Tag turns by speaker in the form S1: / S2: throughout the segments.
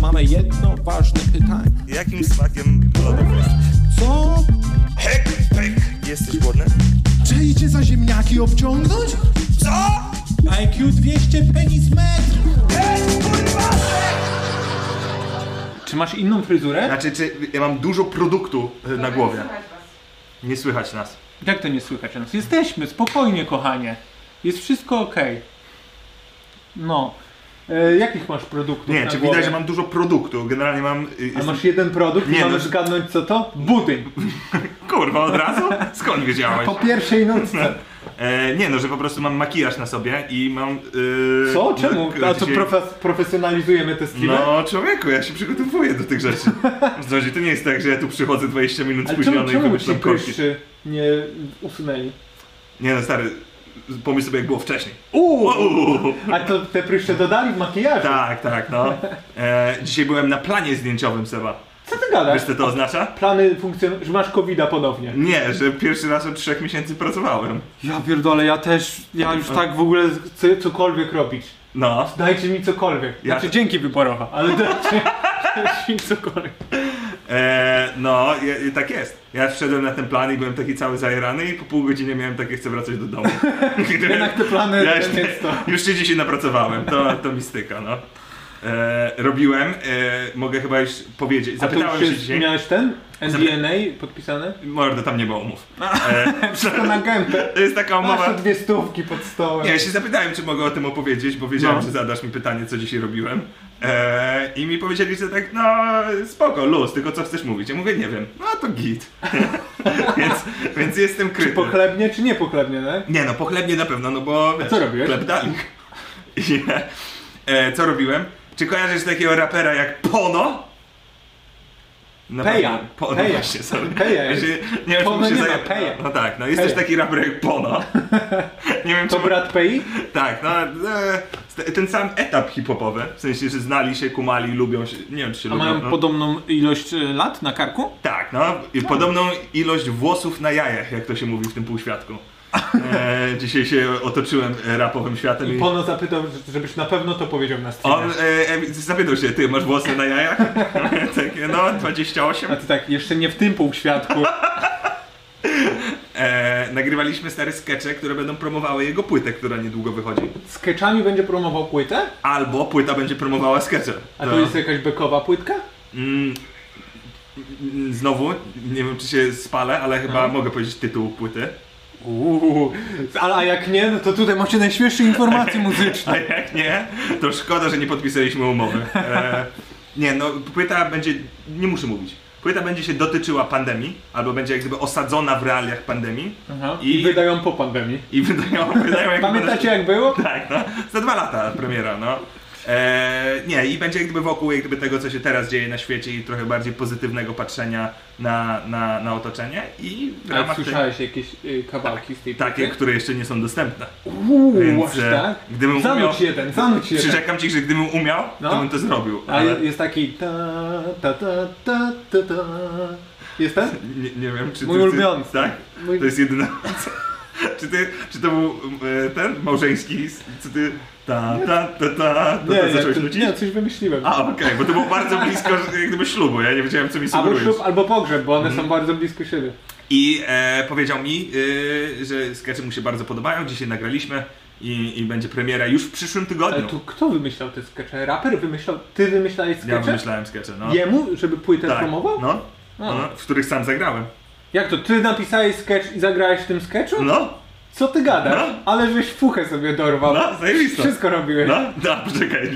S1: mamy jedno ważne pytanie.
S2: Jakim smakiem lodów jesteś?
S1: Co?
S2: Hek, hek. Jesteś głodny?
S3: Czy idzie za ziemniaki obciągnąć?
S2: Co?
S1: IQ 200 penis metr!
S4: Czy masz inną fryzurę?
S2: Znaczy, czy ja mam dużo produktu y, na głowie. Nie słychać nas.
S4: Jak to nie słychać nas? Jesteśmy, spokojnie kochanie. Jest wszystko okej. No. E, jakich masz produktów
S2: Nie,
S4: na
S2: czy
S4: głowie?
S2: widać, że mam dużo produktu. Generalnie mam... y,
S4: A
S2: Jest...
S4: masz jeden produkt
S2: Nie,
S4: i
S2: no-
S4: mamy zgadnąć co to? Budyń.
S2: Kurwa, od razu? Skąd wiedziałeś?
S4: Po pierwszej nocce.
S2: E, nie no, że po prostu mam makijaż na sobie i mam... y,
S4: Co? Czemu?
S2: no,
S4: A to
S2: dzisiaj-
S4: profes- profesjonalizujemy te skille?
S2: No człowieku, ja się przygotowuję do tych rzeczy. Zdrowie, to nie jest tak, że ja tu przychodzę 20 minut
S4: Ale czemu,
S2: spóźniony i
S4: czemu ci
S2: wymyślam korki.
S4: pryszczy nie usunęli?
S2: Nie no stary, pomyśl sobie jak było wcześniej.
S4: Uuu!
S2: Uuu.
S4: A to te pryszcze dodali w makijażu?
S2: Tak, tak, no. E, dzisiaj byłem na planie zdjęciowym Seba.
S4: Co ty gadasz?
S2: Wiesz co to oznacza?
S4: Plany funkcjonują, że masz covida ponownie.
S2: Nie, że pierwszy raz od trzech miesięcy pracowałem.
S4: Ja pierdolę, ja też, ja już tak w ogóle chcę cokolwiek robić.
S2: No.
S4: Dajcie mi cokolwiek.
S2: Ja-
S4: Znaczy dzięki wyborowa, ale dajcie, dajcie mi cokolwiek.
S2: E, no, i, i tak jest. Ja wszedłem na ten plan i byłem taki cały zajerany i po pół godziny miałem takie, chcę wracać do domu.
S4: Jednak te plany,
S2: Ja
S4: ja
S2: już,
S4: więc to.
S2: już się dzisiaj napracowałem, to, to mi styka, no. E, robiłem, e, mogę chyba już powiedzieć,
S4: A to
S2: zapytałem
S4: już
S2: się
S4: jest,
S2: dzisiaj,
S4: miałeś ten?
S2: Zapy-
S4: NDNA podpisane?
S2: mordo, tam nie było umów. E,
S4: To na gębę.
S2: to jest taka
S4: Masz
S2: umowa,
S4: tu dwie stówki pod stołem.
S2: No nie, ja się zapytałem, czy mogę o tym opowiedzieć, bo wiedziałem,
S4: No.
S2: że zadasz mi pytanie, co dzisiaj robiłem. E, I mi powiedzieli, że tak, no spoko, luz, tylko co chcesz mówić? Ja mówię, nie wiem. No to git. więc, więc jestem kryty.
S4: Pochlebnie czy nie pochlebnie, nie?
S2: Nie no, pochlebnie na pewno, no bo...
S4: co robiłeś?
S2: Chleb dali. I, e, co robiłem? Czy kojarzysz takiego rapera jak Pono? Na
S4: Peja.
S2: pewno- Po, no
S4: Peja.
S2: właśnie, sorry.
S4: Peja jest.
S2: Właśnie, nie wiem, czy
S4: Pono
S2: mu się
S4: nie ma,
S2: zaje-
S4: Peja.
S2: No tak, no jest też
S4: Peja.
S2: taki raper jak Pono. nie wiem,
S4: To
S2: czy...
S4: brat Pei?
S2: Tak, no e, st- ten sam etap hip-hopowy, w sensie, że znali się, kumali, lubią się, nie wiem, czy się
S4: A
S2: lubią.
S4: mają
S2: no.
S4: podobną ilość y, lat na karku?
S2: Tak, no i podobną ilość włosów na jajach, jak to się mówi w tym półświadku. E, dzisiaj się otoczyłem e, rapowym światem i...
S4: I Pono zapytał, że- żebyś na pewno to powiedział na scenie.
S2: On e, e, zapytał się, ty masz włosy na jajach? Takie, no, 28.
S4: A ty tak, jeszcze nie w tym półświadku.
S2: E, nagrywaliśmy stare skecze, które będą promowały jego płytę, która niedługo wychodzi.
S4: Sketchami będzie promował płytę?
S2: Albo płyta będzie promowała skecze.
S4: A
S2: No.
S4: to jest jakaś bekowa płytka?
S2: Mm, mm, znowu, nie wiem czy się spalę, ale chyba mogę powiedzieć tytuł płyty.
S4: Uuu. Ale a jak nie, no to tutaj macie najświeższe informacje muzyczne.
S2: A jak nie, to szkoda, że nie podpisaliśmy umowy. E, nie, no płyta będzie, nie muszę mówić. Płyta będzie się dotyczyła pandemii, albo będzie jak gdyby osadzona w realiach pandemii
S4: I,
S2: I-
S4: wydają po pandemii.
S2: i wydają, wydają jak
S4: Pamiętacie jak było?
S2: Tak, no. Za dwa lata premiera, no. E, nie, i będzie jak gdyby wokół jak gdyby tego, co się teraz dzieje na świecie i trochę bardziej pozytywnego patrzenia na, na, na otoczenie i w
S4: A
S2: ramach tych,
S4: słyszałeś jakieś y, kawałki z tej
S2: takie,
S4: płyty?
S2: które jeszcze nie są dostępne.
S4: Uuu, aż
S2: e,
S4: tak?
S2: gdybym umiał,
S4: Zanudź jeden, zanudź jeden.
S2: przyrzekam ci, że gdybym umiał, to
S4: No.
S2: bym to zrobił,
S4: A
S2: ale
S4: je- jest taki ta ta ta ta ta ta. Jest ten?
S2: nie, nie wiem, czy
S4: Mój
S2: ty,
S4: ulubiony.
S2: Ty, tak?
S4: Mój-
S2: To jest jedyna... Czy, ty, czy to był e, ten małżeński? Czy ty ta ta ta ta, ta,
S4: Nie,
S2: ta zacząłeś
S4: nie,
S2: nucić?
S4: nie, coś wymyśliłem.
S2: A, okej, bo to było bardzo blisko jak gdyby ślubu, ja nie wiedziałem co mi
S4: Albo
S2: sugerujesz.
S4: ślub, albo pogrzeb, bo one
S2: Mhm.
S4: są bardzo blisko siebie.
S2: I e, powiedział mi, y, że skecze mu się bardzo podobają, dzisiaj nagraliśmy i, i będzie premiera już w przyszłym
S4: Ale
S2: tygodniu.
S4: tu kto wymyślał te skecze? Raper wymyślał? Ty wymyślałeś skecze?
S2: Ja wymyślałem skecze, no.
S4: Jemu, żeby płytę
S2: tak,
S4: promował?
S2: no, no,
S4: A.
S2: w których sam zagrałem.
S4: Jak to, ty napisałeś sketch i zagrałeś w tym sketchu?
S2: No,
S4: Co ty gadasz?
S2: No.
S4: Ale żeś fuchę sobie dorwał.
S2: no, zajebisto.
S4: Wszystko robiłeś.
S2: No, no, poczekaj,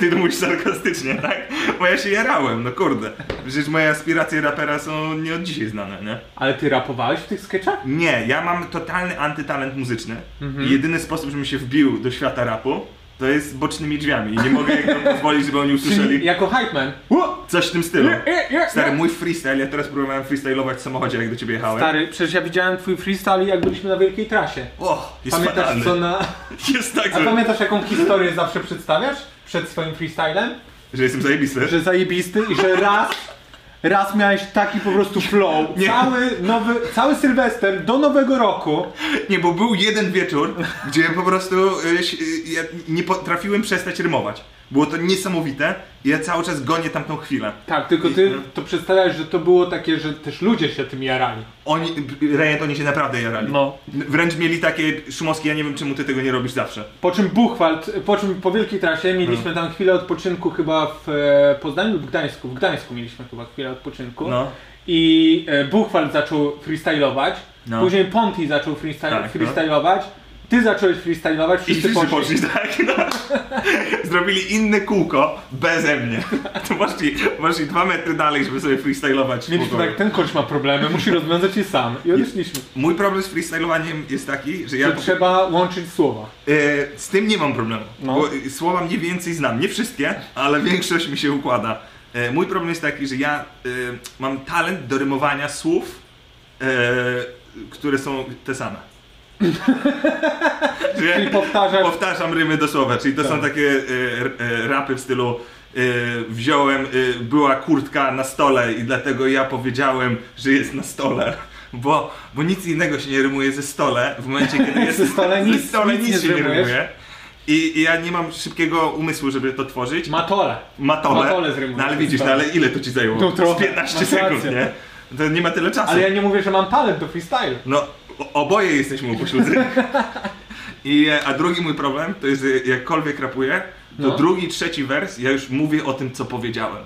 S2: ty to mówisz sarkastycznie, tak? Bo ja się jarałem, no kurde. Przecież moje aspiracje rapera są nie od dzisiaj znane, nie?
S4: Ale ty rapowałeś w tych sketchach?
S2: Nie, ja mam totalny antytalent muzyczny.
S4: Mhm.
S2: I jedyny sposób, żebym się wbił do świata rapu, to jest bocznymi drzwiami. I nie mogę jakby pozwolić, żeby oni
S4: Czyli
S2: usłyszeli
S4: jako hype man.
S2: coś w tym stylu.
S4: Je, je, je,
S2: No. Stary,
S4: je.
S2: mój freestyle, ja teraz próbowałem freestylować w samochodzie, jak do ciebie jechałem.
S4: Stary, przecież ja widziałem twój freestyle jak byliśmy na wielkiej trasie.
S2: O, jest
S4: Pamiętasz
S2: fatalny.
S4: co na...
S2: Jest tak,
S4: A
S2: że,
S4: pamiętasz jaką historię zawsze przedstawiasz? Przed swoim freestylem?
S2: że jestem zajebisty.
S4: Że zajebisty i że raz... Raz miałeś taki po prostu flow.
S2: Nie.
S4: Cały nowy... Cały Sylwester do nowego roku.
S2: Nie, bo był jeden wieczór, gdzie po prostu y, ś- y, ja nie potrafiłem przestać rymować. Było to niesamowite i ja cały czas gonię tamtą chwilę.
S4: Tak, tylko ty
S2: Mhm.
S4: to przedstawiasz, że to było takie, że też ludzie się tym jarali.
S2: Oni, Rejent, oni się naprawdę jarali.
S4: No.
S2: Wręcz mieli takie, Szumowski, ja nie wiem czemu ty tego nie robisz zawsze.
S4: Po czym Buchwald, po czym po wielkiej trasie
S2: Mhm.
S4: mieliśmy tam chwilę odpoczynku chyba w e, Poznaniu lub Gdańsku. W Gdańsku mieliśmy chyba chwilę odpoczynku.
S2: No.
S4: I e, Buchwald zaczął freestylować.
S2: No.
S4: Później Ponti zaczął freestyle,
S2: Tak, no.
S4: freestylować. Ty zacząłeś freestylować,
S2: I
S4: wszyscy
S2: wszyscy
S4: poszli.
S2: poszli, tak? No. Zrobili inne kółko beze mnie. To poszli, poszli dwa metry dalej, żeby sobie freestylować.
S4: Mieliśmy
S2: spokojnie.
S4: tak, ten koleś ma problemy, musi rozwiązać je sam. I odeszliśmy.
S2: Mój problem z freestylowaniem jest taki, że ja
S4: Że
S2: po-
S4: trzeba łączyć słowa.
S2: e, z tym nie mam problemu.
S4: No.
S2: Bo e, słowa mniej więcej znam. Nie wszystkie, ale większość mi się układa. E, mój problem jest taki, że ja e, mam talent do rymowania słów, e, które są te same. Że-
S4: Czyli powtarzasz
S2: Powtarzam rymy dosłowne, czyli to są
S4: Tak.
S2: takie e, r- e, rapy w stylu e, wziąłem, e, była kurtka na stole i dlatego ja powiedziałem, że jest na stole. Bo, bo nic innego się nie rymuje ze stole w momencie, kiedy jest
S4: Ze stole nic-
S2: ze stole
S4: nic
S2: nic,
S4: nie
S2: się nie
S4: rymujesz.
S2: rymuje. I, I ja nie mam szybkiego umysłu, żeby to tworzyć.
S4: matole.
S2: Matole,
S4: matole zrymować
S2: no ale
S4: ze
S2: widzisz, no,
S4: stole.
S2: ale ile to ci zajęło?
S4: No trochę,
S2: Z 15
S4: masz
S2: sekund,
S4: rację.
S2: nie? To nie ma tyle czasu.
S4: Ale ja nie mówię, że mam talent do freestyle.
S2: No, o- oboje jesteśmy upośledzeni. I, e, a drugi mój problem to jest, e, jakkolwiek rapuję, to
S4: No.
S2: drugi, trzeci wers, ja już mówię o tym, co powiedziałem.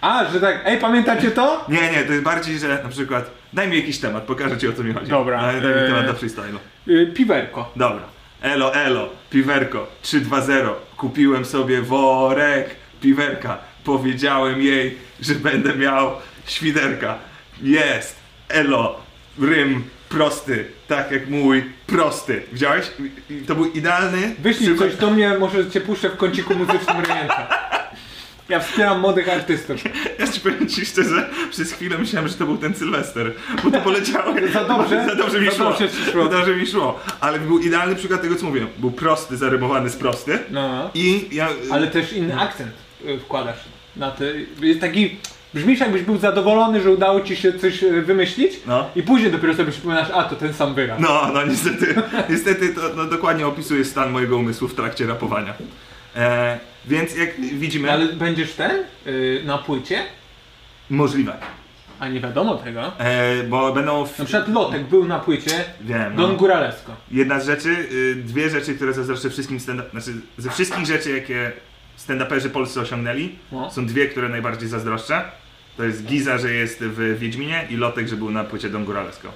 S4: A, że tak, ej, pamiętacie to?
S2: Nie, nie, to jest bardziej, że na przykład daj mi jakiś temat, pokażę ci o co mi chodzi.
S4: Dobra,
S2: Daj, daj mi
S4: e,
S2: temat do freestylu.
S4: Y, piwerko.
S2: Dobra. Elo, elo, piwerko, 3-2-0, kupiłem sobie worek piwerka, powiedziałem jej, że będę miał świderka. Jest, elo, rym prosty, tak jak mój prosty. Widziałeś? I- i To był idealny...
S4: Wyślij
S2: przykład-
S4: coś do mnie, może cię puszczę w kąciku muzycznym rejenta. Ja wspieram młodych artystów.
S2: Ja ci powiem ci szczerze, przez chwilę myślałem, że to był ten Sylwester, bo to poleciało.
S4: Za dobrze?
S2: za dobrze mi
S4: Za
S2: szło.
S4: dobrze ci szło.
S2: Za dobrze mi szło. Ale był idealny przykład tego, co mówiłem. Był prosty, zarymowany z prosty.
S4: No, no.
S2: I ja...
S4: Ale też inny akcent y, wkładasz na to. Jest taki... Brzmisz jakbyś był zadowolony, że udało ci się coś y, wymyślić
S2: No.
S4: i później dopiero sobie przypominasz, a to ten sam wyraz.
S2: No, no niestety, niestety to no, dokładnie opisuje stan mojego umysłu w trakcie rapowania. E, więc jak widzimy,
S4: Ale będziesz ten? Y, na płycie?
S2: możliwe,
S4: A nie wiadomo tego.
S2: e, bo będą w,
S4: Na przykład Lotek był na płycie
S2: wiem,
S4: Don
S2: no,
S4: Guralesco.
S2: jedna z rzeczy, y, dwie rzeczy, które zazdroszczę wszystkim stand znaczy ze wszystkich rzeczy, jakie stand-uperzy polscy osiągnęli,
S4: No.
S2: są dwie, które najbardziej zazdroszczę. To jest Giza, że jest w Wiedźminie i Lotek, że był na płycie Don Góralesko.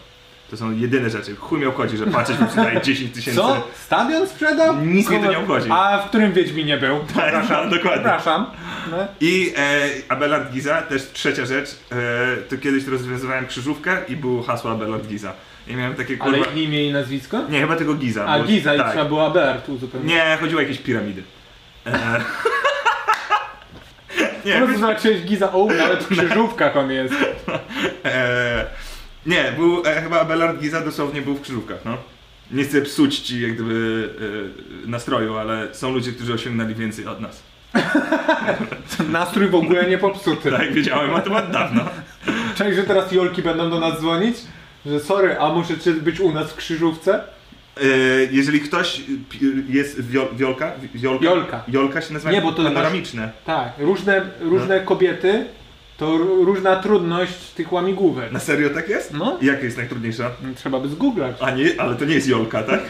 S2: To są jedyne rzeczy. Chuj miał chodzi, że patrzeć mi przydaje 10 tysięcy.
S4: Co? Stadion sprzedał?
S2: Nic mnie to nie obchodzi.
S4: A w którym Wiedźminie był?
S2: Przepraszam, Tak, dokładnie.
S4: Przepraszam. No.
S2: I e, Abelard Giza, też trzecia rzecz, e, to kiedyś rozwiązywałem krzyżówkę i było hasło Abelard Giza. I miałem takie kurwa...
S4: Ale imię i nazwisko?
S2: Nie, chyba tego Giza.
S4: A
S2: bo-
S4: Giza i
S2: tak.
S4: trzeba było Abelard uzupełnić.
S2: Nie, chodziło o jakieś piramidy. E...
S4: Po
S2: nie,
S4: prostu zobaczyłeś Giza, o, nawet w krzyżówkach on jest.
S2: e, nie, był e, chyba Abelard Giza dosłownie był w krzyżówkach, no. Nie chcę psuć ci jak gdyby e, nastroju, ale są ludzie, którzy osiągnęli więcej od nas.
S4: Nastrój w ogóle nie popsuty.
S2: Tak, wiedziałem o tym od dawna.
S4: Cześć, że teraz Jolki będą do nas dzwonić? Że sorry, a możecie być u nas w krzyżówce?
S2: E, Jeżeli ktoś y, pi- jest wiol, wiolka, wi- wiolka,
S4: Jolka.
S2: Jolka się nazywa
S4: Nie, bo to
S2: panoramiczne.
S4: Tak, No. różne, różne kobiety to r- różna trudność tych łamigłówek.
S2: Na serio tak jest?
S4: No,
S2: I Jaka jest najtrudniejsza?
S4: trzeba by zgooglać.
S2: A nie, ale to nie jest Jolka, tak?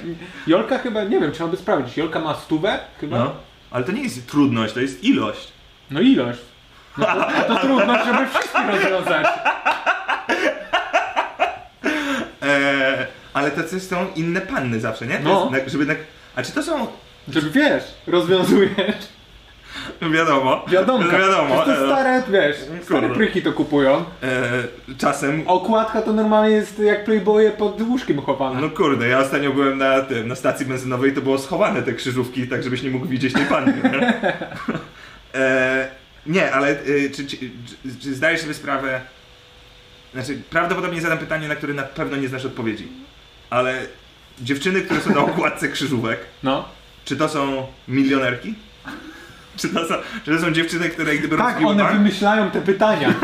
S4: Jolka chyba, nie wiem, trzeba by sprawdzić. Jolka ma stówę chyba?
S2: No. Ale to nie jest trudność, to jest ilość.
S4: No ilość. No to, a to trudno, żeby wszystkich rozwiązać.
S2: Eee, ale tacy są inne panny zawsze, nie? To
S4: No.
S2: Jest, na- żeby na, a czy to są...
S4: Żeby wiesz, rozwiązujesz.
S2: Wiadomo.
S4: No Wiadomo.
S2: Wiadomo.
S4: To
S2: Eee,
S4: stare, wiesz, stare
S2: Kurde.
S4: pryki to kupują.
S2: eee, czasem...
S4: Okładka to normalnie jest jak playboye pod łóżkiem chowane.
S2: No kurde, ja ostatnio byłem na, tym, na stacji benzynowej, to było schowane te krzyżówki, tak żebyś nie mógł widzieć tej panny. nie? e, nie, ale e, czy, czy, czy, czy zdajesz sobie sprawę... Znaczy, prawdopodobnie zadam pytanie, na które na pewno nie znasz odpowiedzi. Ale dziewczyny, które są na okładce krzyżówek,
S4: No.
S2: czy to są milionerki? Czy to są, czy to są dziewczyny, które jak gdyby
S4: Tak,
S2: rozbiły
S4: one No.
S2: bank?
S4: wymyślają te pytania.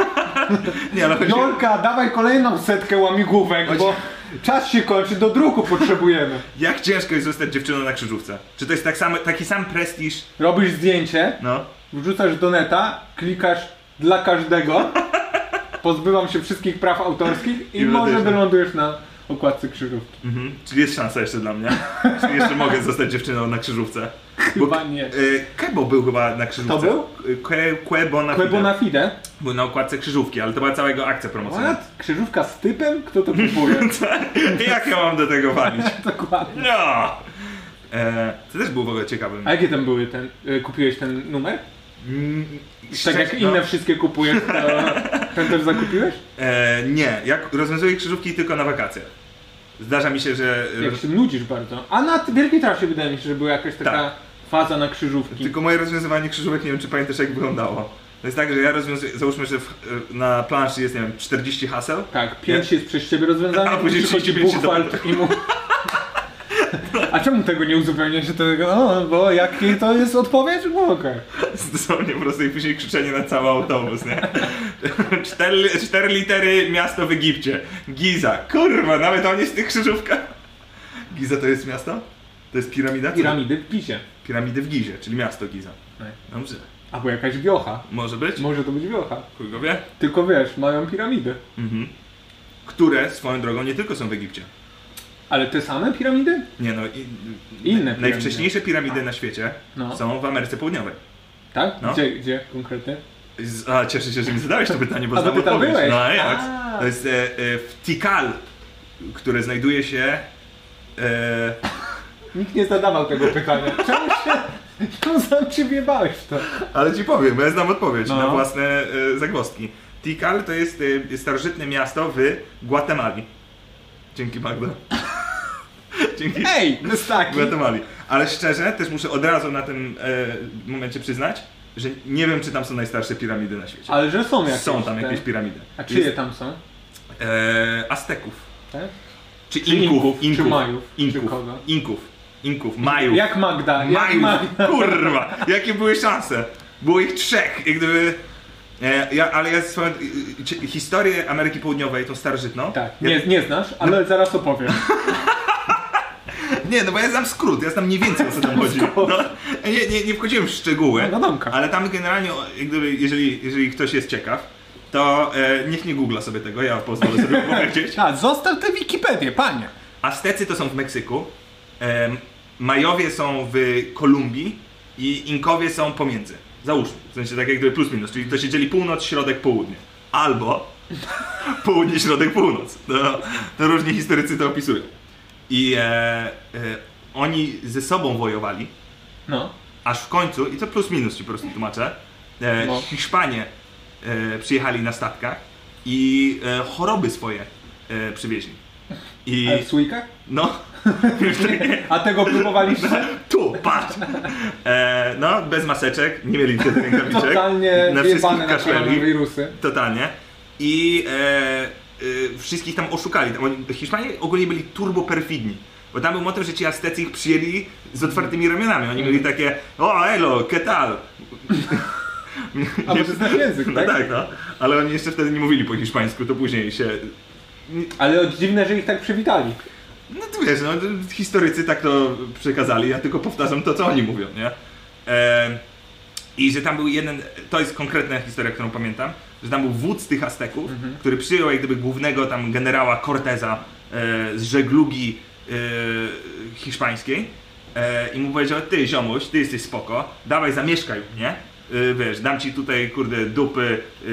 S2: Nie, ale chodzi,
S4: Jolka, dawaj kolejną setkę łamigłówek,
S2: Chodzi-
S4: bo Czas się kończy, do druku potrzebujemy.
S2: Jak ciężko jest zostać dziewczyną na krzyżówce? Czy to jest tak samo, taki sam prestiż?
S4: Robisz zdjęcie,
S2: No.
S4: wrzucasz do neta, klikasz dla każdego, pozbywam się wszystkich praw autorskich i,
S2: I
S4: może
S2: wyleciał.
S4: wylądujesz na okładce krzyżówki.
S2: Mhm. Czyli jest szansa jeszcze dla mnie? Czy jeszcze mogę zostać dziewczyną na krzyżówce?
S4: Chyba nie.
S2: Y, Kebo był chyba na krzyżówce.
S4: To był?
S2: Kue, Kuebo na
S4: Chlebo na
S2: na...
S4: fide.
S2: Był na okładce krzyżówki, ale to była cała jego akcja promocyjna.
S4: What? Krzyżówka z typem? Kto to kupuje?
S2: Jak ja mam do tego walić?
S4: Dokładnie.
S2: No! E, to też był w ogóle ciekawym.
S4: A jakie tam były ten, y, kupiłeś ten numer?
S2: Mm,
S4: Tak jak
S2: szczerze-
S4: inne wszystkie kupujesz, to ten też zakupiłeś?
S2: E, nie, jak rozwiązuję krzyżówki tylko na wakacje. Zdarza mi się, że.
S4: Jak się nudzisz bardzo. A na Wielkiej Trasie wydaje mi się, że była jakaś taka
S2: Tak.
S4: faza na krzyżówki.
S2: Tylko moje rozwiązywanie krzyżówek nie wiem, czy pamiętasz jak wyglądało. To jest tak, że ja rozwiązuję. Załóżmy, że w, e, na planszy jest, nie wiem, 40 haseł.
S4: Tak, pięć jest przez ciebie rozwiązane,
S2: A później
S4: przychodzi
S2: 35 się
S4: buchwald i mu... A czemu tego nie uzupełniasz się tego? O, bo jakie to jest odpowiedź? No okej.
S2: Dosłownie po prostu i później krzyczenie na cały autobus, nie? cztery, cztery litery miasto w Egipcie. Giza. Kurwa, nawet on jest w tych krzyżówkach. Giza to jest miasto? To jest piramida? Co?
S4: Piramidy w Pisie.
S2: Piramidy w Gizie, czyli miasto Giza.
S4: No.
S2: Dobrze.
S4: Albo jakaś wiocha.
S2: Może być?
S4: Może to być wiocha.
S2: Chuj go wie.
S4: Tylko wiesz, mają piramidy.
S2: Mhm. Które swoją drogą nie tylko są w Egipcie.
S4: Ale te same piramidy?
S2: Nie no, i,
S4: Inne piramidy.
S2: najwcześniejsze piramidy na świecie
S4: No.
S2: są w Ameryce Południowej.
S4: Tak?
S2: No.
S4: Gdzie, gdzie konkretnie?
S2: Z, a, cieszę się, że mi zadałeś to pytanie, bo
S4: A, bo
S2: znam
S4: ty tam
S2: odpowiedź.
S4: byłeś.
S2: No a jak?
S4: A.
S2: To jest e, e, w Tikal, które znajduje się... E,
S4: Nikt nie zadawał tego pytania. Czemu się... Czemu sam przybiebałeś w to?
S2: ale ci powiem, bo ja znam odpowiedź
S4: No.
S2: na własne e, zagwozdki. Tikal to jest e, starożytne miasto w Guatemali. Dzięki Magda. Dzięki.
S4: Ej, jest taki.
S2: Guatemali. Ale szczerze, też muszę od razu na tym e, momencie przyznać, że nie wiem, czy tam są najstarsze piramidy na świecie.
S4: Ale że są jakieś.
S2: są tam
S4: te-
S2: jakieś piramidy.
S4: A czyje
S2: Jest,
S4: tam są? Tak?
S2: E, Azteków.
S4: Te?
S2: Czy
S4: Inków,
S2: Inków,
S4: czy
S2: Inków,
S4: Majów,
S2: Inków,
S4: czy kogo?
S2: Inków, Inków, Majów,
S4: Jak Magda, jak
S2: Majów,
S4: Magda.
S2: kurwa, jakie były szanse? Było ich trzech, jak gdyby... E, ja, ale ja swoją, y, y, czy- historię Ameryki Południowej, tą starożytną,
S4: Tak,
S2: ja,
S4: nie, nie znasz, ale zaraz opowiem.
S2: nie, no bo ja znam skrót, ja znam mniej więcej o co tam chodzi. No, nie, nie, nie wchodziłem w szczegóły,
S4: No, Adamka.
S2: ale tam generalnie, o, jak gdyby, jeżeli, jeżeli ktoś jest ciekaw, to e, niech nie googla sobie tego, ja pozwolę sobie powiedzieć.
S4: A, zostaw tę Wikipedię, panie.
S2: Aztecy to są w Meksyku, em, Majowie są w Kolumbii i Inkowie są pomiędzy. Załóżmy, w sensie tak jak gdyby plus minus, czyli to się dzieli północ, środek, południe. Albo południe, środek, północ. To, to różni historycy to opisują. I e, e, oni ze sobą wojowali,
S4: No,
S2: aż w końcu, i to plus minus ci po prostu tłumaczę, e,
S4: No.
S2: Hiszpanie e, przyjechali na statkach i e, choroby swoje e, przywieźli. I...
S4: ale w słoikach?
S2: No, już tak,
S4: A tego próbowaliście?
S2: tu, patrz. E, no, bez maseczek, nie mieli wtedy rękawiczek.
S4: Totalnie
S2: na
S4: wyjebane
S2: wszystkich
S4: na
S2: kaszleli.
S4: koronawirusy.
S2: Totalnie. I e, e, wszystkich tam oszukali. Tam oni, Hiszpanie ogólnie byli turbo perfidni. Bo tam był motyw, że ci Aztecy ich przyjęli z otwartymi ramionami. Oni mieli takie, o elo, que tal?
S4: A bo ty znasz język,
S2: No
S4: tak?
S2: tak, no. Ale oni jeszcze wtedy nie mówili po hiszpańsku, to później się
S4: Ale dziwne, że ich tak przywitali.
S2: No to wiesz, no, historycy tak to przekazali, ja tylko powtarzam to, co oni mówią, nie? E, I że tam był jeden, to jest konkretna historia, którą pamiętam, że tam był wódz tych Azteków, który przyjął jak gdyby głównego tam generała Corteza e, z żeglugi e, hiszpańskiej e, i mu powiedział, ty ziomuś, ty jesteś spoko, dawaj zamieszkaj u mnie, e, wiesz, dam ci tutaj, kurde, dupy, e,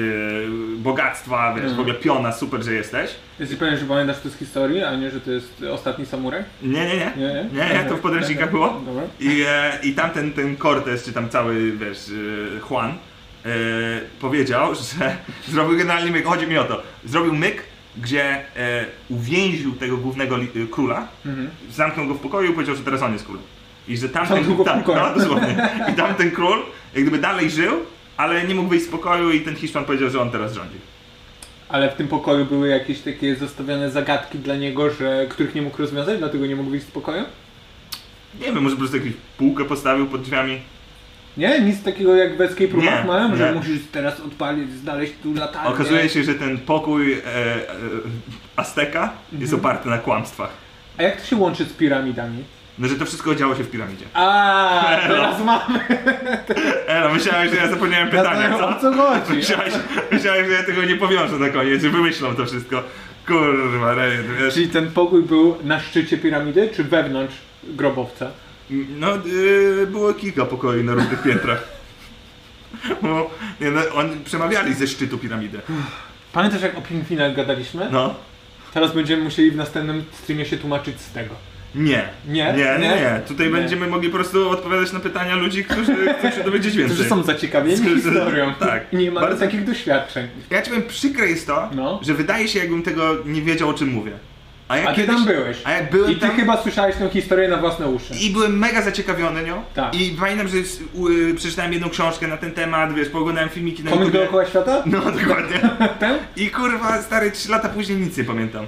S2: bogactwa, wiesz, w ogóle piona, super, że jesteś.
S4: Jesteś pewien, że pamiętasz to z historii, a nie, że to jest ostatni samuraj?
S2: Nie, nie, nie.
S4: Nie, nie?
S2: Nie, nie, to w podręcznikach było.
S4: Dobra.
S2: I, e, i tamten ten Cortez, czy tam cały, wiesz, e, Juan, e, powiedział, że zrobił generalnie myk, chodzi mi o to, zrobił myk, gdzie e, uwięził tego głównego li, e, króla,
S4: Mhm.
S2: zamknął go w pokoju i powiedział, że teraz on jest królem. I że
S4: Zamknął
S2: tamten,
S4: go w
S2: tak,
S4: pokoju.
S2: no, dosłownie. I tamten król jak gdyby dalej żył, ale nie mógł wyjść z pokoju i ten Hiszpan powiedział, że on teraz rządzi.
S4: Ale w tym pokoju były jakieś takie zostawione zagadki dla niego, że których nie mógł rozwiązać, dlatego nie mógł wyjść z pokoju?
S2: Nie wiem, może po prostu jakąś półkę postawił pod drzwiami.
S4: Nie? Nic takiego jak w Escape Roomach
S2: Nie,
S4: mają, że
S2: nie.
S4: musisz teraz odpalić, znaleźć tu latarnię.
S2: Okazuje się, że ten pokój e, e, Azteka jest oparty na kłamstwach.
S4: A jak to się łączy z piramidami?
S2: No, że to wszystko działo się w piramidzie.
S4: A,
S2: No.
S4: teraz mamy.
S2: Ela, myślałem, że ja zapomniałem pytania,
S4: Pytanie,
S2: co?
S4: o co chodzi?
S2: Myślałeś, myślałem, że ja tego nie powiążę na koniec, że wymyślą to wszystko. Kurwa, rejent, wiesz.
S4: Czyli ten pokój był na szczycie piramidy, czy wewnątrz grobowca?
S2: No, yy, było kilka pokoi na różnych piętrach. Bo, nie, no, on przemawiali ze szczytu piramidy.
S4: Pamiętasz jak o Pingwinach gadaliśmy?
S2: No.
S4: Teraz będziemy musieli w następnym streamie się tłumaczyć z tego.
S2: Nie.
S4: Nie?
S2: Nie, nie,
S4: Nie?
S2: nie. Tutaj
S4: Nie.
S2: będziemy mogli po prostu odpowiadać na pytania ludzi, którzy chcą się dowiedzieć więcej.
S4: Którzy są zaciekawieni
S2: Którzy-
S4: historią.
S2: tak.
S4: I nie mają
S2: Bardzo-
S4: takich doświadczeń.
S2: Ja ci powiem, przykre jest to,
S4: No.
S2: że wydaje się, jakbym tego nie wiedział, o czym mówię. ja
S4: A ty tam byłeś.
S2: A jak byłem
S4: I ty
S2: tam...
S4: chyba słyszałeś tę historię na własne uszy.
S2: I byłem mega zaciekawiony nią.
S4: Tak.
S2: I pamiętam, że s- u- y, przeczytałem jedną książkę na ten temat, wiesz, pooglądałem filmiki na
S4: Komik
S2: YouTubie.
S4: dookoła świata?
S2: No, dokładnie.
S4: Ten?
S2: I kurwa, stary, 3 lata później nic nie pamiętam.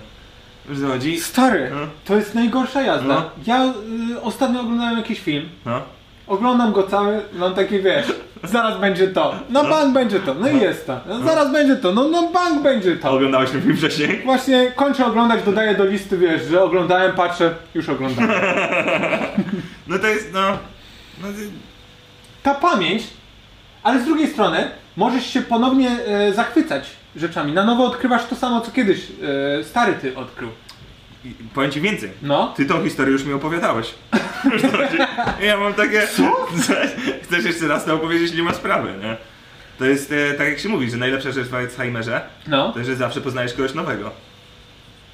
S2: Wiesz, co chodzi?
S4: Stary,
S2: No.
S4: to jest najgorsza jazda.
S2: No.
S4: Ja y, ostatnio oglądałem jakiś film,
S2: No.
S4: oglądam go cały, mam takie wiesz, zaraz będzie to, no, bank będzie to, no i jest to, no, zaraz będzie to, no, no bank będzie
S2: A
S4: to.
S2: oglądałeś ten film wcześniej?
S4: Właśnie kończę oglądać, dodaję do listy, wiesz, że oglądałem, patrzę, już oglądałem.
S2: No to jest, no... no ty-
S4: Ta pamięć, ale z drugiej strony możesz się ponownie e, zachwycać rzeczami, na nowo odkrywasz to samo, co kiedyś e, stary ty odkrył.
S2: i- powiem ci więcej.
S4: No.
S2: Ty tą historię już mi opowiadałeś. Wiesz, co chodzi? ja mam takie... Co? Chcesz jeszcze raz to opowiedzieć, nie ma sprawy, nie? To jest, e, tak jak się mówi, że najlepsza rzecz w Alzheimerze,
S4: No.
S2: to jest, że zawsze poznajesz kogoś nowego.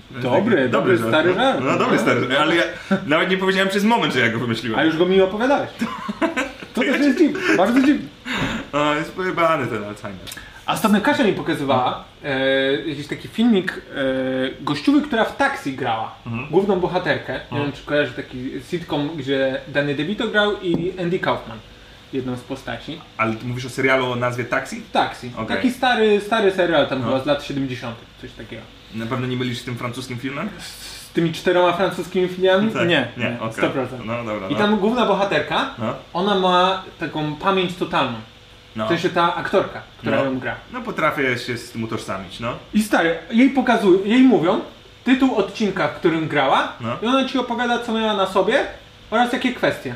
S2: To jest
S4: Dobry,
S2: taki-
S4: dobry
S2: żart,
S4: stary
S2: no.
S4: żart.
S2: No dobry stary żart, ale ja nawet nie powiedziałem przez moment, że ja go wymyśliłem.
S4: A już go mi opowiadałeś. To też jest dziwne, bardzo dziwne.
S2: O, jest pojebany ten Alzheimer.
S4: A ostatnio Kasia mi pokazywała e, jakiś taki filmik e, gościuwy, która w taksi grała.
S2: Mhm.
S4: Główną bohaterkę. Nie wiem, czy kojarzy taki sitcom, gdzie Danny DeVito grał i Andy Kaufman. Jedną z postaci.
S2: Ale ty mówisz o serialu o nazwie Taxi?
S4: Taksi.
S2: Okej. No.
S4: Taki stary, stary serial tam chyba z lat 70. coś takiego.
S2: Na pewno nie mylisz z tym francuskim filmem? Tak.
S4: Z tymi czteroma francuskimi filmami? nie,
S2: Nie, okej.
S4: 100%.
S2: No dobra,
S4: I
S2: no.
S4: tam główna bohaterka,
S2: No,
S4: ona ma taką pamięć totalną.
S2: no.
S4: W sensie ta aktorka, która
S2: No.
S4: ją gra.
S2: no potrafię się z tym utożsamić, no.
S4: I stary, jej pokazują, jej mówią tytuł odcinka, w którym grała
S2: No.
S4: i ona ci opowiada, co miała na sobie oraz jakie kwestie.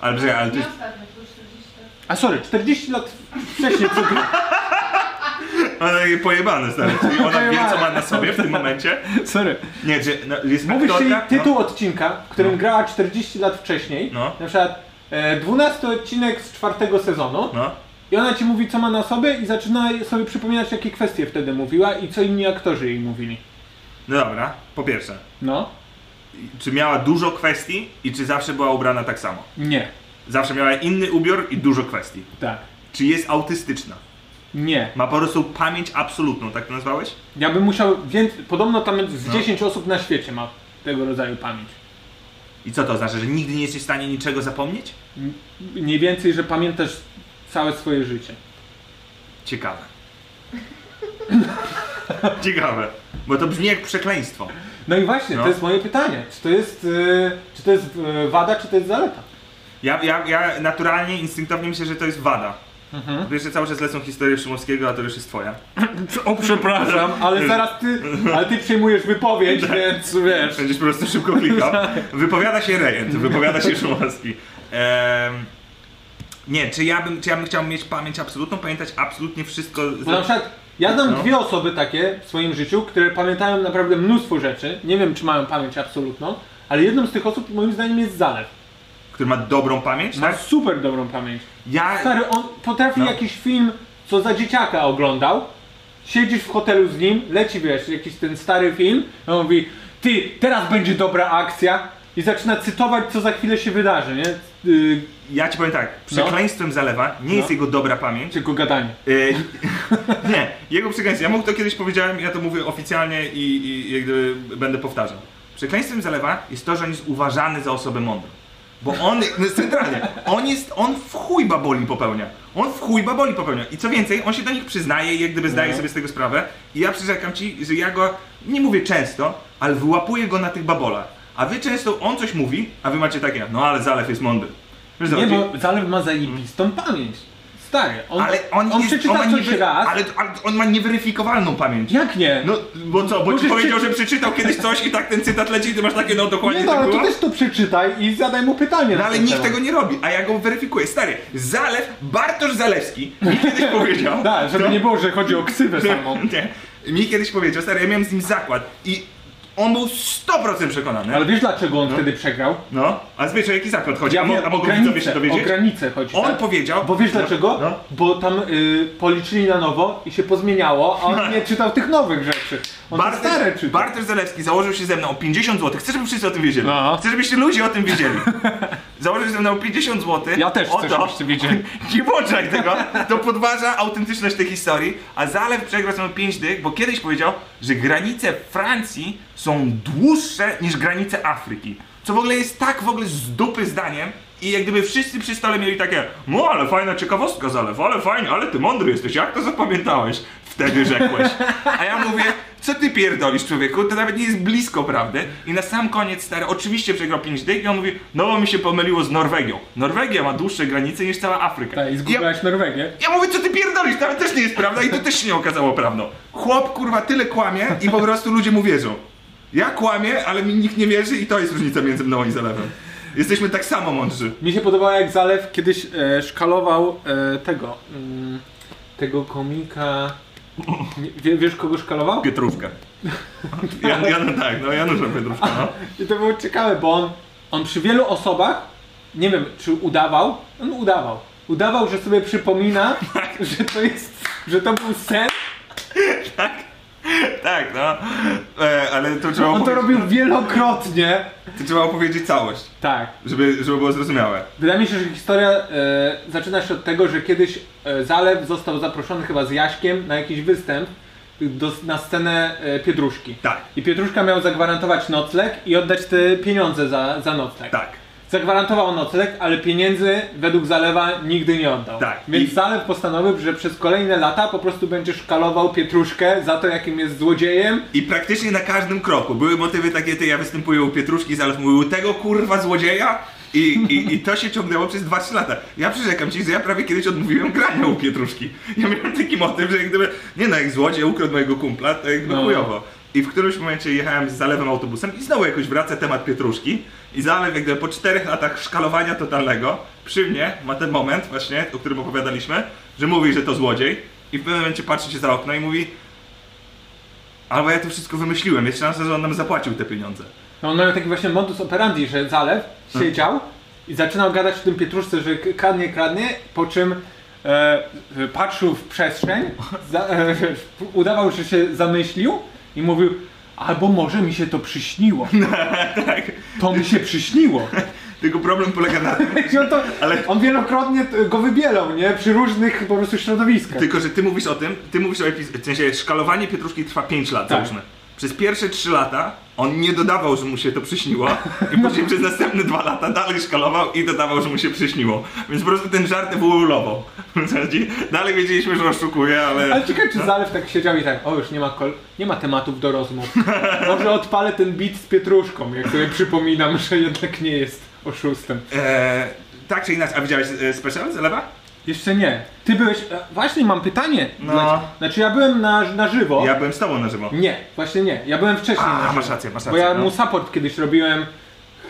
S2: Ale brzeg, ale ty...
S5: Nie ostatnio, to już 40 lat.
S4: A sorry, 40 lat wcześniej co gra.
S2: Ona jest pojebany, stary. Czyli ona wie, co ma na sobie w tym momencie.
S4: Sorry.
S2: Nie, że no, jest
S4: Mówisz jej
S2: aktorka,
S4: tytuł odcinka, w którym grała 40 lat wcześniej,
S2: No.
S4: na przykład e, 12 odcinek z czwartego sezonu
S2: No, no.
S4: i ona ci mówi, co ma na sobie i zaczyna sobie przypominać, jakie kwestie wtedy mówiła i co inni aktorzy jej mówili.
S2: No dobra, po pierwsze.
S4: No,
S2: Czy miała dużo kwestii i czy zawsze była ubrana tak samo?
S4: nie,
S2: Zawsze miała inny ubiór i dużo kwestii.
S4: tak,
S2: Czy jest autystyczna?
S4: nie.
S2: Ma po prostu pamięć absolutną, tak to nazwałeś?
S4: Ja bym musiał więcej. Podobno tam z
S2: No.
S4: 10 osób na świecie ma tego rodzaju pamięć.
S2: I co to oznacza, że nigdy nie jesteś w stanie niczego zapomnieć?
S4: Mniej więcej, że pamiętasz całe swoje życie.
S2: Ciekawe. Ciekawe. Bo to brzmi jak przekleństwo.
S4: No i właśnie,
S2: No.
S4: to jest moje pytanie. Czy to jest, y, czy to jest y, wada, czy to jest zaleta?
S2: Ja, ja, ja naturalnie, instynktownie myślę, że to jest wada.
S4: Mhm.
S2: Wiesz, że cały czas lecą historie Szymowskiego, a to już jest twoja.
S4: O, przepraszam, ale zaraz ty, ale ty przejmujesz
S2: Tak.
S4: wypowiedź, więc wiesz.
S2: Będziesz po prostu szybko klikał. Wypowiada się Rejent, wypowiada się Szumowski. Em, nie, czy ja, bym, czy ja bym chciał mieć pamięć absolutną, pamiętać absolutnie wszystko.
S4: Bo na przykład ja znam
S2: No.
S4: dwie osoby takie w swoim życiu, które pamiętają naprawdę mnóstwo rzeczy. Nie wiem, czy mają pamięć absolutną, ale jedną z tych osób moim zdaniem jest Zalew.
S2: Który ma dobrą pamięć,
S4: Ma
S2: tak?
S4: super dobrą pamięć.
S2: Ja,
S4: Stary, on potrafi
S2: No.
S4: jakiś film, co za dzieciaka oglądał. Siedzisz w hotelu z nim, leci wiesz, jakiś ten stary film, a on mówi, ty, teraz będzie dobra akcja i zaczyna cytować, co za chwilę się wydarzy, nie? Yy,
S2: ja ci powiem tak, przekleństwem zalewa nie jest
S4: No.
S2: jego dobra pamięć,
S4: tylko gadanie.
S2: Y, nie, jego przekleństwo. Ja mu to kiedyś powiedziałem, ja to mówię oficjalnie i, i jak gdyby będę powtarzał. Przekleństwem zalewa jest to, że on jest uważany za osobę mądrą. Bo on, no centralnie, on jest, on w chuj baboli popełnia. On w chuj baboli popełnia. I co więcej, on się do nich przyznaje i jak gdyby zdaje
S4: No.
S2: sobie z tego sprawę. I ja przyrzekam ci, że ja go, nie mówię często, ale wyłapuję go na tych babolach. A wy często, on coś mówi, a wy macie takie, no ale Zalew jest mądry. Wiesz,
S4: Nie,
S2: zobacz,
S4: bo Zalew ma zajebistą pamięć. Stary, on,
S2: Mm. ale on,
S4: on
S2: jest,
S4: przeczyta
S2: on ma
S4: coś
S2: niewy-
S4: raz.
S2: Ale, ale on ma nieweryfikowalną pamięć.
S4: Jak nie?
S2: No, bo co, bo ci
S4: Możesz
S2: powiedział,
S4: przeczy-
S2: że przeczytał kiedyś coś i tak ten cytat leci i ty masz takie, no dokładnie
S4: nie no,
S2: tak
S4: ale
S2: było.
S4: to też to przeczytaj i zadaj mu pytanie.
S2: No
S4: na
S2: ale
S4: ten
S2: nikt
S4: temat.
S2: tego nie robi, a ja go weryfikuję. Stary, Zalew, Bartosz Zalewski mi kiedyś powiedział...
S4: Da, żeby
S2: No.
S4: nie było, że chodzi o ksywę samą.
S2: Nie. Mi kiedyś powiedział, stary, ja miałem z nim zakład i on był 100% przekonany.
S4: Ale wiesz dlaczego on wtedy przegrał?
S2: No, a zwyczaj jaki zakład chodzi? a, mo-
S4: wiem,
S2: a
S4: o
S2: mogą widzowie
S4: granicę,
S2: się
S4: o
S2: dowiedzieć?
S4: granicę chodzi.
S2: On
S4: tak?
S2: powiedział...
S4: Bo wiesz dlaczego?
S2: No.
S4: Bo tam y, policzyli na nowo i się pozmieniało, a on nie czytał tych nowych rzeczy. On te stare
S2: Bartosz,
S4: czytał.
S2: Bartosz Zalewski założył się ze mną o 50 zł. Chcę, żeby wszyscy o tym wiedzieli.
S4: No.
S2: Chcę, żebyście ludzie o tym wiedzieli. Założył się ze mną o 50 zł.
S4: Ja też
S2: o
S4: chcę,
S2: to-
S4: żebyście wiedzieli.
S2: Nie włączaj tego. To podważa autentyczność tej historii. A Zalew przegrał sobie 5 dych, bo kiedyś powiedział, że granice Francji są dłuższe niż granice Afryki. Co w ogóle jest tak w ogóle z dupy zdaniem. I jak gdyby wszyscy przy stole mieli takie No ale fajna ciekawostka Zalew, ale fajnie, ale ty mądry jesteś, jak to zapamiętałeś? Wtedy rzekłeś. A ja mówię, co ty pierdolisz człowieku, to nawet nie jest blisko prawdy. I na sam koniec stary oczywiście przegrał 5 dych i on mówi, no bo mi się pomyliło z Norwegią. Norwegia ma dłuższe granice niż cała Afryka.
S4: Tak, I
S2: ja,
S4: zgubiłaś Norwegię.
S2: ja mówię, co ty pierdolisz, to też nie jest prawda i to też się nie okazało prawdą. Chłop kurwa tyle kłamie i po prostu ludzie mu wierzą. Ja kłamię, ale mi nikt nie wierzy i to jest różnica między mną i Zalewem. Jesteśmy tak samo mądrzy.
S4: Mi się podobało jak Zalew kiedyś e, szkalował e, tego. Mm, tego komika. Nie, wie, wiesz kogo szkalował?
S2: Pietruszka. Ja, ja, no tak, no Janusza Pietruszka, no.
S4: I to było ciekawe, bo on, on przy wielu osobach, nie wiem czy udawał, on udawał. Udawał, że sobie przypomina, że to jest, że to był sen.
S2: Tak, no. E, ale to trzeba,
S4: On to
S2: opowiedzieć,
S4: robił wielokrotnie.
S2: to trzeba opowiedzieć całość,
S4: Tak.
S2: żeby, żeby było zrozumiałe.
S4: Wydaje mi się, że historia e, zaczyna się od tego, że kiedyś e, Zalew został zaproszony chyba z Jaśkiem na jakiś występ do, na scenę e, Piedruszki.
S2: Tak.
S4: I Pietruszka miał zagwarantować nocleg i oddać te pieniądze za, za nocleg.
S2: Tak.
S4: Zagwarantował nocleg, ale pieniędzy według Zalewa nigdy nie oddał.
S2: Tak.
S4: Więc
S2: I-
S4: Zalew postanowił, że przez kolejne lata po prostu będzie szkalował Pietruszkę za to, jakim jest złodziejem.
S2: I praktycznie na każdym kroku były motywy takie, ty ja występuję u Pietruszki, Zalew mówił tego kurwa złodzieja i, i, i to się ciągnęło przez 2-3 lata. Ja przyrzekam ci, że ja prawie kiedyś odmówiłem grania u Pietruszki. Ja miałem taki motyw, że jak gdyby, nie no, jak złodziej ukradł mojego kumpla, to jakby
S4: No.
S2: chujowo. I w którymś momencie jechałem z Zalewem autobusem i znowu jakoś wraca temat Pietruszki i Zalew jak gdyby po czterech latach szkalowania totalnego przy mnie ma ten moment właśnie, o którym opowiadaliśmy, że mówi, że to złodziej i w pewnym momencie patrzy się za okno i mówi Albo ja to wszystko wymyśliłem, jest szansa, że on nam zapłacił te pieniądze.
S4: No on miał taki właśnie modus operandi, że Zalew siedział i zaczynał gadać o tym Pietruszce, że k- kradnie, kradnie, po czym e, patrzył w przestrzeń, za, e, udawał, że się zamyślił i mówił albo może mi się to przyśniło.
S2: Tak.
S4: To mi się przyśniło.
S2: Tylko problem polega na tym,
S4: I on, to,
S2: Ale-
S4: on wielokrotnie t- go wybielał, nie? Przy różnych po prostu środowiskach.
S2: tylko że ty mówisz o tym, ty mówisz o epiz- w sensie szkalowanie Pietruszki trwa 5 lat,
S4: Tak.
S2: załóżmy. Przez pierwsze 3 lata on nie dodawał, że mu się to przyśniło i później przez następne 2 lata dalej szkalował i dodawał, że mu się przyśniło. Więc po prostu ten żart wyulował. W sensie Dalej wiedzieliśmy, że oszukuje, ale...
S4: Ale ciekawe, czy Zalew tak siedział i tak, o już nie ma, kol- nie ma tematów do rozmów. Może odpalę ten bit z Pietruszką, jak sobie przypominam, że jednak nie jest oszustem.
S2: Eee, tak czy inaczej, a widziałeś e, special z lewa?
S4: Jeszcze nie. Ty byłeś. e, Właśnie mam pytanie.
S2: No.
S4: Znaczy, znaczy ja byłem na, na żywo.
S2: Ja byłem z tobą na żywo.
S4: Nie, właśnie nie. Ja byłem wcześniej. na
S2: A,
S4: żywo.
S2: masz rację, masz
S4: Bo
S2: rację.
S4: ja
S2: no.
S4: mu support kiedyś robiłem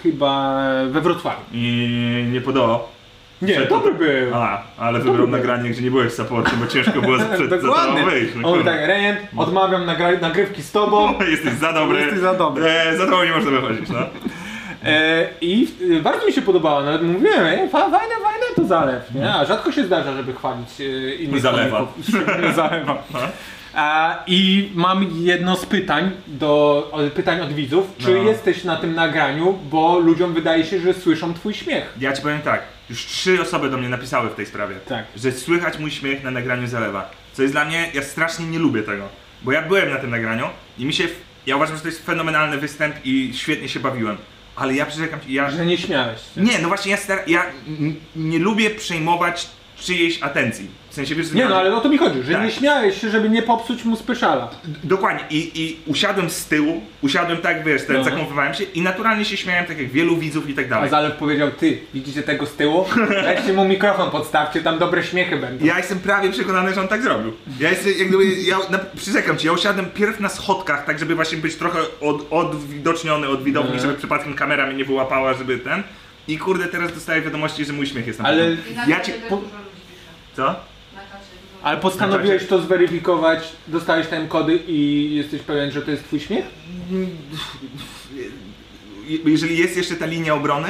S4: chyba we Wrocławiu.
S2: I nie podobał.
S4: Nie,
S2: Przed-
S4: dobry był.
S2: A, ale wybrał nagranie, gdzie nie byłeś supportem, bo ciężko było za, przed, za
S4: Dokładnie.
S2: tobą wyjść. no
S4: On mówi
S2: kurwa.
S4: tak, Rejent, odmawiam nagra- nagrywki z tobą.
S2: Jesteś za dobry.
S4: Jesteś za dobry.
S2: E, za tobą nie można wychodzić, no.
S4: E, I e, bardzo mi się podobało, nawet mówiłem, e, fa, fajne, fajne to zalew, nie? A rzadko się zdarza, żeby chwalić e, innych
S2: Zalewa. No.
S4: komików, szczególnie zalewa. A, I mam jedno z pytań, do, od, pytań od widzów. Czy
S2: No.
S4: jesteś na tym nagraniu, bo ludziom wydaje się, że słyszą twój śmiech?
S2: Ja ci powiem tak, już trzy osoby do mnie napisały w tej sprawie,
S4: Tak.
S2: że słychać mój śmiech na nagraniu zalewa. Co jest dla mnie, ja strasznie nie lubię tego. Bo ja byłem na tym nagraniu i mi się. Ja uważam, że to jest fenomenalny występ i świetnie się bawiłem. Ale ja przyrzekam ci, ja.
S4: Że nie śmiałeś się.
S2: Nie, no właśnie ja, star- ja n- nie lubię przejmować czyjejś atencji. W W sensie wiesz,
S4: Nie no, ale o to mi chodzi, że
S2: Tak.
S4: nie śmiałeś się, żeby nie popsuć mu spyszala.
S2: Dokładnie, I, i usiadłem z tyłu, usiadłem tak, wiesz, tak,
S4: No.
S2: zakąpowałem się i naturalnie się śmiałem, tak jak wielu widzów i tak
S4: A
S2: dalej.
S4: Zalew powiedział, ty, widzicie tego z tyłu? Weźcie mu mikrofon podstawcie, tam dobre śmiechy będą.
S2: Ja jestem prawie przekonany, że on tak zrobił. Ja jestem, jak gdyby, ja na, przyrzekam ci, ja usiadłem pierw na schodkach, tak żeby właśnie być trochę od, odwidoczniony od widowni,
S4: Mhm.
S2: żeby przypadkiem kamera mnie nie wyłapała, żeby ten. I kurde, teraz dostaję wiadomości, że mój śmiech jest na
S4: Ale,
S5: I na
S2: Ja
S5: ja
S2: ci-
S5: cię...
S4: po-
S5: dużo ludzi pisze.
S2: Co?
S5: Na czacie dużo
S4: ale postanowiłeś
S2: Znaczy-
S4: to zweryfikować, dostałeś tam kody i jesteś pewien, że to jest twój śmiech?
S2: Je- Jeżeli jest jeszcze ta linia obrony,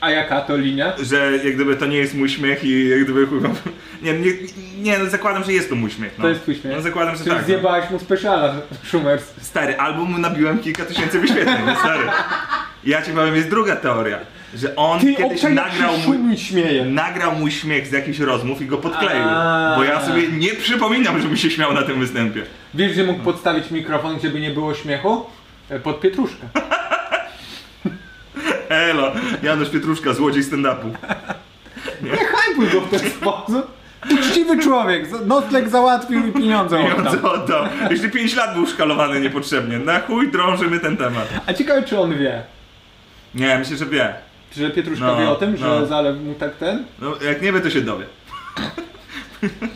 S4: A jaka to linia?
S2: że jak gdyby to nie jest mój śmiech i jak gdyby chuj, wam- nie, nie, nie no zakładam, że jest to mój śmiech. No.
S4: To jest twój śmiech?
S2: No zakładam, że
S4: Czyli
S2: tak. No.
S4: zjebałeś mu spyszala, Szumers.
S2: Stary, albo mu nabiłem kilka tysięcy wyświetleń, no stary. Ja ci powiem, jest druga teoria, że on
S4: Ty,
S2: kiedyś
S4: obczaj, jak
S2: nagrał
S4: się
S2: mój,
S4: Szumi śmieje.
S2: nagrał mój śmiech z jakichś rozmów i go podkleił.
S4: A.
S2: Bo ja sobie nie przypominam, żebym się śmiał na tym występie.
S4: Wiesz, że mógł podstawić mikrofon, żeby nie było śmiechu? E, Pod pietruszkę.
S2: Elo, Janusz Pietruszka, złodziej stand-upu.
S4: Nie hajpuj go w ten sposób. Uczciwy człowiek, za- nocleg załatwił i pieniądze oddał.
S2: Pieniądze oddał. Jeszcze 5 lat był szkalowany niepotrzebnie. Na chuj drążymy ten temat.
S4: A ciekawe, czy on wie,
S2: Nie, myślę, że wie.
S4: że Pietruszka
S2: No,
S4: wie o tym, że
S2: no.
S4: zalew mu tak ten?
S2: No, jak nie wie, to się dowie.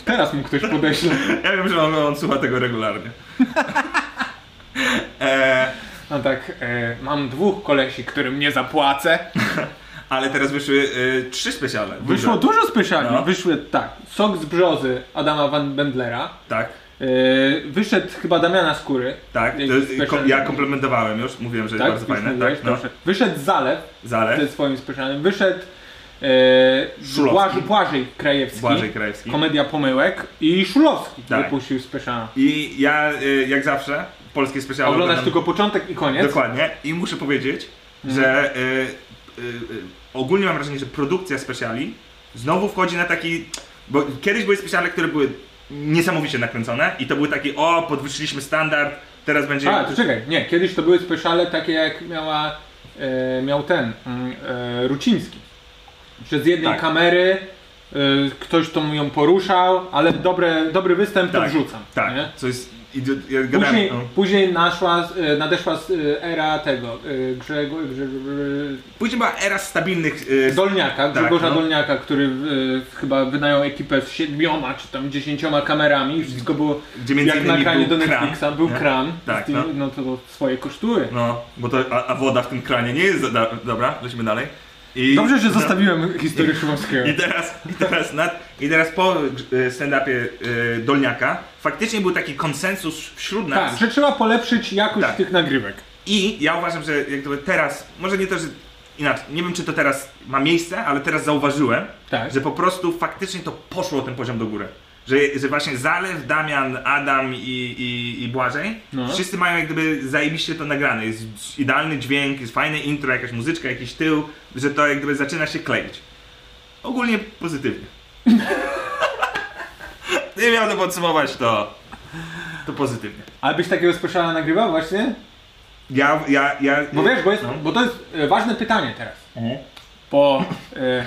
S4: Teraz mu ktoś podeśle.
S2: Ja wiem, że on, on słucha tego regularnie. e,
S4: No tak, e, mam dwóch kolesi, którym nie zapłacę.
S2: ale teraz wyszły e, trzy specjale. Duże.
S4: Wyszło dużo spyszali.
S2: No.
S4: Wyszły tak, sok z brzozy Adama Van Bendlera.
S2: Tak,
S4: E, wyszedł chyba Damiana Skóry.
S2: tak. To,
S4: Jakiś
S2: jest-
S4: special.
S2: kom, ja komplementowałem już, mówiłem, że jest
S4: Tak?
S2: bardzo
S4: Już
S2: fajne.
S4: mówiłeś?
S2: Tak, no.
S4: Dobrze. Wyszedł Zalew
S2: Zale,
S4: ze swoim spyszalem. Wyszedł e,
S2: Szulowski.
S4: Błażej, Błażej Krajewski.
S2: Błażej Krajewski.
S4: Komedia Pomyłek i Szulowski
S2: Tak.
S4: wypuścił spyszana.
S2: I ja, e, jak zawsze, polskie specjale
S4: Oglądasz
S2: oglądam-
S4: tylko początek i koniec. Mhm.
S2: Dokładnie. I muszę powiedzieć, że y, y, y, ogólnie mam wrażenie, że produkcja speciali znowu wchodzi na taki. Bo kiedyś były speciale, które były niesamowicie nakręcone i to były takie, o, podwyższyliśmy standard, teraz będzie.
S4: A, to czekaj, nie, kiedyś to były speszale takie jak miała, e, miał ten, mm, e, Ruciński. Że z jednej
S2: Tak.
S4: kamery e, ktoś to ją poruszał, ale dobre, dobry występ to
S2: tak,
S4: wrzucam.
S2: Tak,
S4: Nie?
S2: co jest. Idiot, ja gadałem,
S4: Później,
S2: no.
S4: później naszła, e, nadeszła e, era tego, e, Grzego, Grze-
S2: Później była era stabilnych. y,
S4: Dolniaka,
S2: Tak,
S4: Grzegorza
S2: no.
S4: Dolniaka, który e, chyba wynajął ekipę z siedmioma czy tam dziesięcioma kamerami i wszystko było
S2: Gdzie między
S4: jak na
S2: innymi
S4: kranie
S2: był
S4: do
S2: kran,
S4: Netflixa, był
S2: nie?
S4: kran,
S2: Tak,
S4: z tym,
S2: no.
S4: no. to, to swoje kosztuje.
S2: No, bo to, a, a woda w tym kranie nie jest. za- Da, dobra, lecimy dalej. I,
S4: Dobrze, że zostawiłem historię Szumowskiego.
S2: I teraz, i teraz, nad, i teraz po y, stand-upie y, Dolniaka faktycznie był taki konsensus wśród nas
S4: Tak, że trzeba polepszyć jakość
S2: Tak.
S4: tych nagrywek.
S2: i ja uważam, że jak gdyby teraz, może nie to, że inaczej, nie wiem czy to teraz ma miejsce, ale teraz zauważyłem,
S4: Tak.
S2: że po prostu faktycznie to poszło ten poziom do góry. Że, że właśnie Zalew, Damian, Adam i, i, i Błażej,
S4: No.
S2: wszyscy mają jak gdyby zajebiście to nagrane. Jest idealny dźwięk, jest fajne intro, jakaś muzyczka, jakiś tył, że to jak gdyby zaczyna się kleić. Ogólnie pozytywnie. Nie miałbym podsumować to, to pozytywnie.
S4: Ale byś takiego speciala nagrywał właśnie?
S2: Ja, ja, ja...
S4: Bo wiesz, bo, jest,
S2: No. Mhm.
S4: bo to jest e, ważne pytanie teraz. Bo... E,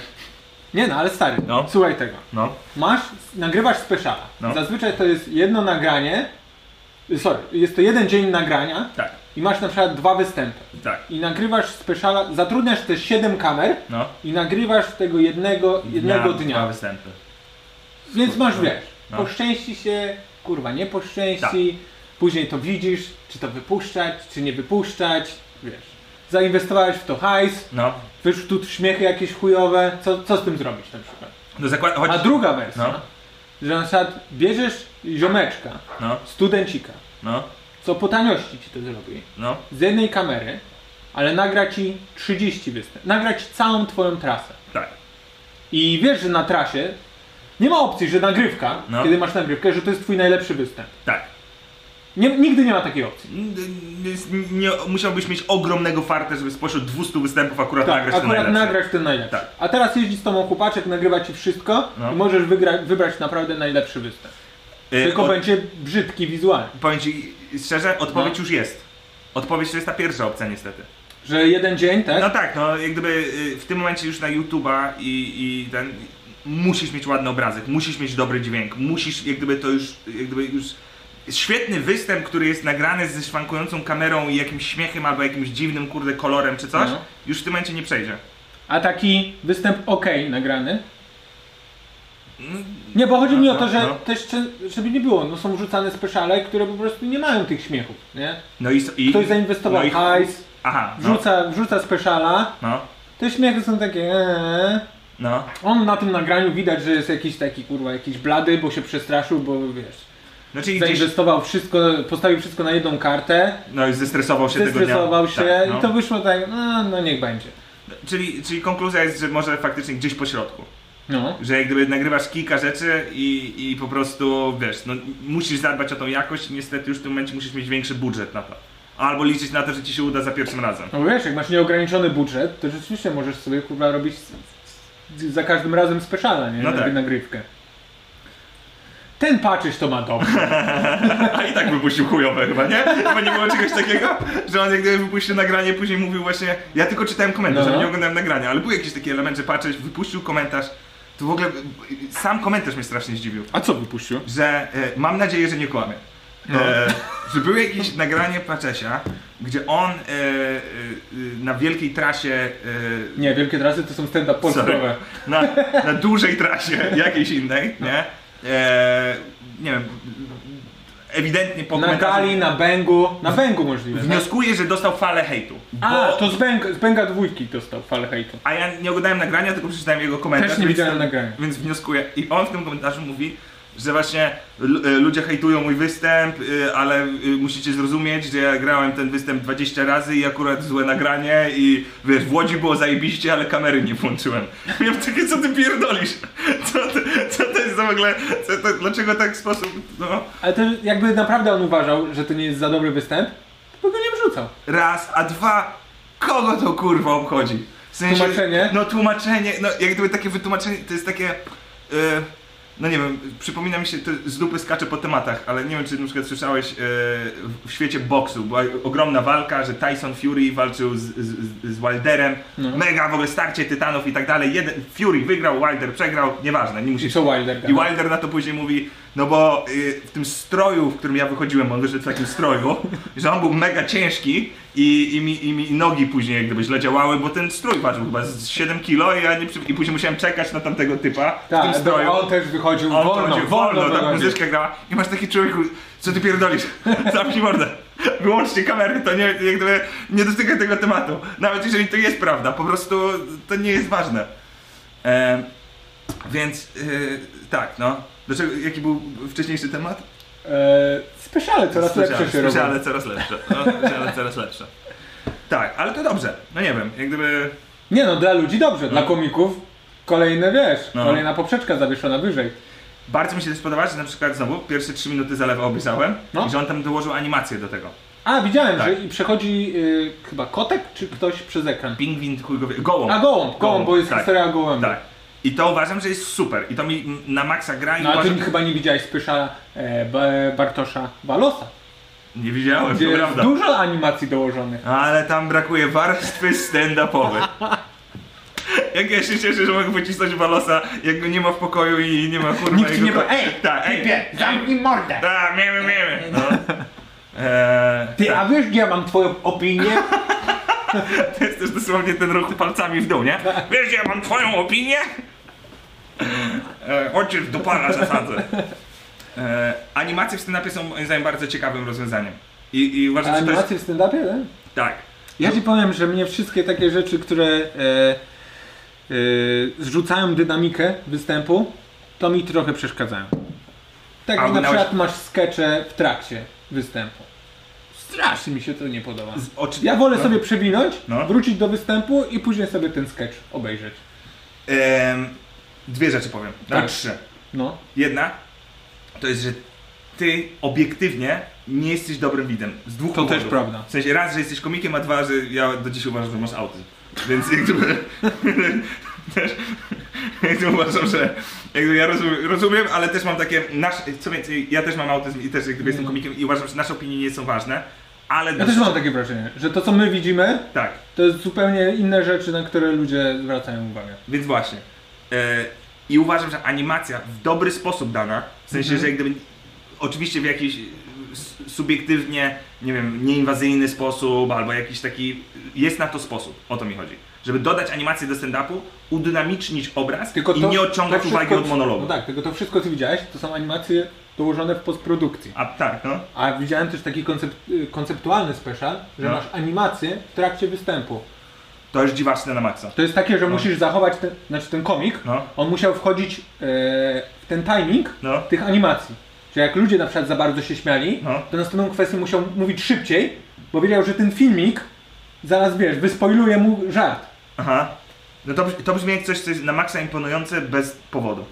S4: nie no, ale stary,
S2: No.
S4: słuchaj tego.
S2: No.
S4: Masz, nagrywasz speciala.
S2: No.
S4: Zazwyczaj to jest jedno nagranie, e, sorry, jest to jeden dzień nagrania
S2: Tak,
S4: i masz na przykład dwa występy.
S2: tak,
S4: I nagrywasz speciala, zatrudniasz te 7 kamer
S2: no.
S4: i nagrywasz tego jednego, jednego dnia.
S2: Dwa występy.
S4: Więc masz
S2: No.
S4: wiesz,
S2: No.
S4: poszczęści się, kurwa nie poszczęści,
S2: Tak.
S4: później to widzisz, czy to wypuszczać, czy nie wypuszczać, wiesz. Zainwestowałeś w to hajs,
S2: No.
S4: wyszły tu śmiechy jakieś chujowe, co, co z tym zrobić na przykład?
S2: No zakład... Choć...
S4: A druga wersja,
S2: No.
S4: że na przykład bierzesz ziomeczka,
S2: No,
S4: studencika,
S2: no,
S4: co po taniości ci to zrobi,
S2: no.
S4: z jednej kamery, ale nagra ci 30 występów, nagra ci całą twoją trasę.
S2: Tak.
S4: I wiesz, że na trasie nie ma opcji, że nagrywka,
S2: No.
S4: kiedy masz nagrywkę, że to jest twój najlepszy występ.
S2: Tak.
S4: Nie, nigdy nie ma takiej opcji.
S2: N- n- n- Nie, musiałbyś mieć ogromnego farta, żeby spośród 200 występów akurat
S4: Tak,
S2: nagrać
S4: akurat
S2: ten najlepszy.
S4: nagrasz ten najlepszy.
S2: Tak.
S4: A teraz jeździ z tobą chłopaczek, nagrywa ci wszystko
S2: No.
S4: i możesz wygra- wybrać naprawdę najlepszy występ.
S2: Y,
S4: Tylko
S2: od-
S4: będzie brzydki wizualnie.
S2: Powiem ci szczerze, odpowiedź
S4: No.
S2: już jest. Odpowiedź to jest ta pierwsza opcja niestety.
S4: Że jeden dzień, tak?
S2: No tak, no jak gdyby y, w tym momencie już na YouTube'a i, i ten... musisz mieć ładny obrazek, musisz mieć dobry dźwięk, musisz, jak gdyby to już, jak gdyby już świetny występ, który jest nagrany ze szwankującą kamerą i jakimś śmiechem albo jakimś dziwnym, kurde, kolorem czy coś,
S4: No.
S2: już w tym momencie nie przejdzie.
S4: A taki występ ok nagrany. Nie, bo chodzi mi o to, że
S2: No.
S4: też, czy- żeby nie było, no są rzucane speciale, które po prostu nie mają tych śmiechów, nie?
S2: No i... i
S4: Ktoś zainwestował
S2: no i-
S4: hajs,
S2: Aha, no,
S4: wrzuca, wrzuca speciala,
S2: no,
S4: te śmiechy są takie eee.
S2: no.
S4: On na tym nagraniu widać, że jest jakiś taki kurwa, jakiś blady, bo się przestraszył, bo wiesz,
S2: No czyli gdzieś,
S4: zainwestował wszystko, postawił wszystko na jedną kartę,
S2: no i zestresował się tego dnia.
S4: zestresował się
S2: Tak, no.
S4: i to wyszło tak, no, no niech będzie.
S2: Czyli, czyli konkluzja jest, że może faktycznie gdzieś po środku.
S4: No.
S2: Że jak gdyby nagrywasz kilka rzeczy i, i po prostu wiesz, no, musisz zadbać o tą jakość i niestety już w tym momencie musisz mieć większy budżet na to. Albo liczyć na to, że ci się uda za pierwszym razem.
S4: No bo wiesz, jak masz nieograniczony budżet, to rzeczywiście możesz sobie kurwa robić za każdym razem speciale, nie?
S2: No
S4: na
S2: tak.
S4: nagrywkę. Ten patrzysz to ma dobrze.
S2: A i tak wypuścił chujowe chyba, nie? Chyba nie było czegoś takiego, że on jak gdyby wypuścił nagranie, później mówił właśnie, ja tylko czytałem komentarz,
S4: No.
S2: ale nie oglądałem nagrania, ale był jakiś taki element, że patrzeć, wypuścił komentarz, to w ogóle sam komentarz mnie strasznie zdziwił.
S4: A co wypuścił?
S2: że e, mam nadzieję, że nie kłamie.
S4: No.
S2: E, że było jakieś nagranie Paczesia, gdzie on e, e, e, na wielkiej trasie, e,
S4: Nie, wielkie trasy to są stand-up polskowe.
S2: na, na dużej trasie jakiejś innej, nie? E, nie wiem, ewidentnie po
S4: Na
S2: komentarzu
S4: gali, na bęgu, na bęgu możliwe. tak?
S2: wnioskuję, że dostał falę hejtu. Bo,
S4: A, to z bęga, z bęga dwójki dostał falę hejtu.
S2: a ja nie oglądałem nagrania, tylko przeczytałem jego komentarz.
S4: Też nie
S2: więc-
S4: widziałem nagrania.
S2: Więc wnioskuję. I on w tym komentarzu mówi, że właśnie l- e, ludzie hejtują mój występ, y, ale y, musicie zrozumieć, że ja grałem ten występ 20 razy i akurat złe nagranie i wiesz, w Łodzi było zajebiście, ale kamery nie włączyłem. Ja takie, co ty pierdolisz? Co, ty, co to jest za w ogóle, co to, dlaczego tak w sposób, no...
S4: Ale to jakby naprawdę on uważał, że to nie jest za dobry występ, to by go nie wrzucał.
S2: Raz, a dwa, kogo to kurwa obchodzi? W
S4: Tłumaczenie?
S2: No tłumaczenie, no jak gdyby takie wytłumaczenie, to jest takie, e, no nie wiem, przypomina mi się, to z dupy skacze po tematach, ale nie wiem czy na przykład słyszałeś, e, w- w świecie boksu była ogromna walka, że Tyson Fury walczył z, z, z Wilderem,
S4: No.
S2: mega w ogóle starcie tytanów i tak dalej, jeden, Fury wygrał, Wilder przegrał, nieważne, nie
S4: I
S2: musisz
S4: co Wilder
S2: i
S4: gada?
S2: Wilder na to później mówi, no bo y, w tym stroju, w którym ja wychodziłem, on wyszedł w takim stroju, że on był mega ciężki i, i, mi, i mi nogi później jak gdyby źle działały, bo ten strój ważył chyba z 7 kilo i, ja nie, przy- i później musiałem czekać na tamtego typa w tym
S4: Tak,
S2: stroju.
S4: bo on też wychodził
S2: On
S4: wolno,
S2: chodził
S4: wolno, wolno,
S2: tak
S4: wychodził.
S2: muzyczka grała i masz taki człowieku, co ty pierdolisz, zamknij mordę. Wyłączcie kamery, to nie, jak gdyby nie dotykaj tego tematu. Nawet jeżeli to jest prawda, po prostu to nie jest ważne. E, więc yy, tak, no. Dlaczego, jaki był wcześniejszy temat?
S4: Eee, speciale coraz
S2: Słyszałem,
S4: lepsze się
S2: słyszałem,
S4: robią.
S2: ale coraz lepsze. No, słyszałem, ale coraz lepsze. Tak, ale to dobrze. No nie wiem, jak gdyby...
S4: Nie no, dla ludzi dobrze, dla komików kolejne wiesz,
S2: No.
S4: kolejna poprzeczka zawieszona wyżej.
S2: Bardzo mi się też podoba, że na przykład znowu pierwsze 3 minuty zalewa obejrzałem
S4: No.
S2: i że on tam dołożył animację do tego.
S4: A, widziałem,
S2: Tak.
S4: że i przechodzi y, chyba kotek czy ktoś przez ekran.
S2: Pingwin, chuj go wie, gołąb.
S4: A gołąb, gołąb, bo jest
S2: tak,
S4: historia o gołębiu.
S2: Tak. I to uważam, że jest super. I to mi mm, na maksa gra i
S4: No a ty
S2: uważam...
S4: chyba nie widziałeś Spysza e, Ba- Bartosza Balosa,
S2: Nie widziałem,
S4: gdzie
S2: to
S4: jest
S2: prawda.
S4: dużo animacji dołożonych.
S2: Ale tam brakuje warstwy stand-upowej. Jak ja się cieszę, że mogę wycisnąć Walosa, jak go nie ma w pokoju i nie ma kurwa
S4: Nikt ci
S2: jego
S4: nie
S2: ko-
S4: powie, ej,
S2: tak, ej,
S4: typie, zamknij mordę!
S2: Tak, miemy, miemy. No. Eee,
S4: Ty,
S2: tak,
S4: a wiesz gdzie ja mam twoją opinię?
S2: to jest też dosłownie ten ruch palcami w dół, nie?
S4: Tak.
S2: Wiesz, ja mam twoją opinię? Eee, ojciec do pana zasadzę. Eee, animacje w stand-upie są moim zdaniem bardzo ciekawym rozwiązaniem. I, i uważam, że to jest...
S4: Animacje w stand-upie, tak?
S2: Tak.
S4: Ja ci powiem, że mnie wszystkie takie rzeczy, które e, e, zrzucają dynamikę występu, to mi trochę przeszkadzają. Tak
S2: A
S4: jak na
S2: oglądałeś-
S4: przykład masz skecze w trakcie występu. Strasznie mi się to nie podoba.
S2: Z- oczy-
S4: Ja wolę
S2: no.
S4: sobie przewinąć,
S2: No.
S4: wrócić do występu i później sobie ten sketch obejrzeć.
S2: Em, dwie rzeczy powiem. Nawet
S4: Tak.
S2: trzy.
S4: No.
S2: Jedna to jest, że ty obiektywnie nie jesteś dobrym widzem. Z dwóch
S4: To też
S2: powodów.
S4: prawda.
S2: W sensie raz, że jesteś komikiem, a dwa, że ja do dziś uważam, że masz autyzm. Więc jak gdyby, też jakby uważam, że jakby ja rozumiem, rozumiem, ale też mam takie, nasz, co więcej, ja też mam autyzm i też jak gdyby jestem komikiem i uważam, że nasze opinie nie są ważne, ale...
S4: Ja też mam takie wrażenie, że to co my widzimy,
S2: Tak.
S4: to jest zupełnie inne rzeczy, na które ludzie zwracają uwagę.
S2: Więc właśnie. E, I uważam, że animacja w dobry sposób dana, w sensie,
S4: Mhm.
S2: że jak gdyby, oczywiście w jakiś s- subiektywnie, nie wiem, nieinwazyjny sposób, albo jakiś taki, jest na to sposób, o to mi chodzi. Żeby dodać animację do stand-upu, udynamicznić obraz
S4: Tylko
S2: i
S4: to-
S2: nie odciągać
S4: to wszystko,
S2: uwagi od monologu.
S4: No tak, tylko to wszystko co widziałeś, to są animacje dołożone w postprodukcji.
S2: A tak, no.
S4: A widziałem też taki koncep- y, konceptualny special, że
S2: No.
S4: masz animację w trakcie występu.
S2: To jest dziwaczne na maksa.
S4: To jest takie, że
S2: No.
S4: musisz zachować ten, znaczy ten komik,
S2: No.
S4: on musiał wchodzić e, w ten timing
S2: No.
S4: tych animacji. Czyli jak ludzie na przykład za bardzo się śmiali,
S2: No.
S4: to następną kwestię musiał mówić szybciej, bo wiedział, że ten filmik zaraz wiesz, wyspoiluje mu żart.
S2: Aha. No to, to brzmi jak coś, co jest na maksa imponujące bez powodu.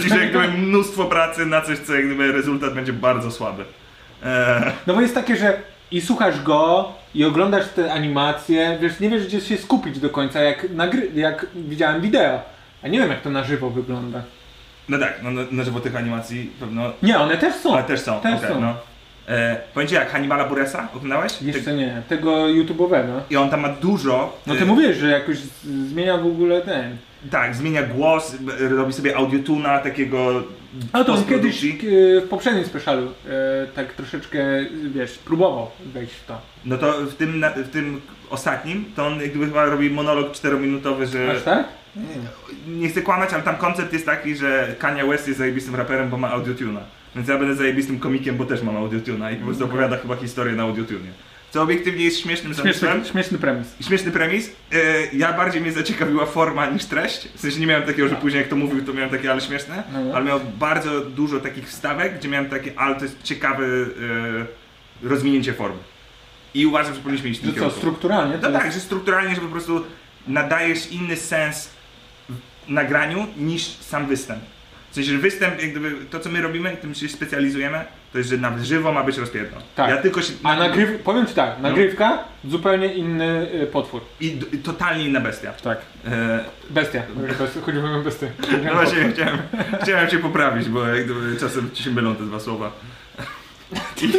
S2: Czyli że jakby mnóstwo pracy na coś, co jakby rezultat będzie bardzo słaby. Eee,
S4: No bo jest takie, że i słuchasz go, i oglądasz te animacje, wiesz, nie wiesz gdzie się skupić do końca, jak, nagry- jak widziałem wideo. A nie wiem jak to na żywo wygląda.
S2: no tak, no, no, na żywo tych animacji pewno...
S4: Nie, one też są.
S2: Ale też są,
S4: Też
S2: okej,
S4: są.
S2: no. Eee, powiem ci jak, Hannibala Buressa oglądałeś?
S4: Jeszcze
S2: Ty-
S4: nie, tego YouTube'owego.
S2: I on tam ma dużo...
S4: No ty
S2: e,
S4: mówisz, że jakoś z- zmienia w ogóle ten.
S2: Tak, zmienia głos, b- robi sobie audiotuna takiego...
S4: A to on kiedyś
S2: postprodukcji.
S4: e, w poprzednim specialu e, tak troszeczkę, wiesz, próbował wejść w to.
S2: No to w tym, na- w tym ostatnim, to on jakby chyba robi monolog czterominutowy, że...
S4: Aż tak?
S2: nie chcę kłamać, ale tam koncept jest taki, że Kanye West jest zajebistym raperem, bo ma audiotuna. Więc ja będę zajebistym komikiem, bo też mam audiotuna i po prostu opowiada chyba historię na audiotunie. Co obiektywnie jest śmiesznym
S4: Mhm. Śmieszny,
S2: zamysłem.
S4: śmieszny premis.
S2: Śmieszny premis. Yy, ja bardziej mnie zaciekawiła forma niż treść. W sensie nie miałem takiego, że później jak to mówił, to miałem takie ale śmieszne.
S4: No.
S2: Ale miał bardzo dużo takich wstawek, gdzie miałem takie ale to jest ciekawe yy, rozwinięcie formy. I uważam, że powinniśmy iść w tym
S4: Że co,
S2: kierunku.
S4: strukturalnie?
S2: No
S4: To
S2: tak,
S4: jest...
S2: że strukturalnie, że po prostu nadajesz inny sens w- nagraniu niż sam występ. W sensie, że występ, jak gdyby, to co my robimy, tym się specjalizujemy, to jest, że na żywo ma być rozpierdol.
S4: Tak.
S2: Ja tylko się...
S4: A nagryw... powiem ci tak, nagrywka, zupełnie inny e, potwór.
S2: I d- totalnie inna bestia.
S4: Tak.
S2: E,
S4: Bestia. Bestia. Chodzimy o bestię.
S2: no właśnie, chciałem, chciałem cię poprawić, bo jak gdyby, czasem ci się mylą te dwa słowa. I,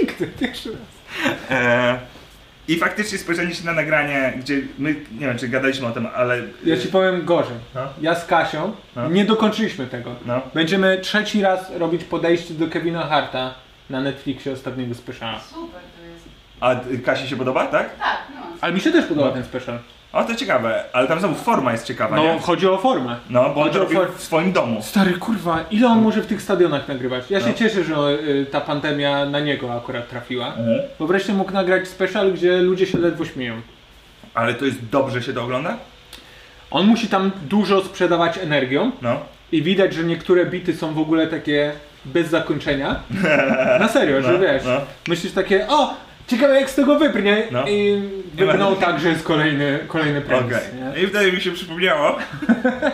S4: Nigdy, pierwszy raz.
S2: e, I faktycznie spojrzenie się na nagranie, gdzie my, nie wiem, czy gadaliśmy o tym, ale...
S4: Ja ci powiem gorzej.
S2: No.
S4: Ja z Kasią
S2: No.
S4: nie dokończyliśmy tego.
S2: No.
S4: Będziemy trzeci raz robić podejście do Kevina Harta na Netflixie ostatniego speciala.
S5: Super to jest.
S2: A y, Kasi się podoba, tak?
S5: Tak, no.
S4: Ale mi się też podoba ten special.
S2: O, to ciekawe, ale tam znowu forma jest ciekawa,
S4: No,
S2: nie?
S4: chodzi o formę.
S2: No, bo on
S4: chodzi
S2: to
S4: o
S2: robił
S4: for-
S2: w swoim domu.
S4: Stary kurwa, ile on może w tych stadionach nagrywać? Ja się
S2: No.
S4: cieszę, że y, ta pandemia na niego akurat trafiła.
S2: Mhm.
S4: Bo wreszcie mógł nagrać special, gdzie ludzie się ledwo śmieją.
S2: Ale to jest dobrze się to ogląda?
S4: On musi tam dużo sprzedawać energią
S2: No.
S4: i widać, że niektóre bity są w ogóle takie bez zakończenia. Na serio, że
S2: No,
S4: wiesz.
S2: no.
S4: Myślisz takie, o, ciekawe jak z tego wybrnie.
S2: No.
S4: I
S2: Nie
S4: wybrnął
S2: ma-
S4: tak, że jest kolejny, kolejny
S2: Okej.
S4: premis. nie?
S2: I wtedy mi się przypomniało.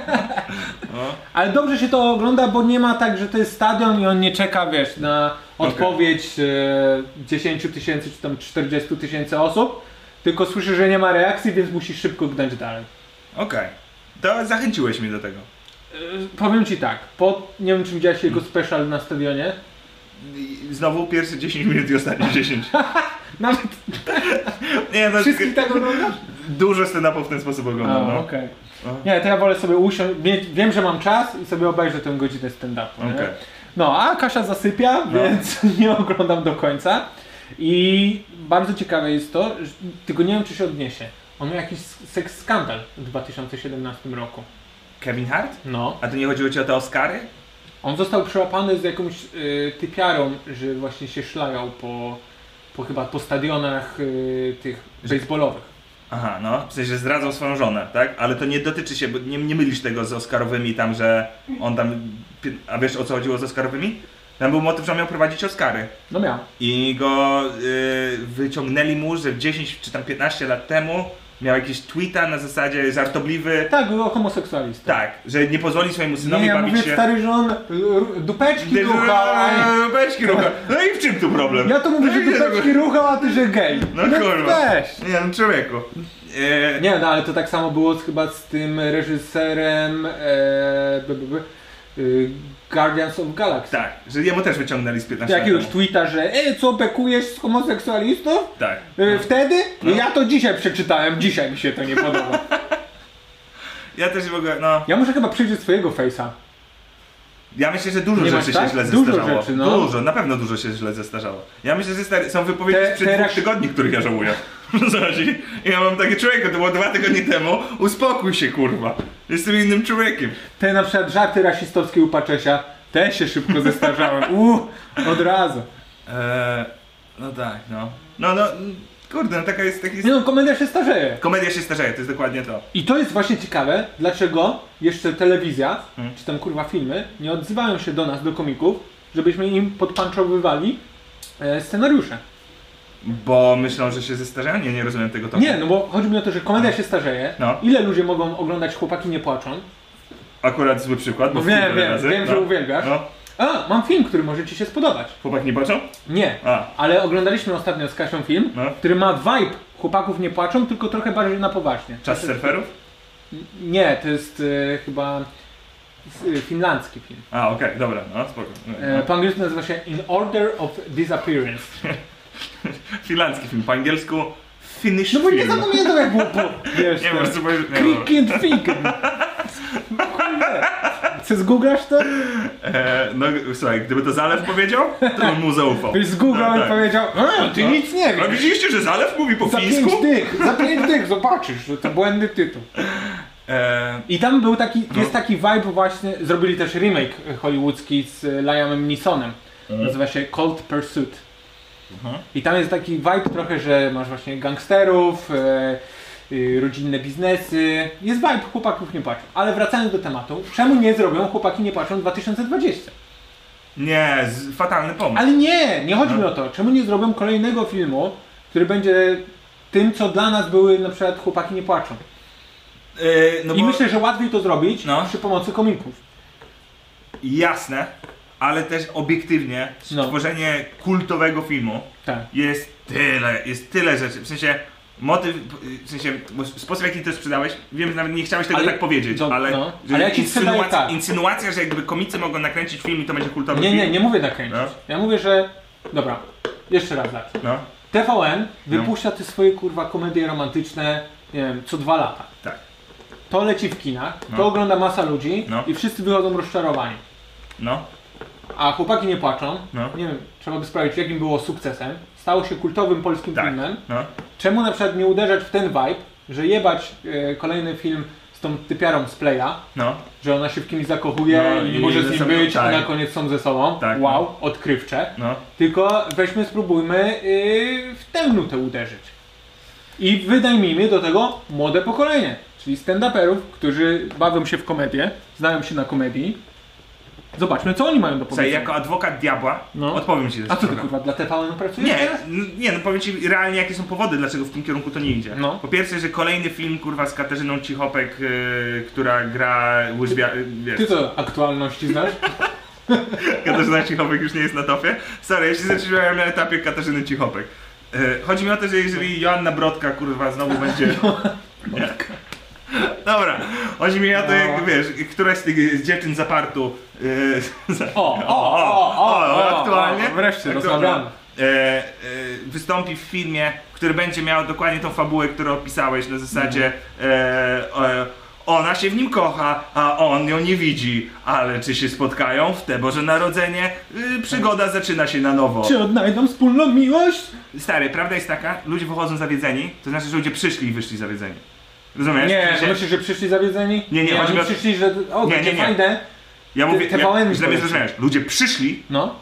S2: no.
S4: Ale dobrze się to ogląda, bo nie ma tak, że to jest stadion i on nie czeka, wiesz, na
S2: Okej.
S4: odpowiedź e, 10 tysięcy czy tam 40 tysięcy osób, tylko słyszy, że nie ma reakcji, więc musi szybko gnać dalej.
S2: Okej. To zachęciłeś mnie do tego.
S4: E, powiem ci tak, po, nie wiem czy widziałeś jego
S2: Mm.
S4: special na stadionie,
S2: I Znowu pierwsze 10 minut i ostatnie 10.
S4: nawet
S2: Nie, no
S4: wszystkich
S2: tak...
S4: tak oglądasz?
S2: dużo stand-upów w ten sposób
S4: A,
S2: oglądam, no.
S4: okej.
S2: No.
S4: Nie, to ja wolę sobie usiąść, mieć- wiem, że mam czas i sobie obejrzę tę godzinę stand-upu. nie?
S2: Okej. No.
S4: No, a Kasia zasypia, więc nie oglądam do końca. I bardzo ciekawe jest to, że, tylko nie wiem czy się odniesie. On miał jakiś seks skandal w 2017 roku.
S2: Kevin Hart?
S4: No.
S2: A to nie chodziło ci o te Oscary?
S4: On został przyłapany z jakąś y, typiarą, że właśnie się szlajał po, po chyba po stadionach y, tych baseballowych.
S2: Aha, no. W sensie zdradzał swoją żonę, tak? Ale to nie dotyczy się, bo nie, nie mylisz tego z Oscarowymi tam, że on tam... pi- A wiesz o co chodziło z Oscarowymi? Tam był motyw, że on miał prowadzić Oscary.
S4: No miał.
S2: I go y, wyciągnęli mu, że 10 czy tam 15 lat temu miał jakiś tweeta na zasadzie żartobliwy.
S4: Tak, był homoseksualistą.
S2: Tak, że nie pozwoli swojemu synowi
S4: Nie, ja
S2: bawić
S4: mówię
S2: się.
S4: stary, że on y, dupeczki ruchał, a nie-
S2: Eee, Beczki rucha. No i w czym tu problem?
S4: Ja to mówię, że
S2: No i nie
S4: dupeczki ruchał, a ty, że gej.
S2: No kurwa.
S4: Weź.
S2: Nie no człowieku. E,
S4: Nie, no ale to tak samo było z, chyba z tym reżyserem e, b, b, b, y, Guardians of Galaxy.
S2: Tak, że jemu też wyciągnęli z 15 lat
S4: Jakiegoś
S2: temu.
S4: tweeta, że e, co, bekujesz z homoseksualistą?
S2: Tak.
S4: Y,
S2: No.
S4: E, Wtedy? Ja to dzisiaj przeczytałem, dzisiaj mi się to nie podoba.
S2: Ja też nie mogę, no.
S4: Ja muszę chyba przyjrzeć swojego face'a.
S2: Ja myślę, że dużo
S4: Nie masz
S2: rzeczy
S4: tak?
S2: się źle
S4: Dużo
S2: zestarzało.
S4: rzeczy, no.
S2: Dużo, na pewno dużo się źle zestarzało. Ja myślę, że stary, są wypowiedzi
S4: Te-
S2: sprzed
S4: teraz-
S2: dwóch tygodni, których ja żałuję. Zobaczcie, ja mam takie człowieka, to było dwa tygodnie temu, uspokój się kurwa. Jestem innym człowiekiem.
S4: Te na przykład żarty rasistowskie u Paczesia, te się szybko zestarzałem. Uuu, od razu.
S2: Eee, no tak, no. No, no, kurde, no taka jest, taki jest...
S4: Nie no, komedia się starzeje.
S2: Komedia się starzeje, to jest dokładnie to.
S4: I to jest właśnie ciekawe, dlaczego jeszcze telewizja,
S2: Hmm.
S4: czy tam kurwa filmy, nie odzywają się do nas, do komików, żebyśmy im podpanczowywali e, scenariusze.
S2: Bo myślą, że się zestarzają? Nie, nie rozumiem tego toku.
S4: Nie, no bo chodzi mi o to, że komedia się starzeje,
S2: Tak. No.
S4: ile ludzie mogą oglądać Chłopaki nie płaczą.
S2: Akurat zły przykład, bo
S4: No wiem,
S2: wkurwiam
S4: wiem,
S2: razy.
S4: wiem, że uwielbiasz.
S2: No.
S4: A, mam film, który może ci się spodobać.
S2: Chłopak nie patrzą?
S4: Nie,
S2: A.
S4: ale oglądaliśmy ostatnio z Kasią film,
S2: No.
S4: który ma vibe Chłopaków nie płaczą, tylko trochę bardziej na poważnie.
S2: Czas surferów?
S4: Nie, to jest e, chyba e, finlandzki film.
S2: A, okej, dobra, no, spoko.
S4: E, po angielsku nazywa się In Order of Disappearance.
S2: no. Finlandzki film, po angielsku Finnish
S4: No bo nie
S2: film.
S4: zapamiętam jak było po... Wiesz,
S2: Nie,
S4: ten-
S2: po prostu powiem, nie, dobra.
S4: Crick and Fig. No Kurde. Czy zgooglasz to?
S2: e, No, słuchaj, gdyby to Zalew powiedział, to bym mu zaufał.
S4: Byś zgooglał
S2: No,
S4: i
S2: tak.
S4: powiedział, a, ty
S2: No.
S4: nic nie
S2: A
S4: wiesz.
S2: widzieliście, że Zalew mówi po
S4: Za
S2: fińsku?
S4: pięć dych, za pięć dych, zobaczysz, że to błędny tytuł.
S2: E,
S4: I tam był taki, jest taki vibe właśnie, zrobili też remake hollywoodzki z e, Liamem Neesonem.
S2: Mhm.
S4: Nazywa się Cold Pursuit. I tam jest taki vibe trochę, że masz właśnie gangsterów, e, y, rodzinne biznesy. Jest vibe chłopaków nie płaczą. Ale wracając do tematu, czemu nie zrobią chłopaki nie płaczą 2020?
S2: nie, z, fatalny pomysł.
S4: Ale nie, nie chodzi mi
S2: No.
S4: o to. Czemu nie zrobią kolejnego filmu, który będzie tym, co dla nas były na przykład chłopaki nie płaczą.
S2: E, no
S4: I
S2: bo,
S4: myślę, że łatwiej to zrobić
S2: No.
S4: przy pomocy komików.
S2: jasne, ale też obiektywnie
S4: No.
S2: stworzenie kultowego filmu
S4: Tak.
S2: jest tyle, jest tyle rzeczy. W sensie motyw, w sensie bo sposób w jaki to sprzedałeś, wiem, że nawet nie chciałeś tego
S4: Ale-
S2: tak powiedzieć,
S4: no,
S2: ale,
S4: no.
S2: że
S4: Ale ja ci sprzedaję
S2: insynuacja,
S4: tak.
S2: insynuacja, że jakby komicy mogą nakręcić film i to będzie kultowy
S4: Nie,
S2: film.
S4: nie, nie mówię tak kręcić.
S2: No.
S4: Ja mówię, że... Dobra, jeszcze raz lat.
S2: No,
S4: TVN
S2: No.
S4: wypuszcza te swoje kurwa komedie romantyczne, nie wiem, co dwa lata.
S2: tak.
S4: To leci w kinach,
S2: No.
S4: to ogląda masa ludzi
S2: No.
S4: i wszyscy wychodzą rozczarowani.
S2: No,
S4: A chłopaki nie płaczą.
S2: No.
S4: Nie wiem, trzeba by sprawdzić, jakim było sukcesem. Stało się kultowym polskim
S2: tak.
S4: filmem.
S2: No.
S4: Czemu na przykład nie uderzać w ten vibe, że jebać e, kolejny film z tą typiarą z Playa,
S2: No,
S4: że ona się w kimś zakochuje
S2: No
S4: i nie
S2: i
S4: może
S2: ze
S4: z nim
S2: sobą-
S4: być,
S2: tak.
S4: a na koniec są ze sobą.
S2: Tak,
S4: wow, odkrywcze.
S2: no.
S4: Tylko weźmy, spróbujmy yy, w tę nutę uderzyć. I wynajmijmy do tego młode pokolenie, czyli stand-uperów, którzy bawią się w komedię, znają się na komedii. Zobaczmy, co oni mają do
S2: Słuchaj,
S4: powiedzenia.
S2: jako adwokat diabła
S4: No.
S2: odpowiem ci też
S4: A co ty
S2: trochę.
S4: kurwa, dla TVN pracujesz
S2: Nie,
S4: teraz?
S2: n- nie, no powiem ci realnie jakie są powody, dlaczego w tym kierunku to nie idzie.
S4: No.
S2: Po pierwsze, że kolejny film kurwa z Katarzyną Cichopek, yy, która gra łyżwia... Yy, wiesz,
S4: Ty co, aktualności znasz?
S2: Katarzyna Cichopek już nie jest na topie. Sorry, ja się zatrzymałem na etapie Katarzyny Cichopek. E, Chodzi mi o to, że jeżeli Joanna Brodka, kurwa, znowu będzie... Nie. Dobra, chodzi mi o to,
S4: No.
S2: jak wiesz, któraś z tych dziewczyn z apartu... e, za-
S4: O, o, o, o, o,
S2: aktualnie.
S4: o, wreszcie
S2: aktualnie,
S4: rozmawiamy.
S2: e, e, Wystąpi w filmie, który będzie miał dokładnie tą fabułę, którą opisałeś na zasadzie e, e, ona się w nim kocha, a on ją nie widzi, ale czy się spotkają w te Boże Narodzenie? Y, przygoda zaczyna się na nowo.
S4: Czy odnajdą wspólną miłość?
S2: Stary, prawda jest taka, ludzie wychodzą zawiedzeni, to znaczy, że ludzie przyszli i wyszli zawiedzeni. Rozumiesz? W
S4: Nie,
S2: sensie-
S4: no myślisz, że przyszli zawiedzeni?
S2: Nie, nie, chodzi
S4: oni
S2: mi o-
S4: przyszli, że o,
S2: Nie, nie,
S4: nie, nie,
S2: nie.
S4: fajne.
S2: ja mówię,
S4: te
S2: ja,
S4: wałęsy
S2: źle mnie
S4: powiedzmy.
S2: zrozumiałeś. Ludzie przyszli
S4: No.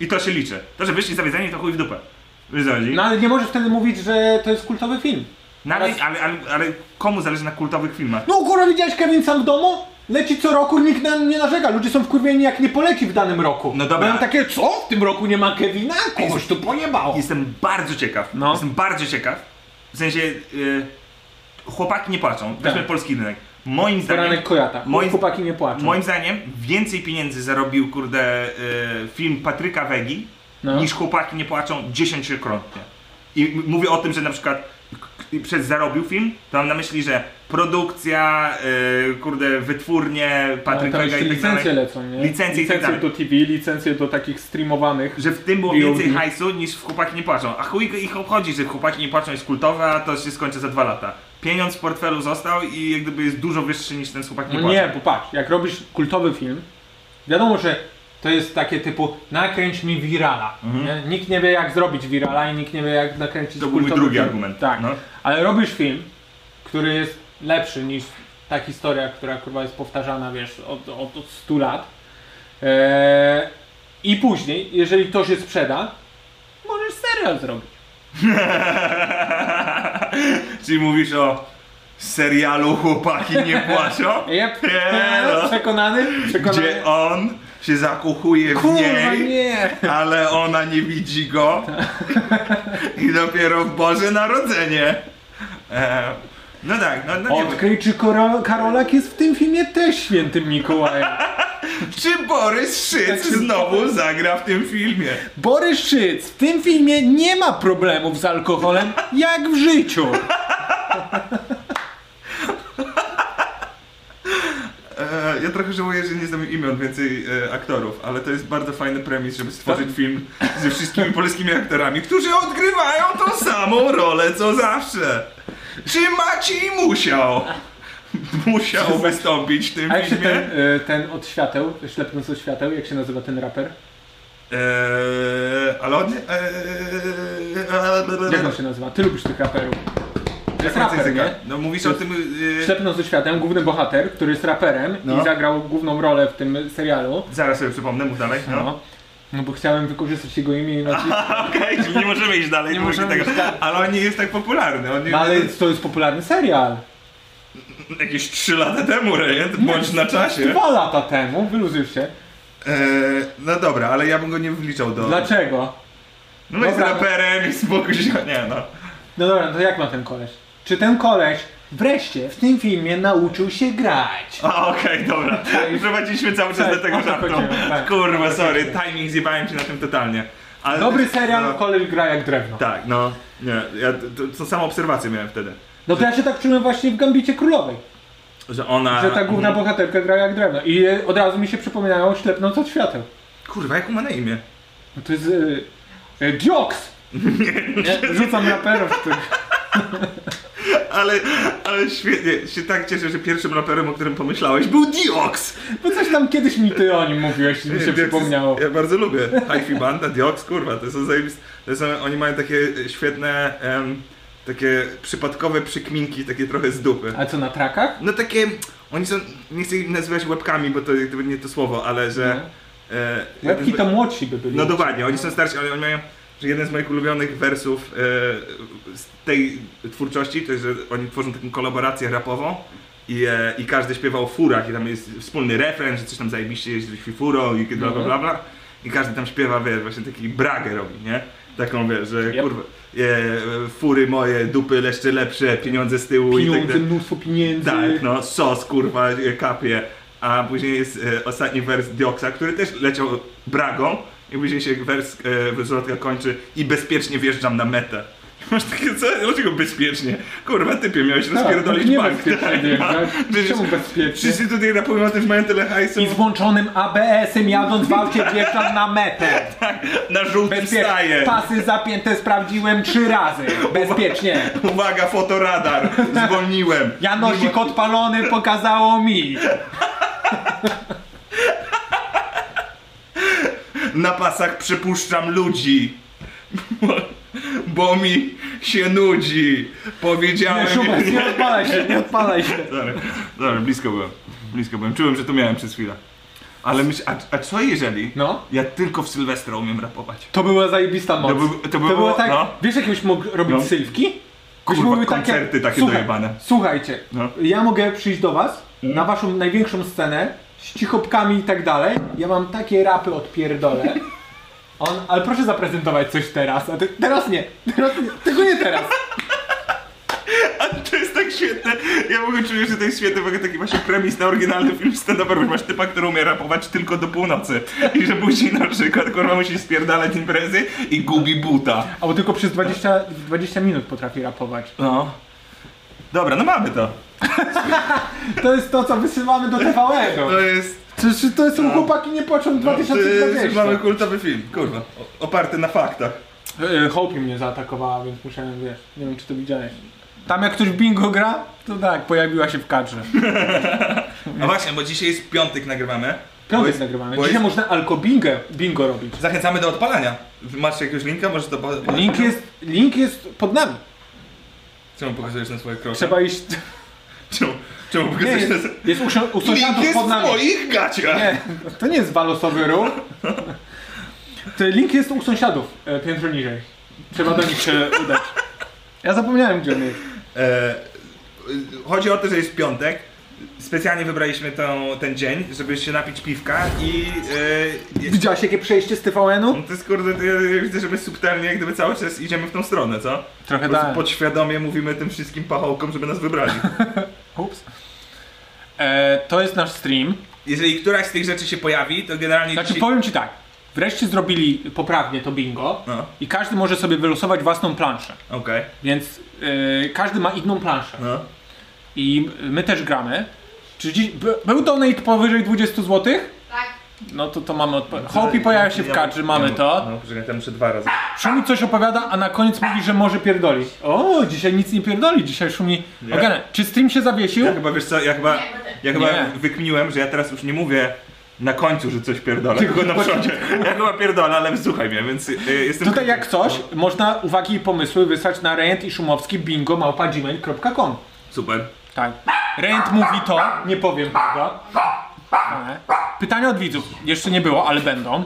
S2: i to się liczy. To, że wyszli zawiedzeni, to chuj w dupę. Wiesz, co chodzi?
S4: no, ale nie możesz wtedy mówić, że to jest kultowy film.
S2: Nawet, ale, ale, ale komu zależy na kultowych filmach?
S4: No kurwa, widziałeś Kevin sam w domu? Leci co roku, nikt na nie narzeka. Ludzie są wkurwieni jak nie poleci w danym roku.
S2: No dobra.
S4: Mają takie, co? W tym roku nie ma Kevina? Kogoś to pojebało.
S2: Jestem bardzo ciekaw.
S4: No.
S2: Jestem bardzo ciekaw. W sensie y, chłopaki nie płaczą. Weźmy
S4: Tak.
S2: polski rynek. Moim zdaniem,
S4: Poranek Kojata.
S2: Moim-
S4: Moi chłopaki nie płaczą.
S2: moim zdaniem więcej pieniędzy zarobił kurde y, film Patryka Wegi
S4: No.
S2: niż chłopaki nie płaczą dziesięciokrotnie. I m- mówię o tym, że na przykład k- k- przez zarobił film, to mam na myśli, że produkcja, y, kurde, wytwórnie, Patryk
S4: No, tam
S2: Wega
S4: jeszcze
S2: i tak dalej.
S4: licencje lecą, nie?
S2: Licencje i tak
S4: licencje
S2: dalej.
S4: do TV, licencje do takich streamowanych.
S2: Że w tym było
S4: VOD.
S2: więcej hajsu niż w Chłopaki nie płaczą. A chuj ich obchodzi, że Chłopaki nie płaczą jest kultowe, a to się skończy za dwa lata. Pieniądz w portfelu został i jak gdyby jest dużo wyższy niż ten z Chłopaki nie
S4: No
S2: płaczą.
S4: nie, bo patrz, jak robisz kultowy film, wiadomo, że to jest takie typu nakręć mi virala. Nie? Nikt nie wie jak zrobić virala i nikt nie wie jak nakręcić
S2: Mhm. To był mój
S4: kultowy
S2: drugi
S4: film.
S2: argument.
S4: Tak.
S2: No.
S4: Ale robisz film, który jest lepszy niż ta historia, która kurwa jest powtarzana, wiesz, od, od, od 100 lat. Eee, I później, jeżeli to się sprzeda, możesz serial zrobić.
S2: Czyli mówisz o serialu Chłopaki nie płaczą?
S4: Yep.
S2: Nie, no.
S4: Przekonany? Przekonany.
S2: Gdzie on się zakochuje w
S4: Kurwa,
S2: niej,
S4: nie!
S2: ale ona nie widzi go.
S4: Tak.
S2: I dopiero w Boże Narodzenie. E, no tak, no, no nie wiem.
S4: Odkryj, czy Koro- Karolak jest w tym filmie też świętym Mikołajem.
S2: Czy Borys
S4: Tak
S2: Szyc znowu zagra w tym filmie?
S4: Borys Szyc w tym filmie nie ma problemów z alkoholem, jak w życiu.
S2: E, ja trochę żałuję, że nie znam imion więcej e, aktorów, ale to jest bardzo fajny premis, żeby
S4: Tak.
S2: stworzyć film ze wszystkimi polskimi aktorami, którzy odgrywają tą samą rolę co zawsze. Czy Maciej musiał? Musiał wystąpić w tym
S4: A jak się
S2: filmie.
S4: ten, y, ten od świateł, ślepnąc od świateł, jak się nazywa ten raper?
S2: Eee, ale on nie... Eee, e,
S4: Jak on się nazywa? Ty lubisz tych raperów. To jest raper, nie?
S2: No mówisz o tym... Eee,
S4: Ślepnąc od świateł, główny bohater, który jest raperem
S2: No.
S4: i zagrał główną rolę w tym serialu.
S2: zaraz sobie przypomnę, mów dalej. No.
S4: No. No bo chciałem wykorzystać jego imię i nazwisko.
S2: Okej, czyli nie możemy iść dalej,
S4: Nie
S2: nie możemy
S4: możemy
S2: tego.
S4: iść dalej.
S2: Ale on nie jest tak popularny. On nie
S4: No ale
S2: jest
S4: to jest popularny serial.
S2: jakieś 3 lata temu, Rejent, bądź na czasie.
S4: Dwa lata temu, wyluzuj się. E,
S2: Eee, no dobra, ale ja bym go nie wliczał do.
S4: Dlaczego?
S2: No jest
S4: Dobra.
S2: raperem i spokój się. Nie no.
S4: No dobra, no to jak ma ten koleś? Czy ten koleś wreszcie w tym filmie nauczył się grać?
S2: A okej, dobra. Prowadziliśmy cały czas
S4: Tak,
S2: do tego
S4: o to
S2: żartu.
S4: chodziło, tak.
S2: Kurwa, sorry, timing zjebałem się na tym totalnie. Ale
S4: Dobry serial,
S2: No,
S4: koleś gra jak drewno.
S2: tak, no. Nie, ja to, to samą obserwację miałem wtedy.
S4: No to ja się tak czułem właśnie w Gambicie Królowej,
S2: Że ona.
S4: że ta główna bohaterka gra jak drewno i e, od razu mi się przypominają ślepnąc od świateł.
S2: Kurwa, jak ma na imię?
S4: No to jest... Yy, yy, Dioks! Nie, Rzucam raperów których...
S2: Ale, ale świetnie, się tak cieszę, że pierwszym raperem, o którym pomyślałeś, był Diox!
S4: Bo coś tam kiedyś mi ty o nim mówiłeś i mi się
S2: Diox jest-
S4: przypomniało.
S2: Ja bardzo lubię Hi-Fi Banda, Diox, kurwa, to są zajebiste. To są, oni mają takie świetne, em, takie przypadkowe przykminki, takie trochę z dupy.
S4: A co, na trakach?
S2: No takie, oni są, nie chcę ich nazywać łebkami, bo to jakby nie to słowo, ale że... e, jeden z
S4: No. Łebki
S2: mo-
S4: to młodsi by byli.
S2: No dokładnie, oni są starsi, ale oni mają... Że jeden z moich ulubionych wersów e, z tej twórczości, to jest, że oni tworzą taką kolaborację rapową i, e, i każdy śpiewa o furach i tam jest wspólny refren, że coś tam zajebiście jeździ furą i bla bla bla bla i każdy tam śpiewa, wiesz, właśnie taki bragę robi, nie? Taką, wiesz, że
S4: Yep.
S2: kurwa, e, fury moje, dupy leszcze lepsze, pieniądze z tyłu i tak
S4: Pieniądze,
S2: dalej.
S4: mnóstwo pieniędzy.
S2: Tak, no, sos, kurwa, e, kapie. A później jest e, ostatni wers Dioksa, który też leciał bragą i później się wers e, wyzłotka kończy i bezpiecznie wjeżdżam na metę. Masz takie, co? Dlaczego bezpiecznie? Kurwa, typie, miałeś rozpierdolić
S4: Tak, nie
S2: bank. Tak.
S4: bezpiecznie wjeżdżać.
S2: Przecież
S4: Czemu bezpiecznie?
S2: Wszyscy tutaj rapują o tym, że mają tyle hajsu.
S4: I z włączonym ABS-em jadąc w aucie wjeżdżam na metę.
S2: Tak, Na żółtym
S4: Bezpiecznie.
S2: staje.
S4: Pasy zapięte sprawdziłem trzy razy. Bezpiecznie.
S2: Uwaga, fotoradar. Zwolniłem.
S4: Janosik odpalony pokazało mi.
S2: Na pasach przypuszczam ludzi. Bo, bo mi się nudzi. Powiedziałem.
S4: Nie, Szubert, nie odpalaj się, nie odpalaj się.
S2: Dobra, dobra, blisko byłem. Blisko byłem. Czułem, że to miałem przez chwilę. Ale myśl, a, a co jeżeli
S4: No.
S2: ja tylko w Sylwestra umiem rapować?
S4: To była zajebista moc.
S2: To by- to by było-
S4: było tak,
S2: no.
S4: wiesz jak byś mógł robić
S2: No.
S4: sylwki? Byś
S2: Kurwa,
S4: mówił
S2: koncerty takie dojebane.
S4: Słuchajcie,
S2: No. Mm.
S4: ja mogę przyjść do was na waszą największą scenę z cichopkami i tak dalej. Ja mam takie rapy odpierdolę. On, ale proszę zaprezentować coś teraz, a ty, teraz nie, teraz nie, tego nie teraz.
S2: A to jest tak świetne. Ja w ogóle czuję, że to jest świetne, bo taki właśnie premis na oryginalny film stand-upowy. Masz typa, który umie rapować tylko do północy. I że później na przykład kurwa musi spierdalać imprezy i gubi buta.
S4: Albo tylko przez 20, 20 minut potrafi rapować.
S2: No. Dobra, no mamy to.
S4: To jest to, co wysyłamy do TVN-u.
S2: To jest...
S4: Czy to są chłopaki nie płaczą
S2: No. To jest
S4: 2020?
S2: mamy kultowy film, kurwa. O- Oparty na faktach.
S4: E, Hopi mnie zaatakowała, więc musiałem, wiesz, nie wiem czy to widziałeś. Tam jak ktoś w bingo gra, to tak, pojawiła się w kadrze.
S2: A No właśnie, bo dzisiaj jest piątek nagrywamy. Bo
S4: Piątek
S2: jest-
S4: nagrywamy.
S2: bo
S4: Dzisiaj
S2: jest-
S4: można alko bingo, bingo robić.
S2: Zachęcamy do odpalania. Masz jakiegoś linka? Możesz to po- podać?
S4: Link jest, link jest pod nami.
S2: Czemu pokazujesz na swoje kroki?
S4: Trzeba iść...
S2: Czemu, czemu
S4: Nie,
S2: pokazujesz
S4: jest,
S2: na swoje...
S4: jest usi-
S2: Link
S4: usunięty
S2: jest
S4: pod
S2: w
S4: nami.
S2: moich gaciach!
S4: Nie, to nie jest walosowy ruch. To link jest u sąsiadów, e, piętro niżej. Trzeba do nich się udać. Ja zapomniałem gdzie on jest.
S2: E, chodzi o to, że jest piątek. Specjalnie wybraliśmy tą, ten dzień, żeby się napić piwka i... E, je-
S4: Widziałeś jakie przejście z TVN-u?
S2: no to jest kurde, to ja, ja widzę, że my subtelnie jak gdyby cały czas idziemy w tą stronę, co? Po
S4: Trochę
S2: prostu
S4: tak.
S2: podświadomie mówimy tym wszystkim pachołkom, żeby nas wybrali.
S4: Ups. E, to jest nasz stream.
S2: Jeżeli któraś z tych rzeczy się pojawi, to generalnie...
S4: Znaczy
S2: ci-
S4: powiem ci tak. Wreszcie zrobili poprawnie to bingo
S2: No,
S4: i każdy może sobie wylosować własną planszę.
S2: okej,
S4: Więc e, każdy ma inną planszę.
S2: no.
S4: I my też gramy. Czy dziś, by, był donate powyżej 20 zł?
S5: Tak.
S4: No to to mamy odpowiedź. Hopi pojawia się w kadrze, mamy to.
S2: No, poczekaj, tam muszę dwa razy.
S4: Szumi coś opowiada, a na koniec mówi, że może pierdoli. O, dzisiaj nic nie pierdoli, dzisiaj Szumi...
S2: Nie.
S4: Ogana, czy stream się zawiesił?
S2: Ja chyba, wiesz co, ja chyba, ja chyba
S4: Nie.
S2: wykminiłem, że ja teraz już nie mówię na końcu, że coś pierdolę, tylko na przodzie. Ja chyba pierdolę, ale wysłuchaj mnie, więc y, jestem...
S4: Tutaj jak coś, można uwagi i pomysły wysłać na rent i szumowski bingo
S2: Super.
S4: Tak. Rent mówi to, nie powiem tego. Ale. Pytania od widzów. Jeszcze nie było, ale będą.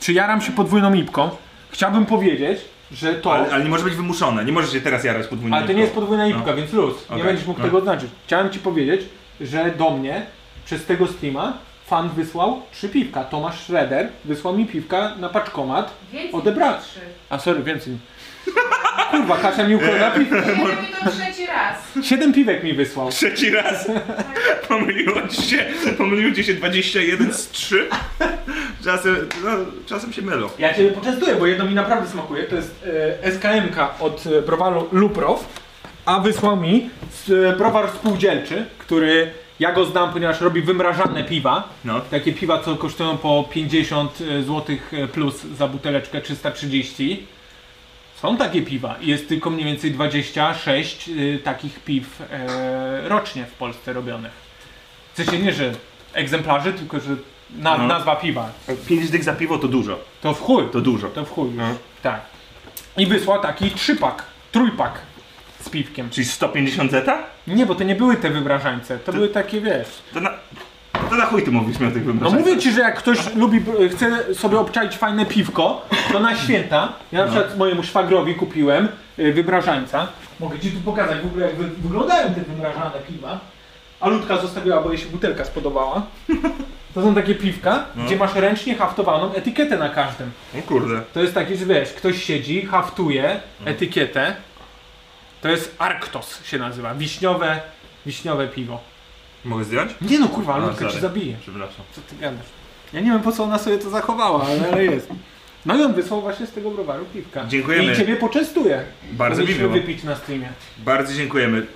S4: Czy jaram się podwójną lipką? Chciałbym powiedzieć, że to...
S2: Ale, ale nie może być wymuszone, nie możesz się teraz jarać podwójnie.
S4: Ale to nie jest podwójna
S2: No.
S4: lipka, więc luz.
S2: Okej.
S4: Nie będziesz mógł
S2: No.
S4: tego odznaczyć. Chciałem ci powiedzieć, że do mnie przez tego streama fan wysłał trzy piwka. Tomasz Schroeder wysłał mi piwka na paczkomat.
S5: Więcej
S4: Odebrać.
S5: niż trzy.
S4: A sorry, więcej. Kurwa, Kasia mi ukradła piwka.
S5: Ja robię to trzeci raz.
S4: Siedem piwek mi wysłał.
S2: Trzeci raz pomyliło ci się, pomyliło ci się 21 z 3. Czasem, no, czasem się mylą.
S4: Ja cię poczęstuję, bo jedno mi naprawdę smakuje. To jest e, SKM-ka od e, browaru Luprow. A wysłał mi s- e, browar spółdzielczy, który ja go znam, ponieważ robi wymrażane piwa.
S2: No.
S4: Takie piwa, co kosztują po 50 zł e, plus za buteleczkę 330. Są takie piwa. i Jest tylko mniej więcej 26 y, takich piw e, rocznie w Polsce robionych. W sensie nie, że egzemplarzy, tylko że na,
S2: No.
S4: nazwa piwa.
S2: 5 dych za piwo to dużo,
S4: To w chuj.
S2: to dużo.
S4: To w chuj. już. Tak. I wysłał taki trzypak, trójpak z piwkiem.
S2: Czyli 150 zeta?
S4: Nie, bo to nie były te wyobrażańce. To, były takie, wiesz...
S2: To na, to na chuj ty mówisz mi o tych
S4: No
S2: wyobrażeniach.
S4: mówię ci, że jak ktoś lubi, chce sobie obczaić fajne piwko, to na święta, ja na przykład mojemu szwagrowi kupiłem y, wybrażańca. Mogę ci tu pokazać w ogóle jak wy, wyglądają te wybrażane piwa. A Ludka zostawiła, bo jej się butelka spodobała. To są takie piwka, gdzie masz ręcznie haftowaną etykietę na każdym.
S2: O kurde.
S4: To jest taki, że wiesz, ktoś siedzi, haftuje etykietę. To jest Arktos się nazywa, wiśniowe, wiśniowe piwo.
S2: Mogę zdjąć?
S4: Nie no kurwa,
S2: A,
S4: Ludka
S2: sorry.
S4: ci zabije.
S2: Przepraszam.
S4: Co ty gadasz? Ja nie wiem po co ona sobie to zachowała, ale, ale jest. No i on wysłał właśnie z tego browaru piwka.
S2: Dziękujemy.
S4: I ciebie poczęstuje.
S2: Bardzo mi
S4: Mieliśmy
S2: miło.
S4: wypić na streamie.
S2: Bardzo dziękujemy.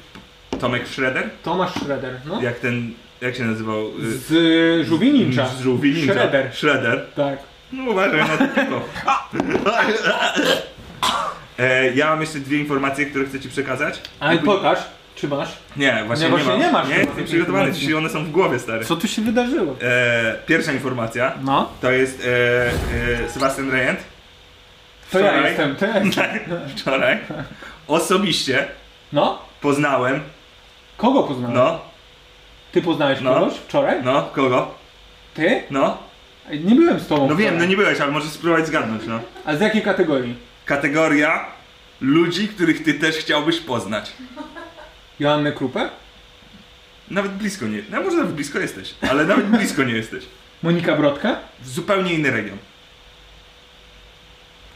S2: Tomek Schroeder?
S4: Tomasz Schroeder, no.
S2: Jak ten, jak się nazywał? Y,
S4: Z y, żółwi ninja.
S2: Z żółwi ninja.
S4: Schroeder.
S2: Schroeder.
S4: Tak.
S2: No uważaj na to piwo. E, ja mam jeszcze dwie informacje, które chcę ci przekazać.
S4: Ale
S2: Jakby-
S4: pokaż, czy masz.
S2: Nie, właśnie
S4: Nie,
S2: nie,
S4: właśnie
S2: mam.
S4: nie masz
S2: Nie,
S4: chyba
S2: jestem
S4: takich
S2: przygotowany,
S4: informacji.
S2: dzisiaj one są w głowie, stary.
S4: Co tu się wydarzyło?
S2: E, pierwsza informacja
S4: No.
S2: to jest e, e, Sebastian Rejent
S4: To ja
S2: Wczoraj.
S4: jestem, ty.
S2: wczoraj. Osobiście
S4: No.
S2: poznałem,
S4: Kogo poznałeś?
S2: no,
S4: Ty poznałeś
S2: No.
S4: kogoś wczoraj?
S2: no, kogo?
S4: Ty?
S2: No,
S4: Nie byłem z tobą
S2: no
S4: wczoraj.
S2: wiem, no nie byłeś, ale możesz spróbować zgadnąć, no.
S4: A z jakiej kategorii?
S2: Kategoria ludzi, których ty też chciałbyś poznać.
S4: Joannę Krupę?
S2: Nawet blisko nie, no może nawet blisko jesteś, ale nawet blisko nie jesteś.
S4: Monika Brodka?
S2: W zupełnie inny region.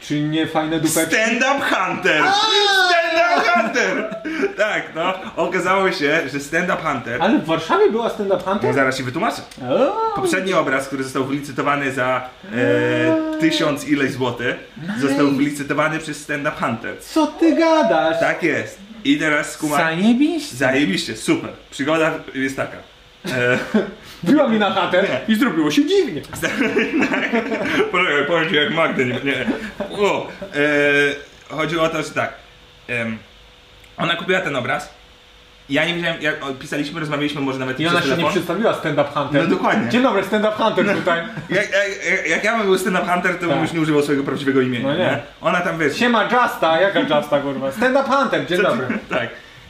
S4: Czy nie fajne dupeczki?
S2: Stand up hunter! Stand up hunter! Tak, no. Okazało się, że stand up hunter.
S4: Ale w Warszawie była stand-up
S2: No
S4: hunter?
S2: zaraz się wytłumaczę.
S4: O,
S2: Poprzedni obraz, który został wylicytowany za e, tysiąc ileś złotych, został wylicytowany przez stand up hunter.
S4: Co ty gadasz?
S2: Tak jest. I teraz skumaj.
S4: Zajebiście.
S2: Zajebiście, super. Przygoda jest taka. E,
S4: Biła mi na chatę i zrobiło się dziwnie.
S2: Poczekaj, powiem ci jak Magdy, nie... nie. O, e, chodziło o to, że tak. em, ona kupiła ten obraz. Ja nie wiedziałem, jak o, pisaliśmy, rozmawialiśmy może nawet
S4: I ona
S2: przez
S4: się nie
S2: telefon.
S4: przedstawiła stand-up hunter.
S2: No dokładnie. No.
S4: Dzień dobry, stand-up hunter tutaj.
S2: Jak, jak, jak- jak ja bym był stand-up hunter, to bym
S4: Tak.
S2: już nie używał swojego prawdziwego imienia.
S4: No nie.
S2: nie? Ona tam wiesz.
S4: Siema Justa, jaka Justa kurwa? Stand-up hunter, dzień dobry.
S2: tak.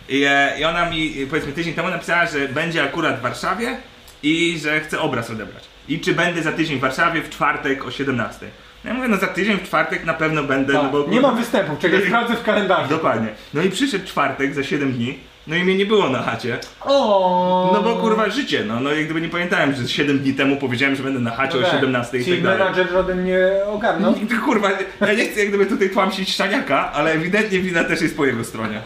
S2: I, e, I ona mi e, powiedzmy tydzień temu napisała, że będzie akurat w Warszawie i że chce obraz odebrać. I czy będę za tydzień w Warszawie w czwartek o 17. Ja mówię, no za tydzień w czwartek na pewno będę, no
S4: Tak.
S2: bo...
S4: Nie mam występu, czekaj, sprawdzę w kalendarzu.
S2: Dokładnie. No i przyszedł czwartek za 7 dni, no i mnie nie było na chacie.
S4: O.
S2: No bo kurwa życie, no, no jak gdyby nie pamiętałem, że 7 dni temu powiedziałem, że będę na chacie o 17 i
S4: No Czyli
S2: tak dalej.
S4: menadżer żaden nie ogarnął.
S2: No, I to, kurwa, ja nie chcę jak gdyby tutaj tłamsić szaniaka, ale ewidentnie wina też jest po jego stronie.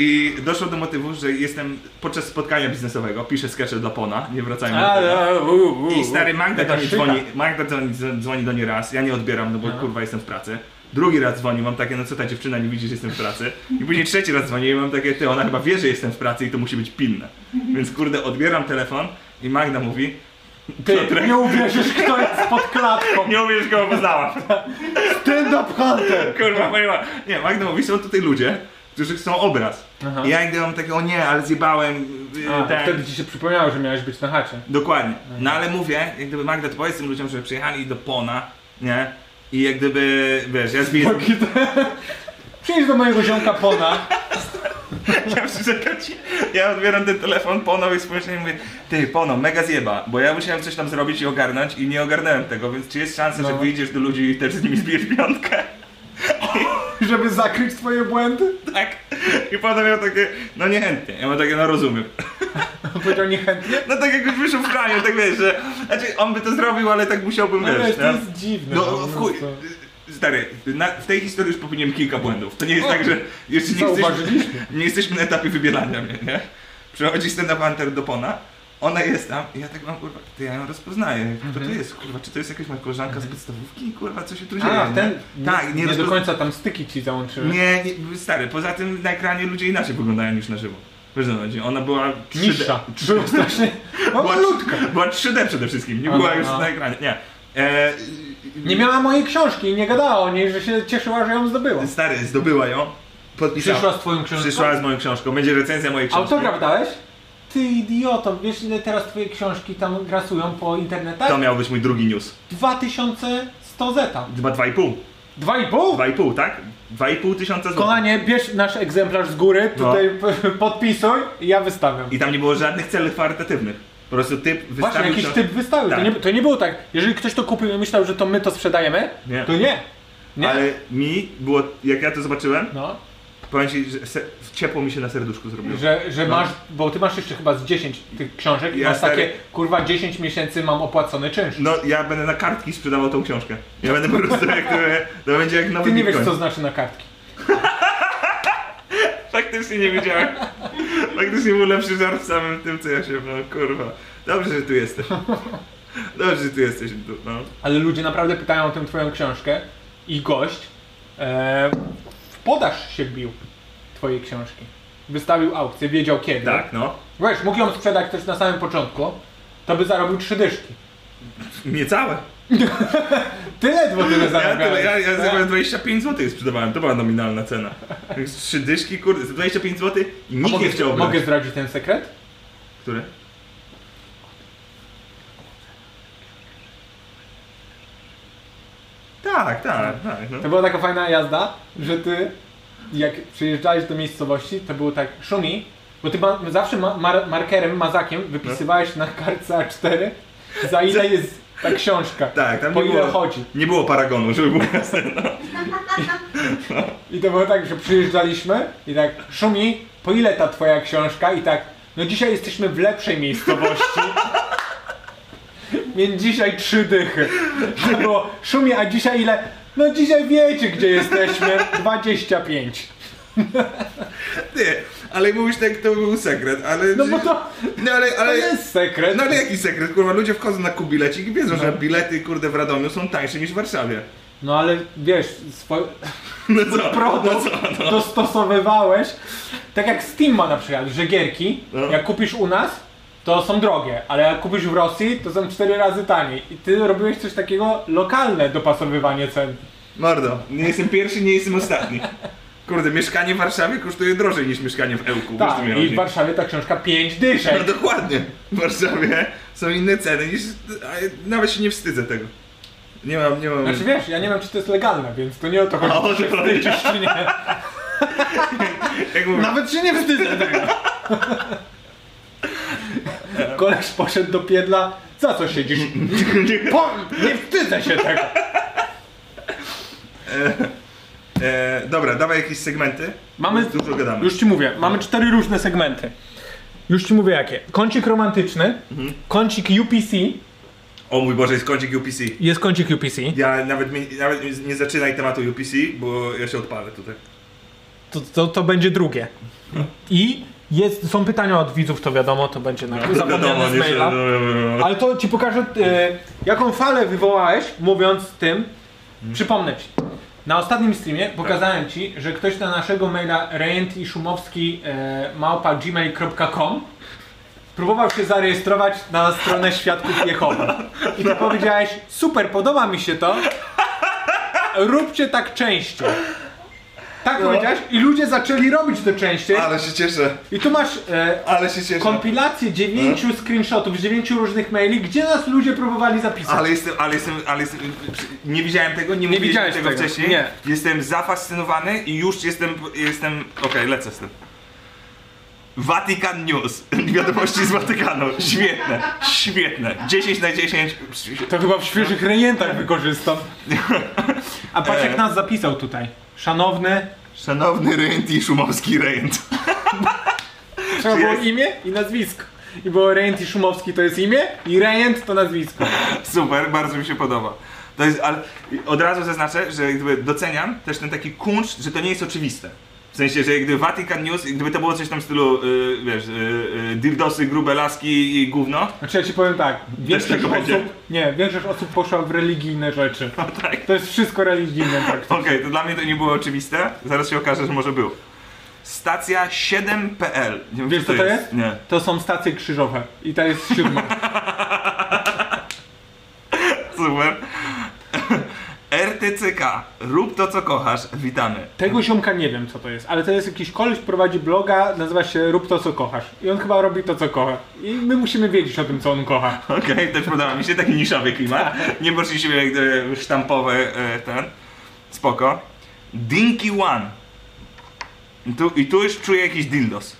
S2: I doszło do motywu, że jestem podczas spotkania biznesowego, piszę skecze dla Pona, nie wracajmy do tego.
S4: A, u, u, u.
S2: I stary Magda do
S4: Jakaś
S2: mnie
S4: szyka.
S2: dzwoni, Magda dzwoni, dzwoni do niej raz, ja nie odbieram, no bo kurwa jestem w pracy. Drugi raz dzwoni, mam takie, no co ta dziewczyna nie widzi, że jestem w pracy. I później trzeci raz dzwoni i mam takie, ty, ona chyba wie, że jestem w pracy i to musi być pilne. Więc kurde, odbieram telefon i Magda mówi,
S4: Ty, nie uwierzysz, kto jest pod klatką.
S2: nie umiesz kogo poznałam.
S4: Stand-up hunter.
S2: Kurwa, pojęła. Nie, Magda mówi, są tutaj ludzie, którzy chcą obraz.
S4: Aha.
S2: I ja nigdy mam takie, o nie, ale zjebałem yy,
S4: No. A,
S2: ten.
S4: Wtedy ci się przypomniało, że miałeś być na chacie.
S2: Dokładnie. No ale mówię, jak gdyby Magda, to powiedz tym ludziom, że przyjechali do Pona, nie? I jak gdyby, wiesz, ja zbiję...
S4: Taki te- Przyjdź do mojego ziomka Pona.
S2: Ja przyrzekam ci, ja odbieram ten telefon Pono i spojrzę i mówię, ty Pono, mega zjeba, bo ja musiałem coś tam zrobić i ogarnąć i nie ogarnąłem tego, więc czy jest szansa, że
S4: No.
S2: wyjdziesz do ludzi i też z nimi zbijesz piątkę?
S4: Żeby zakryć swoje błędy?
S2: Tak. I Pono miał takie, no niechętnie. Ja mam takie, no rozumiem.
S4: Powiedział niechętnie.
S2: No tak jakoś wyszło w kraniu, tak wiesz, że... Znaczy, on by to zrobił, ale tak musiałbym,
S4: No
S2: wiesz,
S4: wiesz, to
S2: nie?
S4: jest dziwne.
S2: No,
S4: po
S2: w chuj.
S4: prostu.
S2: Stary, na, w tej historii już popełniłem kilka błędów. To nie jest tak, że jeszcze nie jesteśmy,
S4: Zauważyliśmy.
S2: nie jesteśmy na etapie wybierania mnie, nie? Przychodzi stand-up hunter do Pona, ona jest tam i ja tak mam, kurwa, ty ja ją rozpoznaję. Kto to jest, kurwa, czy to jest jakaś moja koleżanka z podstawówki? Kurwa, co się tu dzieje?
S4: Mhm. A,
S2: nie?
S4: ten.
S2: Tak, nie,
S4: nie do
S2: rozpo-
S4: końca tam styki ci załączyły.
S2: Nie, nie, stary, poza tym na ekranie ludzie inaczej wyglądają niż na żywo. Wiesz, co chodzi? ona była 3D
S4: Niższa. Była strasznie. Była malutka.
S2: Była 3D przede wszystkim, nie
S4: A,
S2: była
S4: no,
S2: już
S4: no.
S2: na ekranie. Nie. E,
S4: Nie miała mojej książki i nie gadała o niej, że się cieszyła, że ją zdobyła.
S2: Stary, zdobyła ją. Podpisała.
S4: Przyszła z twoją książką.
S2: Przyszła z moją książką. Będzie recenzja mojej książki.
S4: Autograf dałeś? Ty idioto, wiesz ile teraz twoje książki tam grasują po internetach?
S2: To miał być mój drugi news.
S4: 2100 zeta.
S2: Chyba 2,5.
S4: 2,5?
S2: 2,5, tak? 2,5 tysiąca złotych.
S4: Kochanie, bierz nasz egzemplarz z góry,
S2: No.
S4: tutaj p- podpisuj i ja wystawiam.
S2: I tam nie było żadnych celów charytatywnych. Po prostu typ
S4: Właśnie,
S2: wystawił
S4: jakiś
S2: książ-
S4: typ wystawił.
S2: Tak.
S4: To, nie, to nie było tak, jeżeli ktoś to kupił i myślał, że to my to sprzedajemy,
S2: Nie.
S4: to nie. Nie?
S2: Ale mi było, jak ja to zobaczyłem,
S4: No,
S2: powiem ci, że se, ciepło mi się na serduszku zrobiło.
S4: że, że
S2: No.
S4: masz, bo ty masz jeszcze chyba z 10 tych książek i
S2: Ja
S4: masz takie,
S2: stary-
S4: kurwa 10 miesięcy mam opłacony czynsz.
S2: No, ja będę na kartki sprzedawał tą książkę. Ja będę po prostu jak to, to będzie jak nowy
S4: Ty nie wiesz
S2: Bitcoin.
S4: co znaczy na kartki.
S2: Faktycznie nie wiedziałem. Faktycznie był lepszy żart w samym tym, co ja się... No kurwa. Dobrze, że tu jesteś. Dobrze, że tu jesteś. No.
S4: Ale ludzie naprawdę pytają o tę twoją książkę i gość e, w podaż się bił twojej książki. Wystawił aukcję, wiedział kiedy.
S2: Tak, no.
S4: Wiesz, mógł ją sprzedać też na samym początku, to by zarobił trzy dyszki.
S2: Niecałe.
S4: Ty ledwo tyle
S2: Ja,
S4: zarabiałeś.
S2: tyle, ja, ja
S4: Tak?
S2: zabrałem 25 zł sprzedawałem, to była nominalna cena. Tak z Trzy dyszki, kurde, za 25 zł i
S4: A
S2: nikt nie
S4: mogę,
S2: chciał brać.
S4: mogę zdradzić ten sekret?
S2: Który? Tak, tak, tak. No.
S4: To była taka fajna jazda, że ty jak przyjeżdżałeś do miejscowości, to było tak szumi, bo ty ma, zawsze ma, mar, markerem, mazakiem wypisywałeś na kartce A4 za ile jest ta książka.
S2: Tak, tam
S4: po
S2: nie
S4: ile
S2: było,
S4: chodzi.
S2: nie było paragonu, żeby było jasne.
S4: I to było tak, że przyjeżdżaliśmy i tak szumi, po ile ta twoja książka i tak, no dzisiaj jesteśmy w lepszej miejscowości. Więc dzisiaj trzy dychy. Albo szumi, a dzisiaj ile? No dzisiaj wiecie gdzie jesteśmy. 25.
S2: Ty, ale mówisz tak, to był sekret, ale...
S4: No bo to,
S2: No ale,
S4: to
S2: ale...
S4: jest sekret.
S2: No ale jaki sekret, kurwa, ludzie wchodzą na kubilecik i wiedzą, że bilety, kurde, w Radomiu są tańsze niż w Warszawie.
S4: No ale wiesz, swój
S2: No co?
S4: produkt
S2: No co? No.
S4: dostosowywałeś tak jak Steam ma na przykład, że gierki,
S2: No.
S4: jak kupisz u nas, to są drogie, ale jak kupisz w Rosji, to są cztery razy taniej. I ty robiłeś coś takiego lokalne dopasowywanie cen.
S2: Mordo, nie jestem pierwszy, nie jestem ostatni. Kurde, mieszkanie w Warszawie kosztuje drożej niż mieszkanie w Ełku. wiesz, co
S4: Tak,
S2: mi
S4: i
S2: chodzi?
S4: w Warszawie ta książka 5 dyszek.
S2: No dokładnie. W Warszawie są inne ceny niż... a Nawet się nie wstydzę tego. Nie mam, nie mam...
S4: Znaczy wiesz, ja nie wiem czy to jest legalne, więc to nie o to chodzi.
S2: A, o to
S4: czy
S2: chodzi.
S4: wstydzisz, czy nie.
S2: jak mówię,
S4: Nawet się nie wstydzę tego. Koleż poszedł do piedla. Za co siedzisz? Po, nie wstydzę się tego.
S2: e, dobra, dawaj jakieś segmenty.
S4: Mamy-
S2: Dużo gadamy.
S4: Już ci mówię, mamy cztery różne segmenty. Już ci mówię jakie. Kącik romantyczny, kącik UPC,
S2: O mój Boże, jest kącik UPC.
S4: jest kącik UPC.
S2: Ja nawet, mi- nawet nie zaczynaj tematu UPC, bo ja się odpalę tutaj.
S4: To, to, to będzie drugie. I jest, są pytania od widzów, to wiadomo, No, to będzie na zapomniane z
S2: No nie
S4: maila.
S2: się... no,
S4: Ale to ci pokażę, e, jaką falę wywołałeś, mówiąc tym. Przypomnę ci. Na ostatnim streamie pokazałem ci, że ktoś na naszego maila rejent i szumowski e, małpa gmail.com próbował się zarejestrować na stronę Świadków Jehowy. I ty powiedziałeś, super, podoba mi się to, róbcie tak częściej. Tak powiedziałeś i ludzie zaczęli robić to częściej.
S2: Ale się cieszę,
S4: I tu masz e,
S2: ale się cieszę.
S4: kompilację
S2: No.
S4: dziewięciu screenshotów z dziewięciu różnych maili, gdzie nas ludzie próbowali zapisać.
S2: Ale jestem, ale jestem, ale jestem, nie widziałem tego, nie, mówiliśmy
S4: widziałeś
S2: tego,
S4: tego,
S2: wcześniej.
S4: nie.
S2: Jestem zafascynowany i już jestem, jestem, okej, lecę z tym. Vatican News. Wiadomości z Watykanu. Świetne, świetne. 10 na 10.
S4: To chyba w świeżych rejentach wykorzystam. A patrz
S2: E.
S4: jak nas zapisał tutaj. Szanowny.
S2: Szanowny Rejent i Szumowski Rejent.
S4: Trzeba było
S2: jest?
S4: imię i nazwisko. I było rejent i Szumowski to jest imię i rejent to nazwisko.
S2: Super, bardzo mi się podoba. To jest, ale od razu zaznaczę, że jakby doceniam też ten taki kunszt, że to nie jest oczywiste. W sensie, że jak gdyby Vatican News, gdyby to było coś tam w stylu, y, wiesz, y, y, dirdosy, grube laski i gówno,
S4: Znaczy ja ci powiem tak, większość
S2: tego
S4: osób,
S2: będzie.
S4: nie, większość osób poszła w religijne rzeczy.
S2: tak.
S4: To jest wszystko religijne tak.
S2: Okej, to dla mnie to nie było oczywiste. Zaraz się okaże, że może było. Stacja 7.pl. Nie wiem,
S4: Wiesz,
S2: co
S4: co to jest?
S2: Nie.
S4: To są stacje krzyżowe i ta jest siódma.
S2: Super. RTCK. Rób to, co kochasz. Witamy.
S4: Tego ziomka nie wiem co to jest, ale to jest jakiś koleś, prowadzi bloga, nazywa się Rób to co kochasz. I on chyba robi to co kocha. I my musimy wiedzieć o tym co on kocha.
S2: Okej, też podoba mi się taki niszowy klimat. Nie poszliśmy jak gdyby w sztampowe e, ten. Spoko. Dinky One. I tu, I tu już czuję jakiś dildos.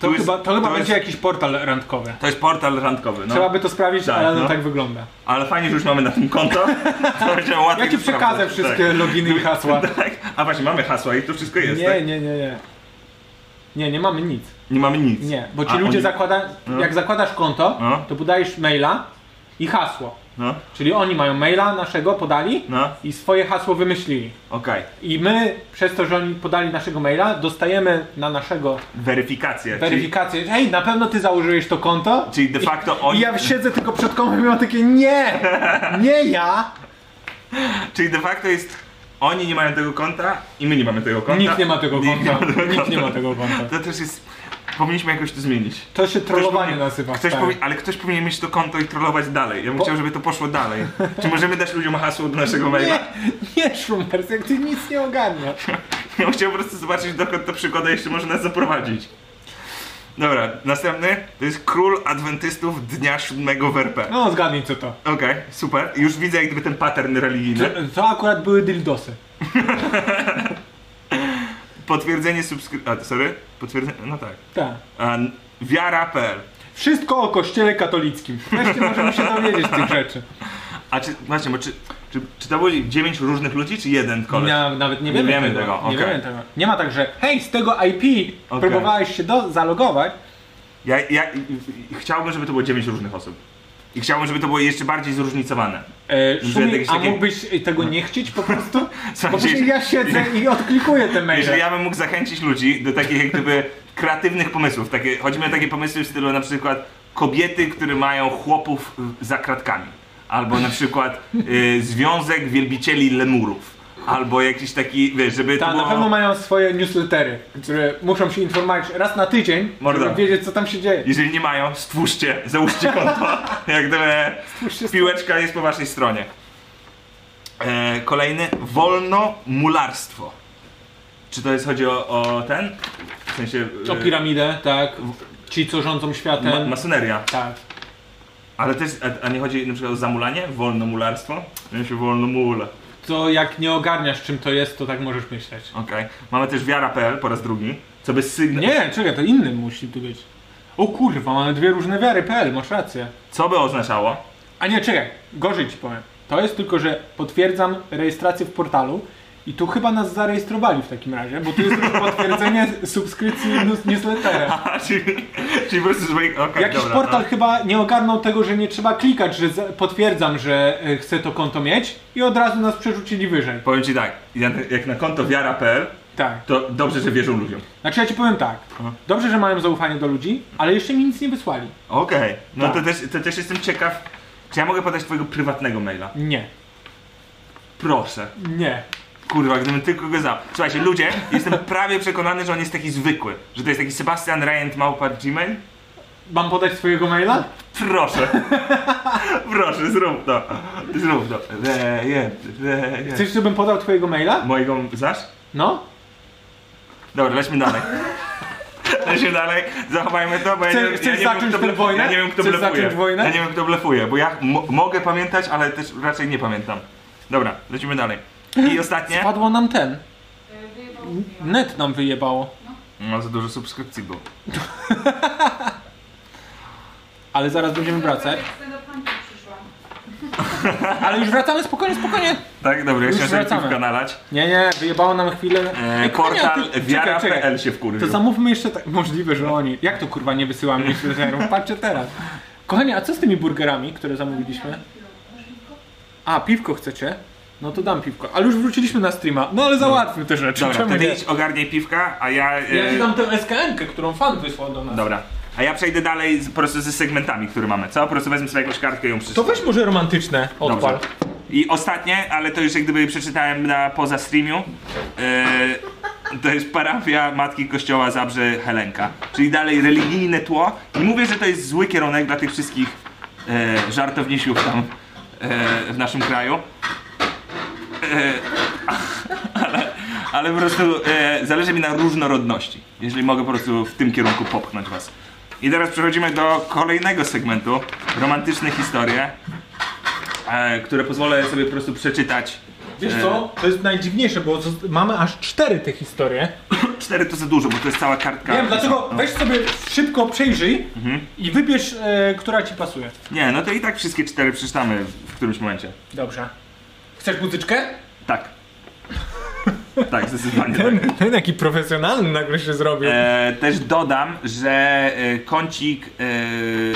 S4: To
S2: Tu jest-
S4: chyba, to chyba
S2: to
S4: będzie
S2: Jest,
S4: jakiś portal randkowy.
S2: to jest portal randkowy, no.
S4: Trzeba by to sprawdzić,
S2: Tak,
S4: ale no.
S2: no.
S4: tak wygląda.
S2: Ale fajnie, że już mamy na tym konto. Tak, To będzie łatwiej
S4: Ja ci przekażę
S2: sprawdzać.
S4: wszystkie loginy i hasła.
S2: Tak. tak. A właśnie, mamy hasła i to wszystko jest, tak?
S4: Nie, nie, nie, nie. Nie, nie mamy nic.
S2: Nie mamy nic.
S4: Nie, bo ci
S2: A,
S4: ludzie
S2: oni-
S4: zakłada,
S2: No.
S4: jak zakładasz konto,
S2: No.
S4: to podajesz maila i hasło.
S2: No,
S4: Czyli oni mają maila naszego, podali
S2: no,
S4: i swoje hasło wymyślili.
S2: okej.
S4: I my, przez to, że oni podali naszego maila, dostajemy na naszego
S2: Weryfikacja. czyli,
S4: weryfikację. Hej, na pewno ty założyłeś to konto?
S2: czyli de facto
S4: I
S2: oni...
S4: ja siedzę tylko przed kompem i mam takie nie! Nie ja!
S2: Czyli de facto jest... Oni nie mają tego konta i my nie mamy tego konta.
S4: Nikt nie ma tego
S2: Nikt nie
S4: konta.
S2: ma tego
S4: Nikt nie ma
S2: konta.
S4: tego konta.
S2: To też jest... Powinniśmy jakoś to zmienić.
S4: To się trollowanie
S2: powinien-
S4: nazywa. tak.
S2: Ktoś
S4: stary.
S2: powi... Ale ktoś powinien mieć to konto i trollować dalej. Ja bym
S4: Po-
S2: chciał, żeby to poszło dalej. Czy możemy dać ludziom hasło do naszego maila?
S4: Nie, nie Szumers, jak ty nic nie ogarniasz.
S2: Ja bym chciał po prostu zobaczyć, dokąd ta przygoda jeszcze może nas zaprowadzić. Dobra, następny to jest Król Adwentystów Dnia Siódmego w RP.
S4: No zgadnij co to.
S2: Okej, super. Już widzę jak gdyby ten pattern
S4: To,
S2: religijny.
S4: to akurat były dildosy.
S2: Potwierdzenie subskrypcji... sorry? Potwierdzenie... no tak.
S4: Tak.
S2: A, n- Wiara.pl
S4: Wszystko o kościele katolickim. Wreszcie możemy się dowiedzieć tych rzeczy.
S2: A czy... właśnie, bo czy, czy, czy to było dziewięć różnych ludzi, czy jeden koleś?
S4: Na, nawet nie wiemy,
S2: wiemy
S4: tego.
S2: tego,
S4: Nie
S2: okej.
S4: wiemy tego. Nie ma tak, że hej, z tego IP
S2: Okej.
S4: próbowałeś się do, zalogować,
S2: Ja, ja i- i- i chciałbym, żeby to było dziewięć różnych osób. I chciałbym, żeby to było jeszcze bardziej zróżnicowane.
S4: E,
S2: Że
S4: Szumi,
S2: jakieś
S4: a
S2: takie-
S4: mógłbyś tego nie chcieć po prostu? Bo
S2: Słuchajcie,
S4: później ja siedzę i odklikuję te maile.
S2: Jeżeli ja bym mógł zachęcić ludzi do takich jak gdyby kreatywnych pomysłów, takie, chodzi mi o takie pomysły w stylu na przykład kobiety, które mają chłopów y, za kratkami, albo na przykład y, Związek Wielbicieli Lemurów. Albo jakiś taki, wiesz, żeby to
S4: Ta,
S2: było...
S4: Tak, na pewno mają swoje newslettery, które muszą się informować raz na tydzień,
S2: Mordo.
S4: żeby wiedzieć co tam się dzieje.
S2: Jeżeli nie mają, stwórzcie, załóżcie konto. Jak gdyby
S4: Stwórzcie
S2: piłeczka jest po waszej stronie. E, kolejny, wolno mularstwo. Czy to jest, chodzi o, o ten? W sensie... e,
S4: O piramidę, tak. Ci, co rządzą światem.
S2: ma, masoneria.
S4: tak.
S2: Ale też, a, a nie chodzi na przykład o zamulanie? Wolno mularstwo? Ja się wolno mula.
S4: To jak nie ogarniasz czym to jest, to tak możesz myśleć.
S2: Okej. Mamy też wiara.pl po raz drugi. Co by sygna...
S4: Nie, czekaj, to inny musi tu być. O kurwa, mamy dwie różne wiary, PL, masz rację.
S2: Co by oznaczało?
S4: A nie, czekaj, gorzej ci powiem. To jest tylko, że potwierdzam rejestrację w portalu i tu chyba nas zarejestrowali w takim razie, bo tu jest już potwierdzenie subskrypcji news- newslettera.
S2: A, czyli, czyli po prostu swoich... Okay,
S4: Jakiś
S2: dobra,
S4: portal
S2: no.
S4: chyba nie ogarnął tego, że nie trzeba klikać, że za- potwierdzam, że e, chcę to konto mieć i od razu nas przerzucili wyżej.
S2: Powiem ci tak, ja- jak na konto wiara.pl,
S4: Tak.
S2: to dobrze, że wierzą ludziom.
S4: Znaczy ja ci powiem tak.
S2: Aha.
S4: Dobrze, że mają zaufanie do ludzi, ale jeszcze mi nic nie wysłali.
S2: Okej, no
S4: Tak.
S2: to, też, to też jestem ciekaw, czy ja mogę podać twojego prywatnego maila?
S4: Nie.
S2: Proszę.
S4: Nie.
S2: Kurwa, gdybym tylko go znał. Słuchajcie, ludzie, jestem prawie przekonany, że on jest taki zwykły. Że to jest taki Sebastian Ryan małpa Gmail.
S4: Mam podać swojego maila?
S2: Proszę. Proszę, zrób to. Zrób to. Rejent, rejent.
S4: Chcesz, żebym podał twojego maila?
S2: Mojego znasz?
S4: No.
S2: Dobra, lećmy dalej. Lećmy dalej, zachowajmy to, bo ja
S4: Chcesz-
S2: nie,
S4: chcesz
S2: ja nie wiem,
S4: zacząć
S2: kto
S4: tę
S2: blef-
S4: wojnę?
S2: Ja nie wiem, kto
S4: Chcesz
S2: blefuje.
S4: zacząć wojnę?
S2: Ja nie wiem, kto blefuje, bo ja mo- mogę pamiętać, ale też raczej nie pamiętam. Dobra, lecimy dalej. I ostatnie.
S4: Padło nam ten.
S5: E, Wyjebał
S4: Net nam wyjebało.
S2: No, za dużo subskrypcji było.
S4: Ale zaraz będziemy wracać. Ale już wracamy, spokojnie, spokojnie.
S2: Tak, dobra, ja
S4: Już
S2: się
S4: wracamy.
S2: szybko kanalać.
S4: Nie, nie, wyjebało nam chwilę.
S2: E,
S4: Ej, kochanie,
S2: portal
S4: a ty- czekaj, czekaj.
S2: wiara.pl się wkurwił.
S4: To zamówmy jeszcze tak. Możliwe, że oni. Jak to kurwa nie wysyłamy newsletterów? Patrzcie teraz. Kochanie, a co z tymi burgerami, które zamówiliśmy? A, piwko chcecie? No to dam piwko. Ale już wróciliśmy na streama. No ale załatwmy te rzeczy.
S2: Dobra,
S4: Czemu
S2: wtedy
S4: nie?
S2: idź ogarniaj piwka, a ja... e,
S4: Ja ci dam tę SKN-kę, którą fan wysłał do nas.
S2: Dobra. A ja przejdę dalej z, po prostu ze segmentami, które mamy, co? Po prostu wezmę sobie jakąś kartkę i ją przeczytam.
S4: To weź może romantyczne odpal.
S2: Dobrze. I ostatnie, ale to już jak gdyby przeczytałem na poza streamiu. Yy, to jest parafia Matki Kościoła Zabrze Helenka. Czyli dalej religijne tło. I mówię, że to jest zły kierunek dla tych wszystkich yy, żartownisiów tam yy, w naszym kraju. Yy, ale, ale po prostu yy, zależy mi na różnorodności. Jeżeli mogę po prostu w tym kierunku popchnąć was. I teraz przechodzimy do kolejnego segmentu. Romantyczne historie e, które pozwolę sobie po prostu przeczytać.
S4: Wiesz
S2: E,
S4: co? To jest najdziwniejsze, bo zo- mamy aż cztery te historie.
S2: Cztery to za dużo, bo to jest cała kartka.
S4: Wiem, dlatego
S2: no.
S4: weź sobie szybko przejrzyj
S2: Mhm.
S4: i wybierz, e, która ci pasuje.
S2: Nie, no to i tak wszystkie cztery przeczytamy w w którymś momencie.
S4: Dobrze. Chcesz muzyczkę?
S2: Tak. tak, zdecydowanie tak.
S4: Ten, ten jaki profesjonalny nagle się zrobił.
S2: E, też dodam, że e, kącik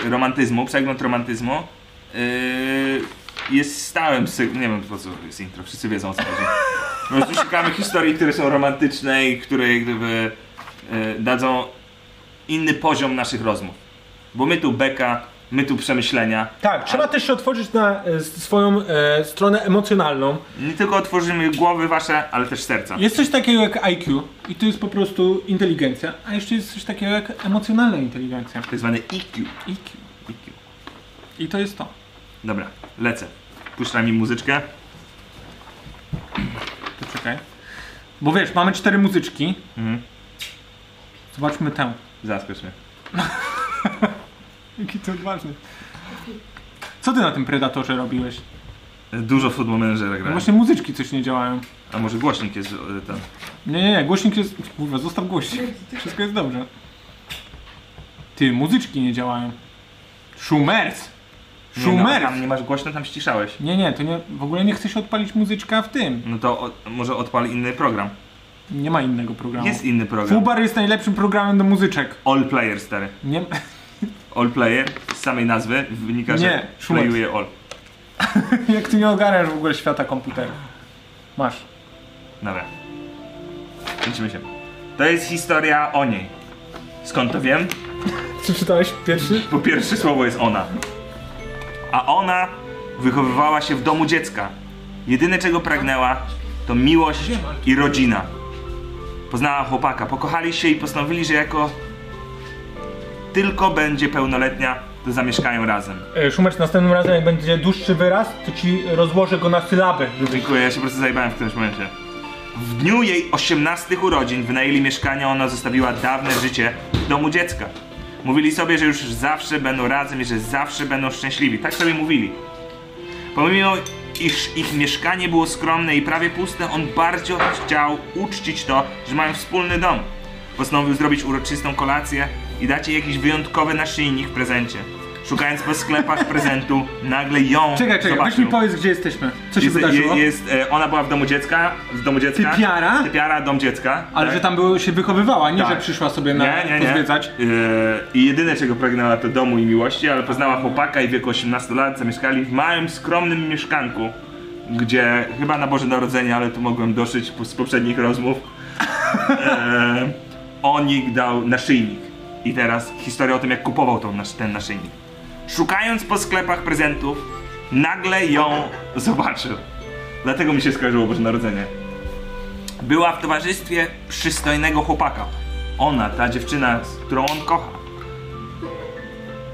S2: e, romantyzmu, przegląd romantyzmu e, jest stałym sy- Nie wiem po co jest intro, wszyscy wiedzą o co chodzi. Po prostu szukamy historii, które są romantyczne i które jak gdyby e, dadzą inny poziom naszych rozmów. Bo my tu beka, my tu przemyślenia.
S4: Tak, trzeba też się otworzyć na e, s- swoją e, stronę emocjonalną.
S2: Nie tylko otworzymy głowy wasze, ale też serca.
S4: Jest coś takiego jak IQ i to jest po prostu inteligencja, a jeszcze jest coś takiego jak emocjonalna inteligencja.
S2: Tak zwane IQ.
S4: IQ.
S2: IQ.
S4: I to jest to.
S2: Dobra, lecę. Puszczaj mi muzyczkę.
S4: To czekaj. Bo wiesz, mamy cztery muzyczki.
S2: Mhm.
S4: Zobaczmy tę.
S2: Zaskocz mnie.
S4: Jaki to odważny. Co ty na tym Predatorze robiłeś?
S2: Dużo Football Managera
S4: No
S2: grałem.
S4: właśnie muzyczki coś nie działają.
S2: A może głośnik jest e, tam?
S4: Nie, nie, nie, głośnik jest... Kurwa, zostaw głośnik. Wszystko jest dobrze. Ty, muzyczki nie działają. Schumerz!
S2: Nie, no, a
S4: Schumerz!
S2: tam nie masz głośno, tam ściszałeś.
S4: Nie, nie, to nie, w ogóle nie chce się odpalić muzyczka w tym.
S2: No to od, może odpal inny program.
S4: Nie ma innego programu.
S2: Jest inny program.
S4: Fubar jest najlepszym programem do muzyczek.
S2: All Player, stary.
S4: Nie,
S2: All Player, z samej nazwy wynika,
S4: Nie,
S2: że
S4: Schumer.
S2: playuje all.
S4: jak ty nie ogarniasz w ogóle świata komputerów. Masz.
S2: Dobra. Widzimy się. To jest historia o niej. Skąd to wiem?
S4: Przeczytałeś pierwszy?
S2: Bo pierwsze słowo jest ona. A ona wychowywała się w domu dziecka. Jedyne czego pragnęła, to miłość
S6: Wiem, ale-
S2: i rodzina. Poznała chłopaka, pokochali się i postanowili, że jako tylko będzie pełnoletnia, to zamieszkają razem.
S4: E, Szumacz, następnym razem jak będzie dłuższy wyraz, to ci rozłożę go na sylaby.
S2: Dziękuję, ja się po prostu zajebałem w którymś momencie. W dniu jej 18 urodzin wynajęli mieszkanie, ona zostawiła dawne życie w domu dziecka. Mówili sobie, że już zawsze będą razem i że zawsze będą szczęśliwi. Tak sobie mówili. Pomimo iż ich mieszkanie było skromne i prawie puste, on bardzo chciał uczcić to, że mają wspólny dom. Postanowił zrobić uroczystą kolację i dać jej jakiś wyjątkowy naszyjnik w prezencie. Szukając po sklepach prezentu, nagle ją
S4: Czekaj, czekaj, weź
S2: zobaczył.
S4: mi powiedz gdzie jesteśmy. Co się
S2: Jest,
S4: wydarzyło?
S2: je- jest, e, ona była w domu dziecka, w domu dziecka.
S4: Typiara?
S2: Typiara, dom dziecka.
S4: Ale
S2: tak?
S4: że tam było, się wychowywała, nie
S2: Tak.
S4: że przyszła sobie na
S2: nie, nie, nie.
S4: pozwiedzać.
S2: E, I jedyne czego pragnęła to domu i miłości, ale poznała chłopaka i w wieku 18 lat zamieszkali w małym, skromnym mieszkanku, gdzie chyba na Boże Narodzenie, ale tu mogłem doszyć po- z poprzednich rozmów. E, Onik dał naszyjnik. I teraz historia o tym, jak kupował tą, nasz- ten naszyjnik. Szukając po sklepach prezentów, nagle ją zobaczył. Dlatego mi się skojarzyło Boże Narodzenie. Była w towarzystwie przystojnego chłopaka. Ona, ta dziewczyna, z którą on kocha.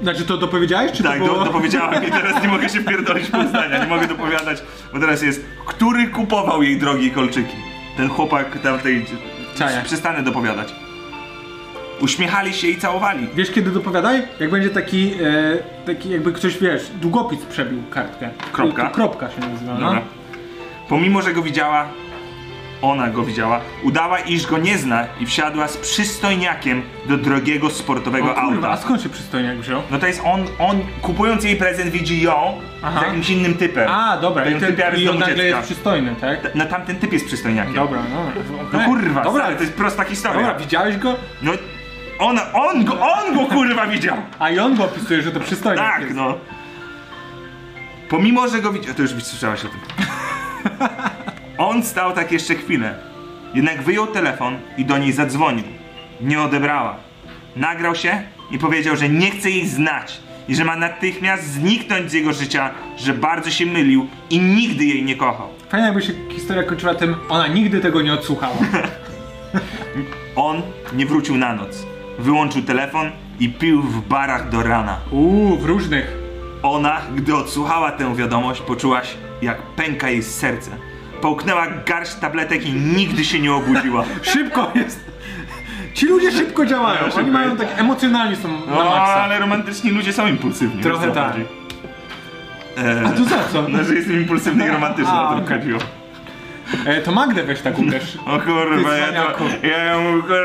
S4: Znaczy to dopowiedziałeś, czy
S2: Tak,
S4: to
S2: do,
S4: było...
S2: dopowiedziałem i teraz nie mogę się pierdolić po zdania, nie mogę dopowiadać, bo teraz jest, który kupował jej drogi kolczyki? Ten chłopak tamtej...
S4: Czaja.
S2: Przestanę dopowiadać. Uśmiechali się i całowali.
S4: Wiesz kiedy dopowiadaj? Jak będzie taki, e, taki jakby ktoś, wiesz, długopis przebił kartkę.
S2: Kropka.
S4: To kropka się nazywa, no.
S2: Dobra. Pomimo, że go widziała, ona go widziała, udała, iż go nie zna i wsiadła z przystojniakiem do drogiego sportowego
S4: O kurwa,
S2: auta.
S4: a skąd się przystojniak wziął?
S2: No to jest on, on kupując jej prezent widzi ją
S4: Aha.
S2: z jakimś innym typem.
S4: A, dobra,
S2: Ten
S4: i, ten,
S2: typiar z
S4: i on
S2: domu
S4: nagle
S2: dziecka.
S4: jest przystojny, tak?
S2: No tamten typ jest przystojniakiem.
S4: Dobra, dobra.
S2: No
S4: okej.
S2: kurwa,
S4: dobra,
S2: stary, to jest prosta historia.
S4: dobra, widziałeś go?
S2: No ona, on go, on go kurwa widział.
S4: A i on go opisuje, że to przystojniak
S2: Tak,
S4: jest.
S2: no. Pomimo, że go widział... To już słyszałaś o tym. On stał tak jeszcze chwilę. Jednak wyjął telefon i do niej zadzwonił. Nie odebrała. Nagrał się i powiedział, że nie chce jej znać i że ma natychmiast zniknąć z jego życia, że bardzo się mylił i nigdy jej nie kochał.
S4: Fajnie jakby się historia kończyła tym, ona nigdy tego nie odsłuchała.
S2: On nie wrócił na noc. Wyłączył telefon i pił w barach do rana.
S4: Uuu, w różnych.
S2: Ona, gdy odsłuchała tę wiadomość, poczułaś, jak pęka jej serce. Połknęła garść tabletek i nigdy się nie obudziła.
S4: Szybko jest. Ci ludzie szybko działają,
S2: No,
S4: oni
S2: szybko
S4: mają
S2: jest.
S4: tak, emocjonalni są na
S2: No,
S4: maksa.
S2: ale romantyczni ludzie są impulsywni.
S4: Trochę
S2: wiesz, co
S4: tak.
S2: chodzi. E,
S4: A tu za co?
S2: No, że jestem impulsywny i romantyczny,
S4: A,
S2: o tym
S4: okej.
S2: chodziło.
S4: E, to Magdę weź tak uderz.
S2: O kurwa,
S4: Ty
S2: ja to,
S4: cwaniaku.
S2: ja ją kurwa...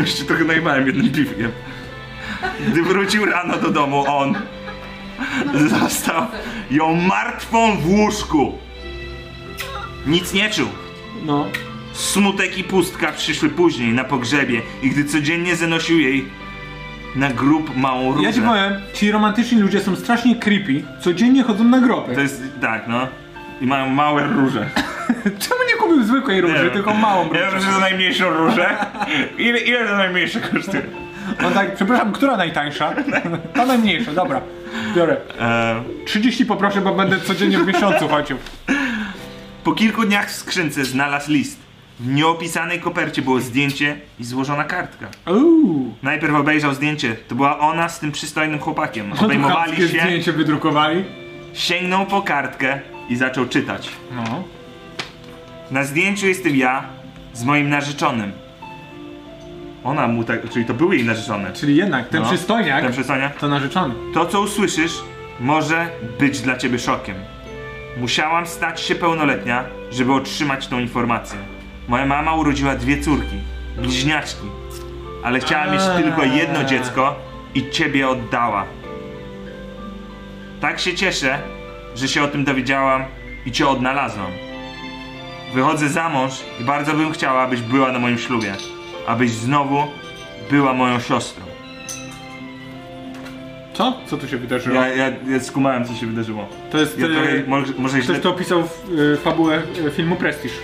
S2: Jeszcze trochę najmałem jednym piwkiem. Gdy wrócił rano do domu, on zastał ją martwą w łóżku. Nic nie czuł.
S4: No.
S2: Smutek i pustka przyszły później na pogrzebie i gdy codziennie zanosił jej na grób małą różę.
S4: Ja ci powiem, ci romantyczni ludzie są strasznie creepy, codziennie chodzą na groby.
S2: To jest tak, no. I mają małe róże.
S4: Czemu nie kupił zwykłej róży, tylko małą różę?
S2: Ja proszę za najmniejszą różę. Ile, ile to najmniejsze kosztuje?
S4: On tak, przepraszam, która najtańsza? Ta najmniejsza, dobra. Biorę.
S2: Eee,
S4: 30 poproszę, bo będę codziennie w miesiącu chodził.
S2: Po kilku dniach w skrzynce znalazł list. W nieopisanej kopercie było zdjęcie i złożona kartka.
S4: Uuu.
S2: Najpierw obejrzał zdjęcie. To była ona z tym przystojnym chłopakiem.
S4: Chłopskie
S2: Obejmowali się,
S4: zdjęcie wydrukowali.
S2: sięgnął po kartkę i zaczął czytać.
S4: No.
S2: Na zdjęciu jestem ja z moim narzeczonym. Ona mu tak, czyli to był jej narzeczony.
S4: Czyli jednak, ten
S2: No.
S4: przystojniak
S2: Ten przystojniak.
S4: to narzeczony.
S2: To, co usłyszysz, może być dla ciebie szokiem. Musiałam stać się pełnoletnia, żeby otrzymać tą informację. Moja mama urodziła dwie córki, bliźniaczki, ale chciała mieć
S4: Eee.
S2: tylko jedno dziecko i ciebie oddała. Tak się cieszę, że się o tym dowiedziałam i cię odnalazłam. Wychodzę za mąż i bardzo bym chciała, abyś była na moim ślubie, abyś znowu była moją siostrą.
S4: Co? Co tu się wydarzyło?
S2: Ja, ja, ja skumałem, co się wydarzyło.
S4: To jest...
S2: Ja
S4: e,
S2: trochę, może, może źle...
S4: Ktoś to opisał w y, fabułę y, filmu Prestige.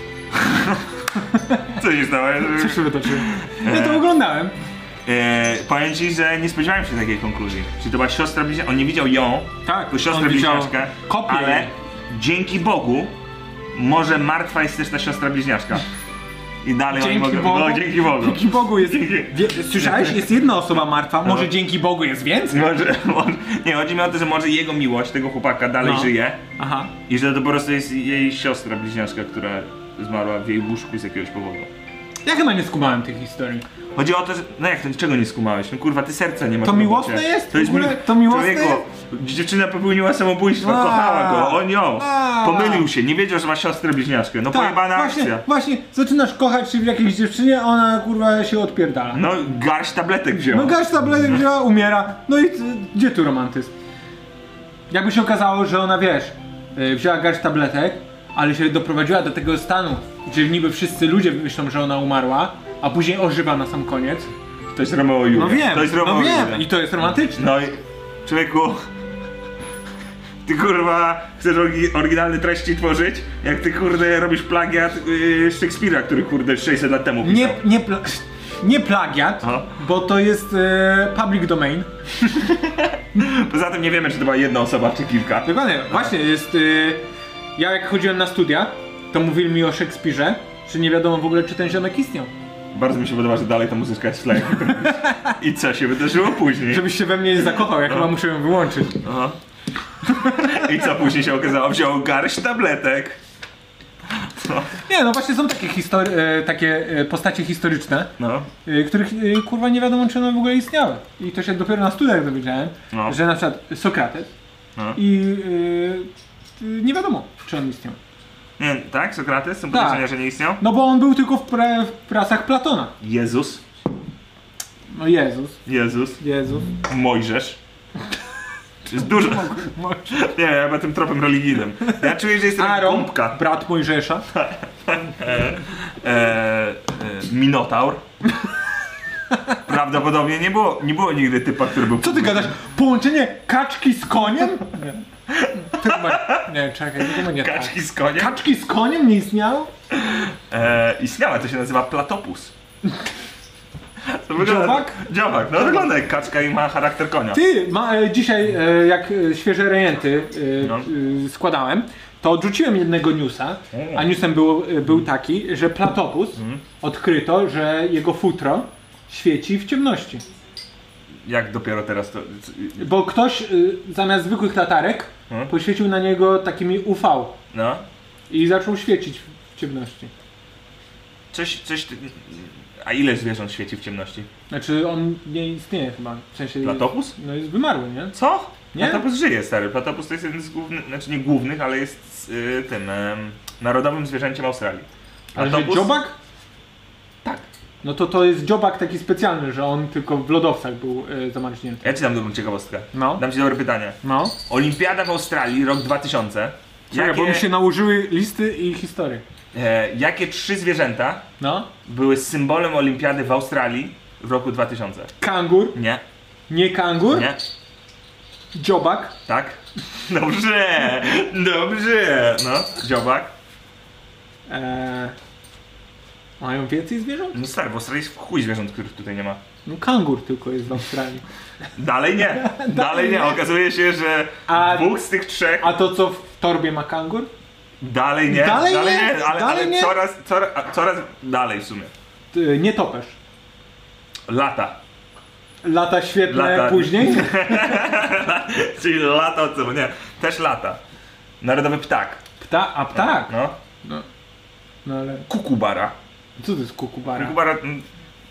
S2: Co się stało?
S4: Co się wydarzyło? Ja to oglądałem.
S2: E, powiem ci, że nie spodziewałem się takiej konkluzji. Czyli to była siostra bliźniaczka, on nie widział ją,
S4: Tak,
S2: tylko siostrę
S4: on widział
S2: bliźniaczkę,
S4: kopię
S2: ale
S4: jej.
S2: dzięki Bogu Może martwa jest też ta siostra bliźniaczka. I dalej oni
S4: Dzięki
S2: mogą...
S4: Bogu.
S2: No, dzięki Bogu.
S4: Dzięki Bogu jest... Wie, słyszałeś? Jest jedna osoba martwa, może
S2: No.
S4: dzięki Bogu jest więcej?
S2: Może, może, nie, chodzi mi o to, że może jego miłość, tego chłopaka, dalej
S4: No.
S2: żyje
S4: Aha.
S2: i że to po prostu jest jej siostra bliźniaczka, która zmarła w jej łóżku z jakiegoś powodu.
S4: Ja chyba nie skumałem tych historii.
S2: Chodzi o to, że. No jak to, czego nie skumałeś? No kurwa, ty serca nie ma.
S4: To
S2: w
S4: miłosne
S2: robocie.
S4: jest? W ogóle to miłosne
S2: Człowieku, dziewczyna popełniła samobójstwo,
S4: A.
S2: kochała go, on ją.
S4: A.
S2: Pomylił się, nie wiedział, że ma siostrę bliźniaczkę. No pojebana
S4: Tak, właśnie,
S2: akcja.
S4: właśnie zaczynasz kochać się w jakiejś dziewczynie, a ona kurwa się odpierdala.
S2: No garść tabletek wziął.
S4: No gaś tabletek wzięła, umiera. No i c- gdzie tu romantyzm? Jakby się okazało, że ona wiesz, yy, wzięła garść tabletek, ale się doprowadziła do tego stanu, gdzie niby wszyscy ludzie myślą, że ona umarła, a później ożywa na sam koniec.
S2: To jest Romeo i Julia.
S4: No wiem,
S2: to jest Romeo
S4: no
S2: i
S4: wiem
S2: Julia.
S4: i to jest romantyczne.
S2: No i człowieku. Ty kurwa chcesz orgi- oryginalne treści tworzyć, jak ty kurde robisz plagiat yy, Szekspira, który kurde 600 lat temu pisał.
S4: Nie, nie, pla nie plagiat,
S2: Aha.
S4: bo to jest e, public domain.
S2: Poza tym nie wiemy, czy to była jedna osoba, czy kilka.
S4: Dokładnie, właśnie jest. y, ja jak chodziłem na studia, to mówili mi o Szekspirze, że nie wiadomo w ogóle, czy ten ziomek istniał.
S2: Bardzo mi się podoba, że dalej ta muzyczka jest w tle. I co się wydarzyło później?
S4: Żebyś się we mnie nie zakochał, ja chyba muszę ją wyłączyć.
S2: Aha. I co później się okazało? Wziął garść tabletek. Co?
S4: Nie, no właśnie są takie, histori- e, takie e, postacie historyczne,
S2: No.
S4: e, których e, kurwa nie wiadomo, czy one w ogóle istniały. I to się dopiero na studiach dowiedziałem,
S2: No.
S4: że na przykład Sokrates
S2: No.
S4: i e, e, nie wiadomo, czy on istniał.
S2: Nie, tak? Sokrates? Są
S4: Tak.
S2: podejrzenia, że nie istniał?
S4: No bo on był tylko w, pra- w pracach Platona.
S2: Jezus.
S4: No Jezus,
S2: Jezus.
S4: Jezus.
S2: Mojżesz. To jest dużo. Nie, ja chyba tym tropem religijnym. Ja czuję, że jestem jak
S4: Aaron,
S2: gąbka.
S4: brat Mojżesza.
S2: E, e, minotaur. Prawdopodobnie nie było, nie było nigdy typa, który był...
S4: Co ty gadasz? Połączenie kaczki z koniem? Nie, to chyba... nie czekaj, to chyba nie tak.
S2: Kaczki z koniem?
S4: Kaczki z koniem nie istniało?
S2: E, istniała, to się nazywa platopus. To wygląda-
S4: Dziobak?
S2: Dziobak, no wygląda jak kaczka i ma charakter konia.
S4: Ty, ma, e, dzisiaj e, jak e, świeże rejenty e,
S2: No.
S4: e, składałem, to odrzuciłem jednego newsa,
S2: Mm.
S4: a newsem był, e, był taki, że platopus odkryto, że jego futro świeci w ciemności.
S2: Jak dopiero teraz to...
S4: Bo ktoś e, zamiast zwykłych latarek
S2: Mhm.
S4: poświecił na niego takimi UV
S2: No,
S4: i zaczął świecić w- w ciemności.
S2: coś, coś... ty- A ile zwierząt świeci w ciemności?
S4: Znaczy on nie istnieje chyba. W sensie
S2: Platopus? No
S4: No jest wymarły, nie?
S2: Co?
S4: Nie?
S2: Platopus żyje, stary. Platopus to jest jeden z głównych, znaczy nie głównych, ale jest y, tym em, narodowym zwierzęciem Australii.
S4: Ale że dziobak?
S2: Tak.
S4: No to to jest dziobak taki specjalny, że on tylko w lodowcach był e, zamarznięty.
S2: Ja ci dam dobrą ciekawostkę.
S4: No.
S2: Dam ci dobre pytanie.
S4: No.
S2: Olimpiada w Australii, rok 2000.
S4: Czekaj, bo mi się nałożyły listy i historie.
S2: e, jakie trzy zwierzęta
S4: No.
S2: były symbolem olimpiady w Australii w roku 2000.
S4: Kangur,
S2: Nie,
S4: nie kangur,
S2: nie,
S4: dziobak,
S2: tak? Dobrze, dobrze, no, dziobak.
S4: e, mają więcej zwierząt?
S2: No stary, w Australii jest chuj zwierząt, których tutaj nie ma.
S4: No kangur tylko jest w Australii.
S2: Dalej nie, dalej nie, okazuje się, że
S4: A-
S2: dwóch z tych trzech
S4: A to co w torbie ma kangur?
S2: dalej nie,
S4: Dalej nie,
S2: ale,
S4: dalej
S2: ale
S4: nie.
S2: Coraz, coraz, a- coraz dalej w sumie.
S4: Ty, nie topesz.
S2: Lata,
S4: Lata świetne
S2: Lata.
S4: później?
S2: czyli lata, co, nie, też lata. Narodowy ptak,
S4: Pta, a ptak.
S2: no,
S4: No ale
S2: kukubara.
S4: co to jest kukubara?
S2: Kukubara, m,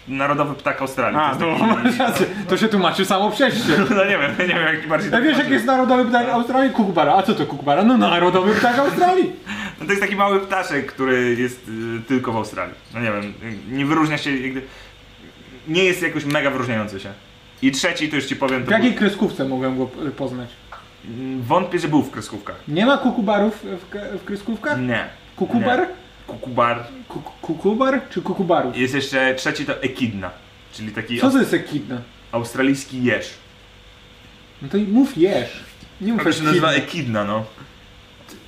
S2: narodowy ptak Australii.
S4: A,
S2: to
S4: no
S2: jest
S4: masz rację. To się tłumaczy samo przez się.
S2: taki, no nie wiem, nie wiem jak bardziej
S4: Ja wiesz, jak jest narodowy ptak Australii? Kukubara. A co to kukubara? No narodowy ptak Australii.
S2: No to jest taki mały ptaszek, który jest y, tylko w Australii. No nie wiem, y, nie wyróżnia się jakby... Nie jest jakoś mega wyróżniający się. I trzeci, to już ci powiem,
S4: W
S2: to
S4: jakiej kreskówce mogłem go y, poznać?
S2: był, mm, wątpię, że był w kreskówkach.
S4: Nie ma kukubarów w, k- w kreskówkach?
S2: Nie.
S4: Kukubar?
S2: Kukubar.
S4: Ku- Kukubar czy kukubarów?
S2: Jest jeszcze trzeci to ekidna, czyli taki
S4: Co to jest ekidna?
S2: australijski jeż.
S4: No to i mów jesz. Nie mów
S2: To się nazywa
S4: ekidna.
S2: ekidna, no.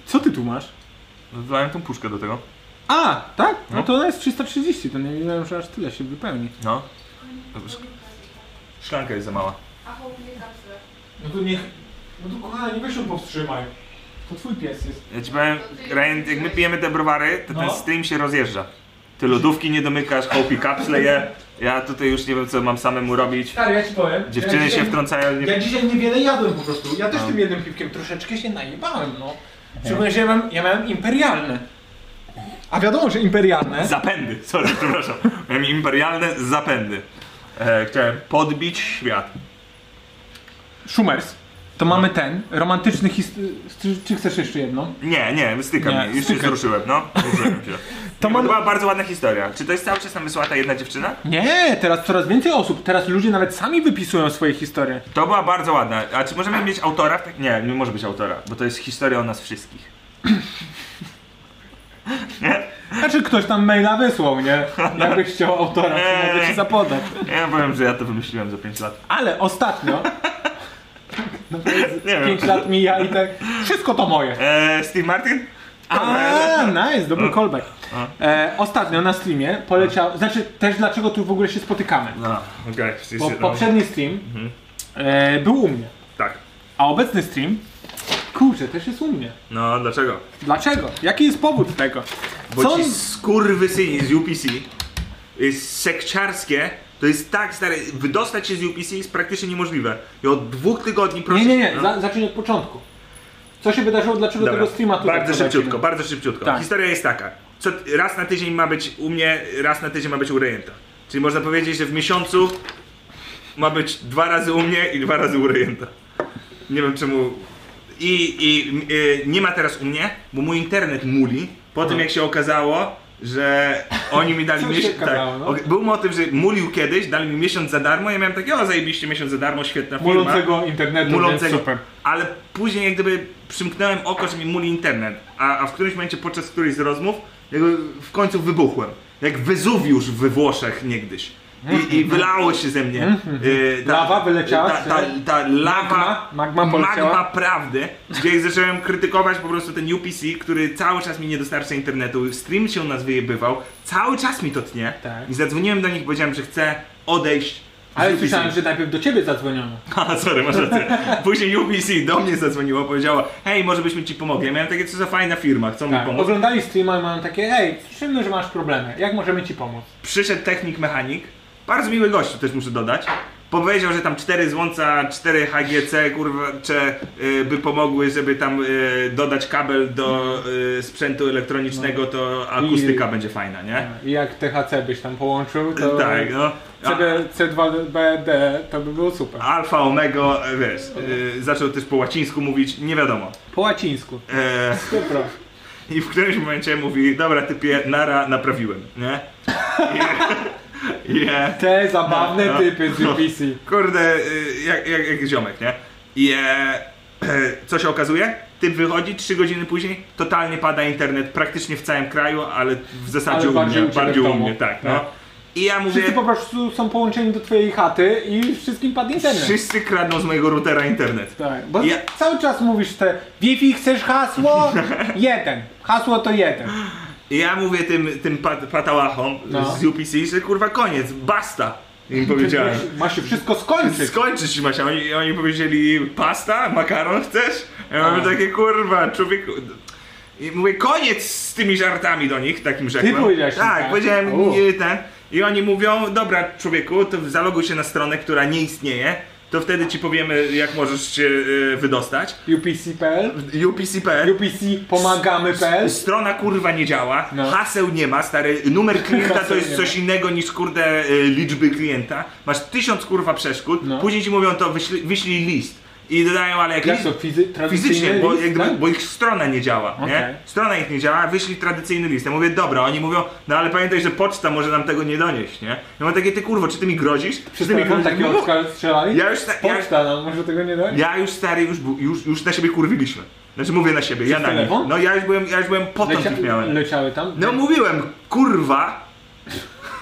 S4: Co ty tu masz?
S2: Dodałem tą puszkę do tego.
S4: A, tak? No
S2: No.
S4: to ona jest 330, to nie wiedziałem, że aż tyle się wypełni.
S2: No. Sz- Szklanka jest za mała.
S4: No to niech... No to kochana, nie weź powstrzymaj. To twój pies jest.
S2: Ja ci powiem, Ryan, jak my pijemy te browary, to
S4: No.
S2: ten stream się rozjeżdża. Ty lodówki nie domykasz, hołpi kapsle je. Ja tutaj już nie wiem, co mam samemu robić.
S4: Stary, ja ci powiem. ja
S2: Dziewczyny się
S4: dzisiaj-
S2: wtrącają.
S4: Ja
S2: Nie...
S4: dzisiaj niewiele jadłem po prostu. Ja też tym jednym piwkiem troszeczkę się najebałem, no. Szczególnie, że ja miałem, ja miałem imperialne. A wiadomo, że imperialne.
S2: Zapędy, sorry, przepraszam. Miałem imperialne zapędy. E, chciałem podbić świat.
S4: Schumers. To mamy ten, romantyczny historii. Czy chcesz jeszcze jedną?
S2: Nie, nie, stykam
S4: Nie,
S2: mnie. Już się
S4: stykam.
S2: zruszyłem, no. Zruszyłem się. To,
S4: mam-
S2: była bardzo ładna historia. Czy to jest cały czas tam wysyła ta jedna dziewczyna?
S4: Nie, teraz coraz więcej osób. Teraz ludzie nawet sami wypisują swoje historie.
S2: To była bardzo ładna. A czy możemy mieć autora? w tak- Nie, nie może być autora, bo to jest historia o nas wszystkich. Nie?
S4: Znaczy ktoś tam maila wysłał, nie? Jakbyś chciał autora, to
S2: Eee.
S4: mogę ci zapodać.
S2: Ja powiem, że ja to wymyśliłem za 5 lat.
S4: Ale ostatnio,
S2: Nie wiem.
S4: 5 lat mija i tak, wszystko to moje.
S2: Eee, Steve Martin?
S4: A, nice, dobry callback. E, ostatnio na streamie poleciał, znaczy też dlaczego tu w ogóle się spotykamy.
S2: No, okej. wszyscy-
S4: Bo
S2: no,
S4: poprzedni stream e, był u mnie,
S2: Tak.
S4: a obecny stream, kurczę, też jest u mnie.
S2: No, dlaczego?
S4: Dlaczego? Jaki jest powód tego?
S2: Bo
S4: Co
S2: ci
S4: on-
S2: skurwysyni z UPC jest sekciarskie, to jest tak stary, wydostać się z UPC jest praktycznie niemożliwe. I od dwóch tygodni proszę...
S4: Nie, nie, nie,
S2: No.
S4: za, zacznij od początku. Co się wydarzyło, dlaczego
S2: Dobra,
S4: tego streama tutaj
S2: Bardzo
S4: prowadzimy?
S2: szybciutko, bardzo szybciutko.
S4: Tak.
S2: Historia jest taka. Co, raz na tydzień ma być u mnie, raz na tydzień ma być u rejenta. Czyli można powiedzieć, że w miesiącu ma być dwa razy u mnie i dwa razy u rejenta. Nie wiem czemu. I, i y, nie ma teraz u mnie, bo mój internet muli. Po tym jak się okazało, że oni mi dali
S4: No. Co się
S2: miesiąc. Tak,
S4: okazało, no?
S2: ok- Był motyw, że mulił kiedyś, dali mi miesiąc za darmo. Ja miałem takie, o zajebiście miesiąc za darmo, świetna firma
S4: Mulącego internetu, Mulącego.
S2: mulącego.
S4: super.
S2: Ale później jak gdyby przymknąłem oko, że mi muli internet, a, a w którymś momencie podczas którejś z rozmów jakby w końcu wybuchłem. Jak Wezuwiusz we Włoszech niegdyś. I, i wylało się ze mnie. y,
S4: Mhm. Lawa wyleciała?
S2: Ta, ta, ta lawa,
S4: Magma? Magma poleciała?
S2: magma prawdy, gdzie jak zacząłem krytykować po prostu ten UPC, który cały czas mi nie dostarcza internetu, stream się u nas wyjebywał, cały czas mi to tnie.
S4: Tak.
S2: I zadzwoniłem do nich, powiedziałem, że chcę odejść. z
S4: Ale
S2: UPC.
S4: słyszałem, że najpierw do ciebie zadzwoniono.
S2: A, sorry, masz rację. Później UBC do mnie zadzwoniło, powiedziała, hej, może byśmy ci pomogli. Ja miałem takie, co za fajna firma, chcą mi
S4: Tak.
S2: pomóc.
S4: Oglądali streama i mają takie, ej, słyszymy, że masz problemy, jak możemy ci pomóc?
S2: Przyszedł technik, mechanik, bardzo miły gościu też muszę dodać. Powiedział, że tam 4 złąca, 4 HGC, kurwa, czy, y, by pomogły, żeby tam y, dodać kabel do y, sprzętu elektronicznego,
S4: No.
S2: to akustyka będzie fajna, nie?
S4: I jak THC byś tam połączył, to
S2: Tak, no. A-
S4: CD, C2BD to by było super.
S2: Alfa, omega, y, wiesz, y, zaczął też po łacińsku mówić, nie wiadomo.
S4: Po łacińsku,
S2: E,
S4: dobra.
S2: I w którymś momencie mówi, dobra typie, nara, naprawiłem, nie? I, i, e,
S4: Te zabawne
S2: No, no.
S4: typy z UPC.
S2: kurde, y, jak, jak, jak ziomek, nie? I e, e, co się okazuje? Typ wychodzi, trzy godziny później, totalnie pada internet praktycznie w całym kraju, ale w zasadzie
S4: Ale
S2: u mnie,
S4: bardziej u ciebie
S2: bardziej
S4: w
S2: u
S4: domu.
S2: mnie, tak, no.
S4: Tak.
S2: I ja mówię,
S4: Wszyscy po prostu są połączeni do twojej chaty i wszystkim padł internet.
S2: wszyscy kradną z mojego routera internet.
S4: Tak, bo
S2: Ja-
S4: cały czas mówisz te Wi-Fi chcesz hasło? jeden. Hasło to jeden.
S2: I ja mówię tym, tym pat, patałachom
S4: No.
S2: z UPC, że kurwa koniec, basta. I im powiedziałem.
S4: Ma się wszystko skończyć.
S2: Skończyć się Masia. Oni, oni powiedzieli pasta, makaron chcesz? Ja
S4: Tak.
S2: mam takie kurwa, człowieku. I mówię koniec z tymi żartami do nich, takim rzekłem.
S4: powiedziałeś im
S2: Tak,
S4: tak?
S2: powiedziałem
S4: U.
S2: nie, ten. I oni mówią, dobra człowieku, to zaloguj się na stronę, która nie istnieje. To wtedy ci powiemy, jak możesz się y, wydostać.
S4: UPC.pl
S2: UPC.pl
S4: UPC pomagamy.pl
S2: Strona kurwa nie działa,
S4: No.
S2: haseł nie ma, stary, numer klienta to
S4: Haseł
S2: jest
S4: nie
S2: coś innego niż kurde y, liczby klienta. Masz tysiąc kurwa przeszkód,
S4: No.
S2: później ci mówią to wyślij, wyślij list. I dodają, ale jak
S4: Jak
S2: list,
S4: to fizy,
S2: fizycznie,
S4: tradycyjny
S2: bo,
S4: list,
S2: jak gdyby,
S4: tak?
S2: bo ich strona nie działa, nie?
S4: Okej.
S2: Strona ich nie działa, wyślij tradycyjny list. Ja mówię, dobra, oni mówią, no ale pamiętaj, że poczta może nam tego nie donieść, nie? Ja mam takie, ty kurwo, czy ty mi grozisz? Czy
S4: Przez
S2: ty mi
S4: telefon takie
S2: Mówię,
S4: oczka strzelali?
S2: Ja już ta- ja-
S4: Poczta nam może tego nie dać?
S2: Ja już stary, już, bu- już, już na siebie kurwiliśmy. Znaczy mówię na siebie, ja na nich.
S4: telefon?
S2: No ja już byłem, ja już byłem potąd
S4: Lecia,
S2: ich miałem.
S4: leciały tam?
S2: No mówiłem, kurwa,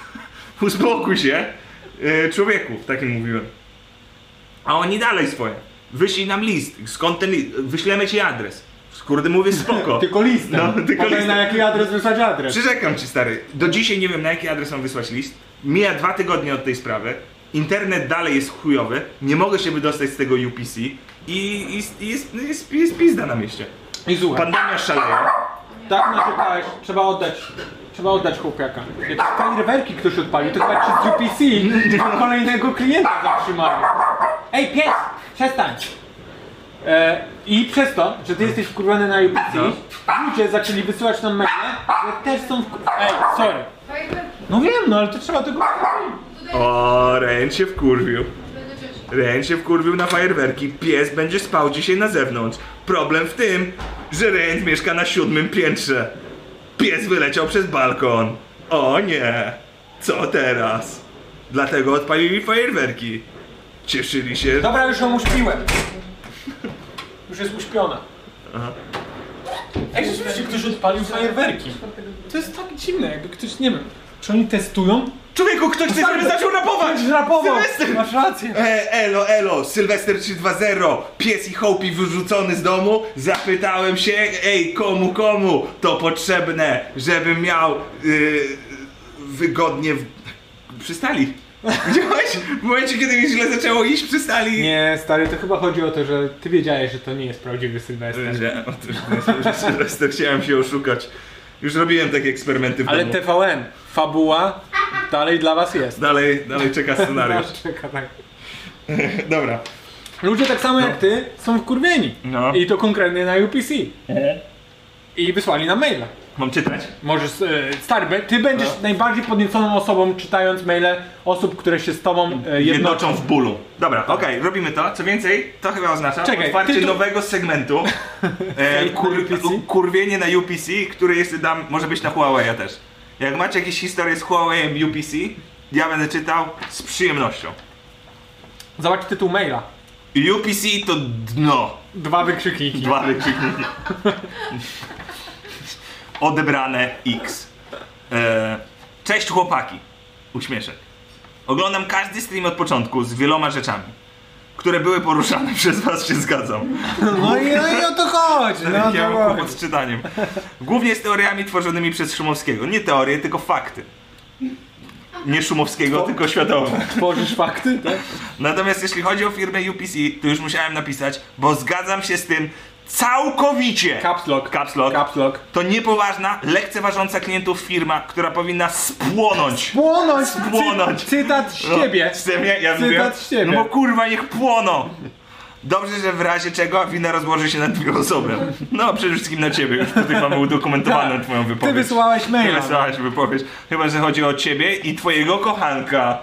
S2: uspokój się, y, człowieku, takim mówiłem. A oni dalej swoje. Wyślij nam list, skąd ten list, wyślemy ci adres. Kurde, mówię spoko.
S4: Tylko listem.
S2: No, tylko
S4: Potem
S2: listem.
S4: na jaki adres wysłać adres?
S2: Przyrzekam ci stary, do dzisiaj nie wiem na jaki adres mam wysłać list. Mija dwa tygodnie od tej sprawy. Internet dalej jest chujowy, nie mogę się wydostać z tego UPC i, i, i jest, jest, jest pizda na mieście.
S4: I złe.
S2: Pandemia szaleje.
S4: Tak narzekałeś, trzeba oddać. Trzeba oddać chłopiaka. Jakieś fajerwerki ktoś odpalił, to chyba przez UPC kolejnego klienta zatrzymali. Ej, pies! Przestań! E, I przez to, że ty jesteś wkurwiony na UPC, ludzie zaczęli wysyłać nam maile, że też są wkurwieni. Ej, sorry. No wiem, no ale to trzeba tego...
S2: O, Ren się wkurwił.
S7: Będę ciężko.
S2: Ren się wkurwił na fajerwerki. Pies będzie spał dzisiaj na zewnątrz. Problem w tym, że Ren mieszka na siódmym piętrze. Pies wyleciał przez balkon. O nie. Co teraz? Dlatego odpalili fajerwerki. Cieszyli się.
S4: Dobra, już ją uśpiłem. Już jest uśpiona. Ej, rzeczywiście ktoś odpalił fajerwerki. To jest tak dziwne, jakby ktoś, nie wiem, czy oni testują?
S2: Człowieku, ktoś chce żeby zaczął rapować!
S4: Rapował!
S2: Sylwester!
S4: Masz rację.
S2: E, elo, elo, Sylwester 320, pies i Hopi wyrzucony z domu. Zapytałem się, ej, komu, komu to potrzebne, żebym miał y, wygodnie. W... Przystali. Widziałeś? W momencie, kiedy mi źle zaczęło iść, przystali.
S4: Nie, stary, to chyba chodzi o to, że ty wiedziałeś, że to nie jest prawdziwy Sylwester.
S2: Że- o tym, że Sylwester chciałem się oszukać. Już robiłem takie eksperymenty w
S4: Ale
S2: domu.
S4: TVN, fabuła dalej dla was jest.
S2: Dalej, dalej czeka scenariusz.
S4: Czeka, tak.
S2: Dobra.
S4: Ludzie tak samo jak ty są wkurwieni.
S2: No.
S4: I to konkretnie na UPC. E? I wysłali nam maila.
S2: Mam czytać?
S4: Możesz, e, stary, be- ty będziesz najbardziej podnieconą osobą czytając maile osób, które się z tobą e, jednoczą.
S2: jednoczą w bólu. Dobra, okej, robimy to. Co więcej, to chyba oznacza
S4: Czekaj,
S2: otwarcie
S4: tytuł-
S2: nowego segmentu. E, kur,
S4: UPC?
S2: u- kurwienie na UPC, który jest, dam, może być na Huawei też. Jak macie jakieś historie z Huawei UPC, ja będę czytał z przyjemnością.
S4: Zobacz tytuł maila.
S2: UPC to dno.
S4: Dwa wykrzykniki.
S2: Dwa wykrzykniki. Odebrane X. E, Cześć chłopaki. Uśmieszek. Oglądam każdy stream od początku z wieloma rzeczami, które były poruszane przez was, się zgadzam.
S4: No i, no i o to chodzi. No,
S2: Ja
S4: to
S2: mam kłopot z czytaniem. Głównie z teoriami tworzonymi przez Szumowskiego. Nie teorie, tylko fakty. Nie Szumowskiego, tylko światowe.
S4: Tworzysz fakty, tak?
S2: Natomiast jeśli chodzi o firmę UPC, to już musiałem napisać, bo zgadzam się z tym całkowicie.
S4: Caps lock.
S2: Caps lock.
S4: Caps lock.
S2: To niepoważna, lekceważąca klientów firma, która powinna spłonąć.
S4: Płonąć!
S2: Spłonąć.
S4: Cy- cytat z
S2: No,
S4: siebie.
S2: Z ciebie, ja
S4: Cytat
S2: mówię,
S4: z ciebie.
S2: No bo kurwa, niech płoną. Dobrze, że w razie czego wina rozłoży się na dwie osoby. No, przede wszystkim na ciebie, już tutaj mamy udokumentowaną twoją
S4: Tak. Ty
S2: wypowiedź.
S4: wysłałeś
S2: Ty
S4: maila.
S2: wysłałaś wypowiedź. Chyba, że chodzi o ciebie i twojego kochanka.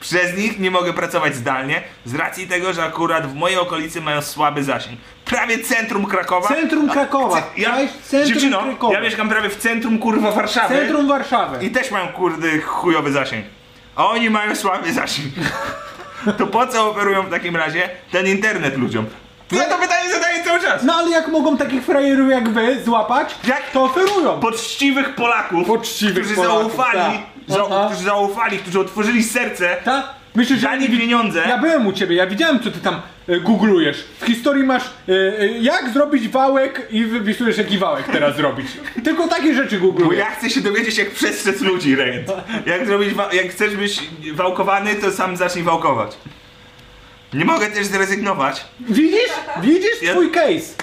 S2: Przez nich nie mogę pracować zdalnie, z racji tego, że akurat w mojej okolicy mają słaby zasięg. Prawie centrum Krakowa.
S4: Centrum Krakowa.
S2: Ja,
S4: Cześć, centrum
S2: dziewczyno,
S4: Krakowa.
S2: ja mieszkam prawie w centrum kurwa Warszawy
S4: Centrum Warszawy.
S2: i też mają kurde chujowy zasięg. A oni mają słaby zasięg. To po co oferują w takim razie ten internet ludziom? Ja to pytanie zadaję cały czas.
S4: No ale jak mogą takich frajerów jak wy złapać,
S2: Jak-
S4: to oferują.
S2: poczciwych Polaków,
S4: Poczciwych
S2: którzy
S4: Polaków,
S2: zaufali,
S4: tak.
S2: za,
S4: Aha.
S2: którzy zaufali, którzy otworzyli serce,
S4: Ta? Tak? Myślisz, że
S2: dali pieniądze.
S4: Ja byłem u ciebie, ja widziałem co ty tam e, googlujesz. W historii masz e, e, jak zrobić wałek i wypisujesz jaki wałek teraz zrobić. Tylko takie rzeczy
S2: Bo
S4: googlujesz.
S2: ja chcę się dowiedzieć, jak przestrzec ludzi, Rejent. Jak, zrobić wa- jak chcesz być wałkowany, to sam zacznij wałkować. Nie mogę też zrezygnować,
S4: Widzisz? Widzisz
S2: Ja-
S4: twój case.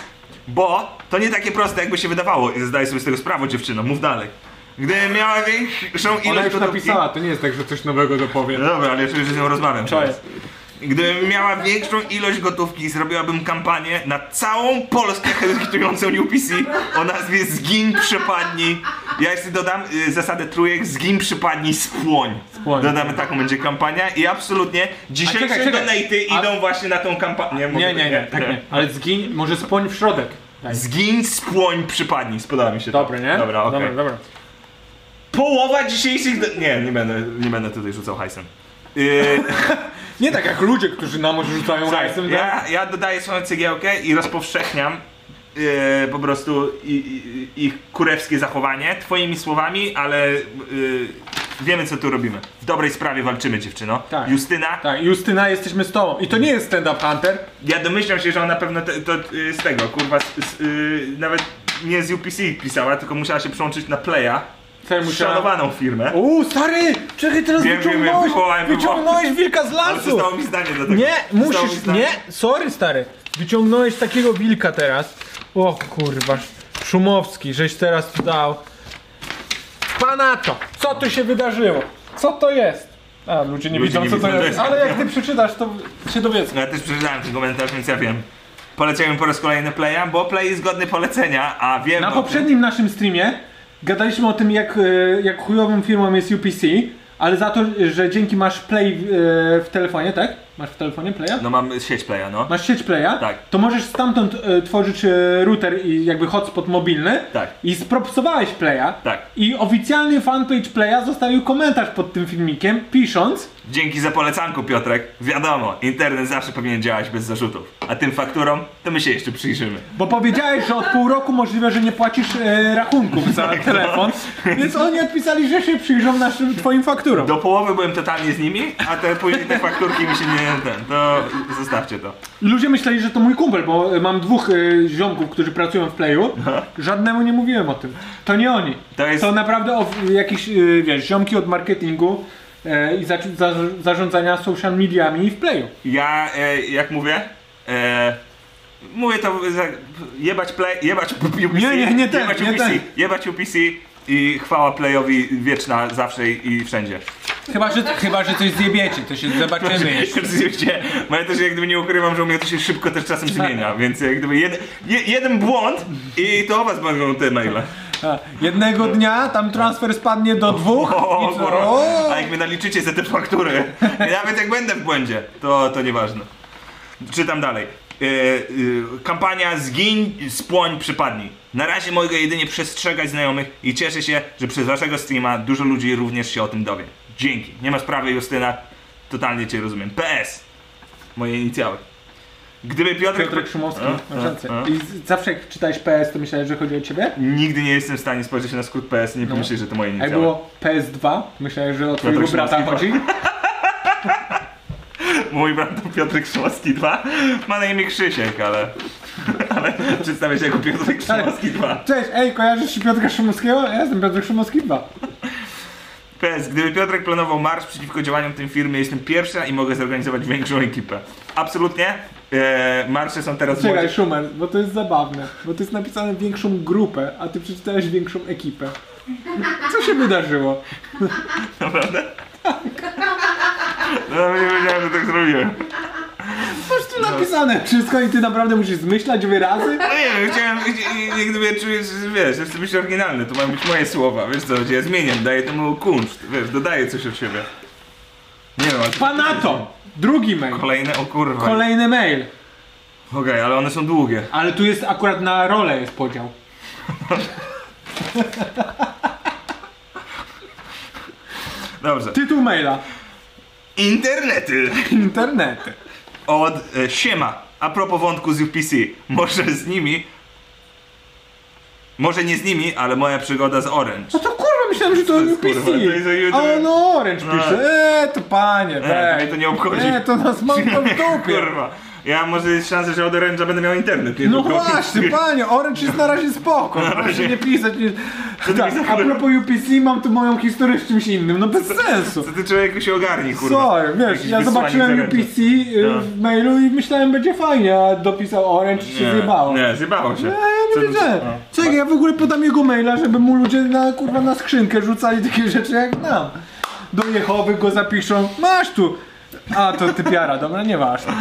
S2: bo to nie takie proste, jakby się wydawało. I zdaję sobie z tego sprawę, dziewczyno, mów dalej. Gdy miała większą ilość...
S4: Ona już
S2: produkcji-
S4: napisała, to nie jest tak, że coś nowego dopowiem.
S2: No Dobra, ale jeszcze już z nią rozmawiam.
S4: Cześć.
S2: Gdybym miała większą ilość gotówki, zrobiłabym kampanię na całą Polskę hejtującą UPC o nazwie Zgin Przypadnij. Ja jeszcze dodam y, zasadę trójek Zgin Przypadnij Spłoń.
S4: Spłoń.
S2: Dodamy taką będzie kampania i absolutnie dzisiejsze
S4: czekaj, czekaj.
S2: donaty
S4: A-
S2: idą właśnie na tą kampanię. Mogę-
S4: Nie, nie, nie, tak nie. Ale zgiń, może spłoń w środek. Daj.
S2: Zgin, spłoń, przypadnij. Spodoba mi się to.
S4: Dobre, nie?
S2: Dobra, okej.
S4: Dobra, dobra.
S2: Połowa dzisiejszych... Do... Nie, nie będę, nie będę tutaj rzucał hajsem. Yy...
S4: Nie tak jak ludzie, którzy nam rzucają
S2: Słuchaj,
S4: hajsem. tak?
S2: ja, ja dodaję swoją cegiełkę i rozpowszechniam yy, po prostu i, i, ich kurewskie zachowanie twoimi słowami, ale yy, wiemy co tu robimy. W dobrej sprawie walczymy dziewczyno.
S4: Tak.
S2: Justyna,
S4: Tak, Justyna, jesteśmy z tobą. I to nie jest stand-up hunter.
S2: ja domyślam się, że ona pewno te, to yy, z tego, kurwa, z, z, yy, nawet nie z UPC pisała, tylko musiała się przełączyć na Playa,
S4: Co ja musiałem...
S2: szanowaną firmę.
S4: Uuu, stary! Czekaj, teraz
S2: Wiem, wiem, wiem,
S4: wyciągnąłeś,
S2: wywołałem, wywołałem.
S4: wyciągnąłeś wilka z
S2: Ale
S4: lasu!
S2: Tak, zostało mi zdanie do tego.
S4: Nie,
S2: Zostało mi
S4: musisz,
S2: zdanie.
S4: nie, sorry stary. Wyciągnąłeś takiego wilka teraz. O kurwa, Szumowski, żeś teraz tu dał. Panaczo, co tu się wydarzyło? Co to jest? A, ludzie nie
S2: Ludzie nie
S4: widzą co
S2: widzą
S4: to jest,
S2: tego.
S4: ale jak ty przeczytasz to się dowiedzą.
S2: No ja też przeczytałem ten komentarz, więc ja wiem. Polecamy po raz kolejny Playa, bo Play jest godny polecenia, a wiem no,
S4: Na
S2: o tym.
S4: poprzednim naszym streamie gadaliśmy o tym, jak, e, jak chujowym firmą jest UPC, ale za to, że dzięki masz Play w, e, w telefonie, tak? Masz w telefonie Playa?
S2: No mam sieć Playa, no.
S4: Masz sieć Playa?
S2: Tak.
S4: To możesz stamtąd e, tworzyć e, router i jakby hotspot mobilny.
S2: Tak.
S4: I spropsowałeś Playa.
S2: Tak.
S4: I oficjalny fanpage Playa zostawił komentarz pod tym filmikiem, pisząc
S2: Dzięki za polecanku, Piotrek. Wiadomo, internet zawsze powinien działać bez zarzutów. A tym fakturom, to my się jeszcze przyjrzymy.
S4: Bo powiedziałeś, że od pół roku możliwe, że nie płacisz e, rachunków
S2: Tak,
S4: za
S2: no.
S4: telefon, więc oni odpisali, że się przyjrzą naszym twoim fakturom.
S2: Do połowy byłem totalnie z nimi, a te później te fakturki mi się nie... Ten, to zostawcie to.
S4: I ludzie myśleli, że to mój kumpel, bo e, mam dwóch e, ziomków, którzy pracują w Playu. Żadnemu nie mówiłem o tym. To nie oni.
S2: To jest-
S4: to naprawdę o, jakieś, e, wiesz, ziomki od marketingu e, i za, za, zarządzania social mediami w Playu.
S2: Ja, e, jak mówię, e, mówię to, za, jebać play, jebać UPC,
S4: Nie, nie, nie ten,
S2: jebać
S4: nie tak.
S2: UPC,
S4: ten.
S2: jebać UPC i chwała playowi wieczna zawsze i, i wszędzie.
S8: Chyba, że, chyba, że coś zjebiecie, to się zobaczymy jeszcze.
S2: Oczywiście, bo ja też jak gdyby nie ukrywam, że u mnie to się szybko też czasem zmienia, więc jak gdyby jed, je, jeden błąd i to o was będą te maile.
S4: A, Jednego dnia tam transfer spadnie do dwóch.
S2: O,
S4: i co?
S2: kurwa. A jak mnie naliczycie za te faktury, i nawet jak będę w błędzie, to, to nieważne. Czytam dalej. E, e, kampania Zgiń, Spłoń, Przypadnij. Na razie mogę jedynie przestrzegać znajomych i cieszę się, że przez waszego streama dużo ludzi również się o tym dowie. Dzięki. Nie ma sprawy Justyna, totalnie cię rozumiem. PS. Moje inicjały. Gdyby Piotr...
S4: Piotrek Szumowski,
S2: A,
S4: masz
S2: a,
S4: rację.
S2: a.
S4: I z- zawsze jak czytałeś PS, to myślałeś, że chodzi o ciebie?
S2: Nigdy nie jestem w stanie spojrzeć na skrót PS i nie pomyśleć, że to moje
S4: A jak
S2: inicjały.
S4: było PS2, myślałeś, że o twojego
S2: Piotrek
S4: brata
S2: Szumowski.
S4: chodzi?
S2: Mój brat to Piotrek Szumowski 2. Ma na imię Krzysiek, ale. Ale przedstawia się jako Piotrek Szumowski 2.
S4: Cześć, ej, kojarzysz się Piotra Szumowskiego? Ja jestem Piotr Szumowski 2.
S2: PS, gdyby Piotrek planował marsz przeciwko działaniom w tym firmie, jestem pierwsza i mogę zorganizować większą ekipę. Absolutnie. Eee, marsze są teraz w
S4: Czekaj,
S2: młodzież.
S4: Szumer, bo to jest zabawne. Bo to jest napisane większą grupę, a ty przeczytałeś większą ekipę. Co się wydarzyło?
S2: Naprawdę? No, nie wiedziałem, że tak zrobiłem.
S4: Masz tu napisane wszystko i ty naprawdę musisz zmyślać dwie razy?
S2: No nie wiem, chciałem, jak gdyby czujesz, że wiesz, że chcę być oryginalny, to mają być moje słowa, wiesz co, ja zmieniam, daję temu kunszt, wiesz, dodaję coś od siebie. Nie wiem, ale...
S4: Panato! Drugi mail.
S2: Kolejne, o kurwa.
S4: Kolejny mail.
S2: Okej, ale one są długie.
S4: Ale tu jest akurat na rolę jest podział.
S2: Dobrze.
S4: Tytuł maila.
S2: Internety!
S4: Internety.
S2: Od e, Siema. A propos wątku z UPC. Może z nimi... Może nie z nimi, ale moja przygoda z Orange.
S4: No to kurwa, myślałem, że to
S2: jest,
S4: UPC.
S2: kurwa, to jest o YouTube.
S4: A no Orange
S2: No.
S4: pisze. Eee, to panie,
S2: E, to
S4: weź.
S2: mnie to nie obchodzi.
S4: Eee, to nas mam w dupie.
S2: Kurwa. Ja może jest szansa, że od Orange'a będę miał internet.
S4: No właśnie, panie, Orange jest na razie spoko. Proszę
S2: razie.
S4: nie pisać. Nie... Tak,
S2: pisać,
S4: a
S2: kurwa?
S4: propos UPC, mam tu moją historię z czymś innym. No bez sensu.
S2: Co ty człowieku się ogarni, kurwa.
S4: Sorry, wiesz,
S2: Jakiś
S4: ja
S2: wysłanie
S4: zobaczyłem
S2: internetu.
S4: UPC y,
S2: No.
S4: w mailu i myślałem, będzie fajnie, a dopisał Orange i się zjebało.
S2: Nie, nie, zjebało się.
S4: A ja
S2: Co-
S4: nie wiedziałem.
S2: co- no.
S4: Czekaj, ja w ogóle podam jego maila, żeby mu ludzie na kurwa na skrzynkę rzucali takie rzeczy jak nam. Do Jehowy go zapiszą. Masz tu! A to typiara, dobra, nieważne.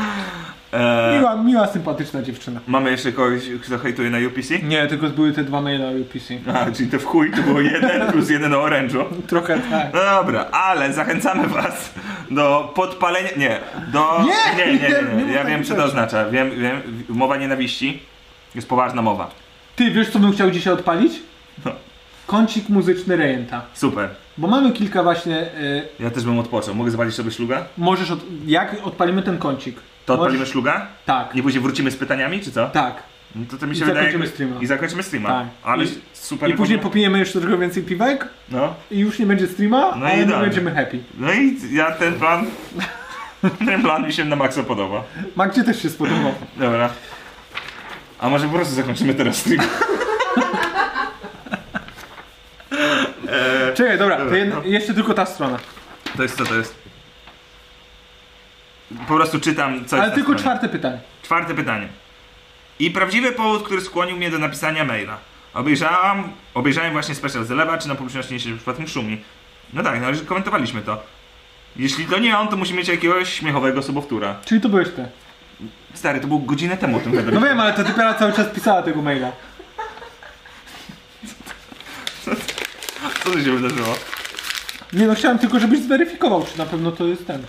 S2: E,
S4: Miła, miła, sympatyczna dziewczyna.
S2: mamy jeszcze kogoś, kto hejtuje na UPC?
S4: Nie, tylko były te dwa maila UPC.
S2: A, czyli to w chuj to było jeden plus jeden o Orange'u.
S4: Trochę tak.
S2: No dobra, ale zachęcamy was do podpalenia. Nie, do.
S4: Nie,
S2: nie, nie.
S4: nie,
S2: nie,
S4: nie mów
S2: Ja
S4: tak
S2: wiem co to
S4: rzeczy.
S2: oznacza. Wiem, wiem, w- mowa nienawiści jest poważna mowa.
S4: Ty, wiesz co bym chciał dzisiaj odpalić?
S2: No.
S4: Kącik muzyczny Rejenta.
S2: Super.
S4: Bo mamy kilka właśnie... Y,
S2: Ja też bym odpoczął. Mogę zapalić sobie szluga?
S4: możesz od, Jak odpalimy ten kącik?
S2: To
S4: Możesz-
S2: odpalimy szluga?
S4: Tak,
S2: I później wrócimy z pytaniami, czy co?
S4: tak.
S2: No to, to mi
S4: I
S2: się wydaje.
S4: zakończymy
S2: jakby-
S4: streama.
S2: I zakończymy streama.
S4: Tak.
S2: Ale
S4: I-
S2: super.
S4: I później
S2: pomysł.
S4: popijemy jeszcze trochę więcej piwek
S2: No.
S4: i już nie będzie streama,
S2: No
S4: ale my
S2: idealnie.
S4: będziemy happy.
S2: no i ja ten plan. ten plan mi się na maksa podoba.
S4: Magdzie też się spodobał.
S2: Dobra. A może po prostu zakończymy teraz stream?
S4: Czekaj, dobra,
S2: Dobra,
S4: to jedna,
S2: no.
S4: jeszcze tylko ta strona.
S2: To jest co to jest? po prostu czytam, co
S4: Ale
S2: jest na
S4: tylko
S2: stronie.
S4: czwarte pytanie.
S2: Czwarte pytanie. I prawdziwy powód, który skłonił mnie do napisania maila. Obejrzałam, obejrzałem właśnie special Zeleba, czy na publiczności nie się przypadkiem szumi. No tak, no ale komentowaliśmy to. Jeśli to nie on, to musi mieć jakiegoś śmiechowego sobowtóra.
S4: Czyli to byłeś ty.
S2: Stary, to było godzinę temu o tym gadaliśmy.
S4: No wiem, ale to typiara cały czas pisała tego maila.
S2: Co tu się wydarzyło?
S4: Nie no, chciałem tylko, żebyś zweryfikował, czy na pewno to jest ten.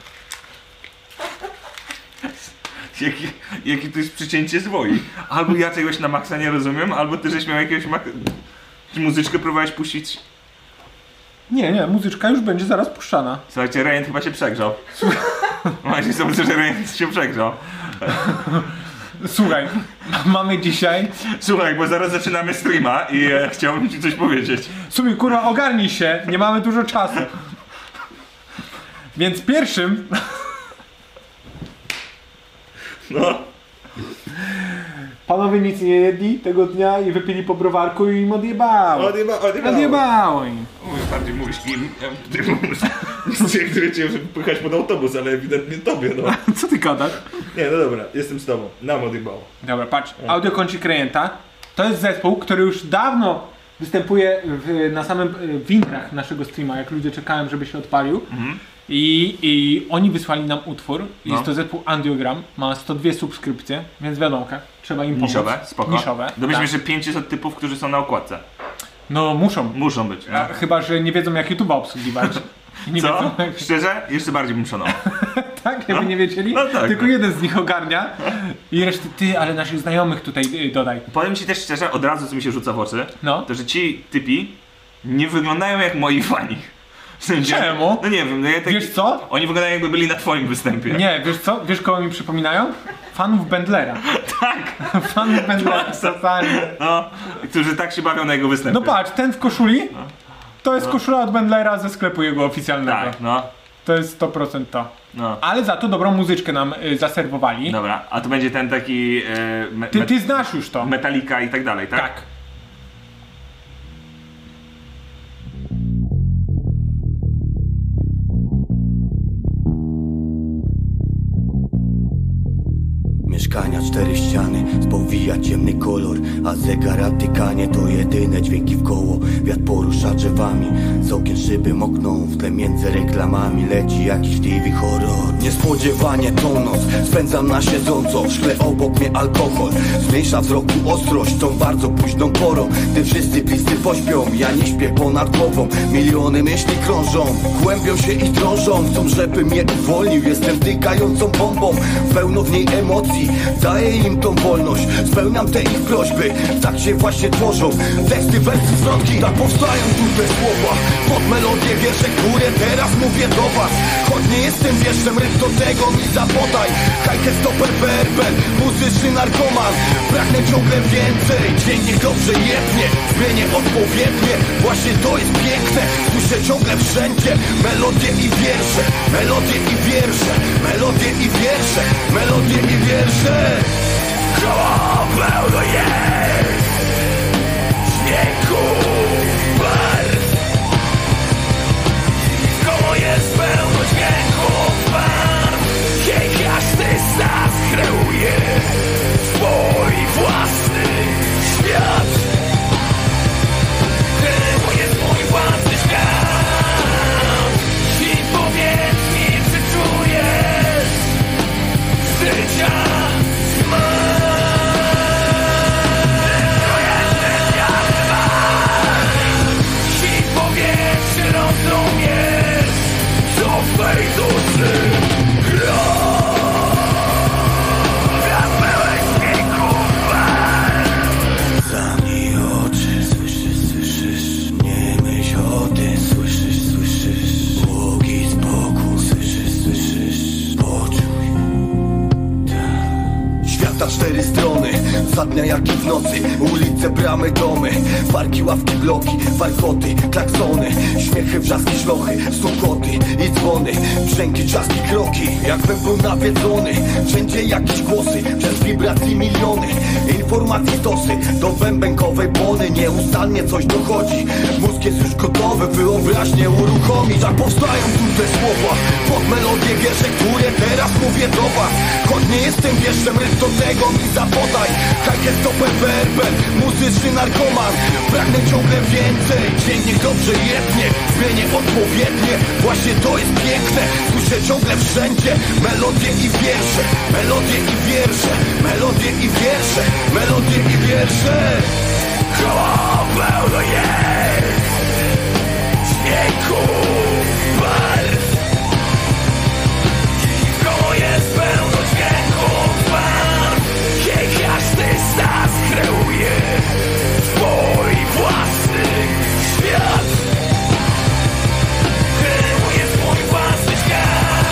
S2: Jaki, jaki tu jest przycięcie zwoi? Albo ja czegoś na maksa nie rozumiem, albo ty żeś miał jakiegoś mak... Czy muzyczkę próbowałeś puścić?
S4: Nie, nie, muzyczka już będzie zaraz puszczana.
S2: Słuchajcie, Rejent chyba się przegrzał. Właśnie sądzę, że Rejent się przegrzał.
S4: Słuchaj, mamy dzisiaj...
S2: Słuchaj, bo zaraz zaczynamy streama i e, chciałbym ci coś powiedzieć.
S4: Sumi, kurwa, ogarnij się, nie mamy dużo czasu. Więc pierwszym
S2: No.
S4: Panowie nic nie jedli tego dnia i wypili po browarku i im odjebało.
S2: Odjeba, odjeba.
S4: Odjebało im.
S2: Mówisz bardziej mówisz kim? Ja bym tutaj mówisz. Cię, który cię wypychać pod autobus, ale ewidentnie tobie, no.
S4: Co ty gadasz?
S2: Nie, no dobra, jestem z tobą. Nam odjebało.
S4: Dobra, patrz. Audio kącik Rejenta to jest zespół, który już dawno występuje w, na samym e, w intrach naszego streama, jak ludzie czekają, żeby się odpalił.
S2: Mhm.
S4: I, I oni wysłali nam utwór.
S2: No.
S4: Jest to zespół Andiogram. Ma 102 subskrypcje, więc wiadomo, trzeba im pomóc.
S2: Niszowe, spoko.
S4: Niszowe,
S2: Dowiedzieliśmy,
S4: tak.
S2: że pięć jest od typów, którzy są na okładce.
S4: No muszą.
S2: Muszą być.
S4: A, chyba, że nie wiedzą jak YouTube'a obsługiwać. I Nie
S2: Co?
S4: wiedzą jak
S2: Szczerze? Jeszcze bardziej bym szanował.
S4: Tak, jakby nie wiedzieli.
S2: No tak.
S4: Tylko jeden z nich ogarnia. I reszty ty, ale naszych znajomych tutaj y, dodaj.
S2: Powiem ci też szczerze, od razu co mi się rzuca w oczy,
S4: No.
S2: to że ci typi nie wyglądają jak moi fani. W sensie-
S4: Czemu?
S2: No nie wiem, no ja tak...
S4: Wiesz co?
S2: Oni wyglądają jakby byli na twoim występie.
S4: Nie, wiesz co? Wiesz kogo mi przypominają? Fanów Bendlera. Tak. Fanów Bendlera. Czasami.
S2: No, którzy tak się bawią na jego występie.
S4: No patrz, ten w koszuli. To jest koszula od Bendlera ze sklepu jego oficjalnego.
S2: Tak, no,
S4: To jest 100% to.
S2: no.
S4: Ale za to dobrą muzyczkę nam y, zaserwowali.
S2: Dobra, a to będzie ten taki... E, me,
S4: Ty,
S2: me-
S4: ty znasz już to.
S2: Metallica i tak dalej, tak?
S4: Tak.
S7: Mieszkania cztery ściany, spowija ciemny kolor A zegar a tykanie to jedyne dźwięki w koło Wiatr porusza drzewami, z okien szyby mokną W tle między reklamami leci jakiś TV horror Niespodziewanie to noc, spędzam na siedząco W szkle obok mnie alkohol, zmniejsza wzroku ostrość Tą bardzo późną porą, gdy wszyscy bliscy pośpią Ja nie śpię ponad głową, miliony myśli krążą Głębią się i drążą, chcą żeby mnie uwolnił Jestem tykającą bombą, pełno w niej emocji Daję im tą wolność, spełniam te ich prośby Tak się właśnie tworzą teksty, wersy, zwrotki Tak powstają trudne słowa Pod melodię wiersze, które teraz mówię do was Choć nie jestem wieszczem, ryb do tego mi zapotaj Hajkę stoper BRB, muzyczny narkoman Pragnę ciągle więcej, dźwięk niech dobrze jednie Zmienię odpowiednie, właśnie to jest piękne Słyszę ciągle wszędzie melodie i wiersze Melodie i wiersze, melodie i wiersze Melodie i wiersze Koło pełno jest Dźwięku bar Koło jest pełno dźwięków bar Jej każdy z nas kreuje Swój własny świat Kreuje swój własny świat I powiedz mi, czy czujesz Życia I powiedz, czy rozumiesz Co w tej duszy Zamknij oczy, słyszysz, słyszysz Nie myśl o tym, słyszysz, słyszysz Błogi spokój, słyszysz, słyszysz Poczuj Świata cztery strony, za dnia jak i w nocy Ulice ulice, bramy, domy Warki, ławki, bloki, warkoty, klaksony Śmiechy, wrzaski, szlochy, sukoty i dzwony Brzęki, czaski, kroki, jakbym był nawiedzony Wszędzie jakieś głosy, przez wibracji miliony Informacji tosy, do bębenkowej błony Nieustannie coś dochodzi, mózg jest już gotowy Wyobraźnie uruchomić, tak powstają tu te słowa Pod melodię wiersze, które teraz mówię do was Choć nie jestem wieszczem, rytm do tego mi zapodaj Hajk jest to PPRP, muzyczny narkoman Pragnę ciągle więcej, dzień niech dobrze jednie Zmienię odpowiednie, właśnie to jest piękne Słyszę ciągle wszędzie melodie i wiersze Melodie i wiersze, melodie i wiersze Melodie i wiersze Koło pełno jest dźwięków barw Koło jest pełno dźwięków barw Jej każdy z nas kreuje swój własny świat Kreuje swój własny świat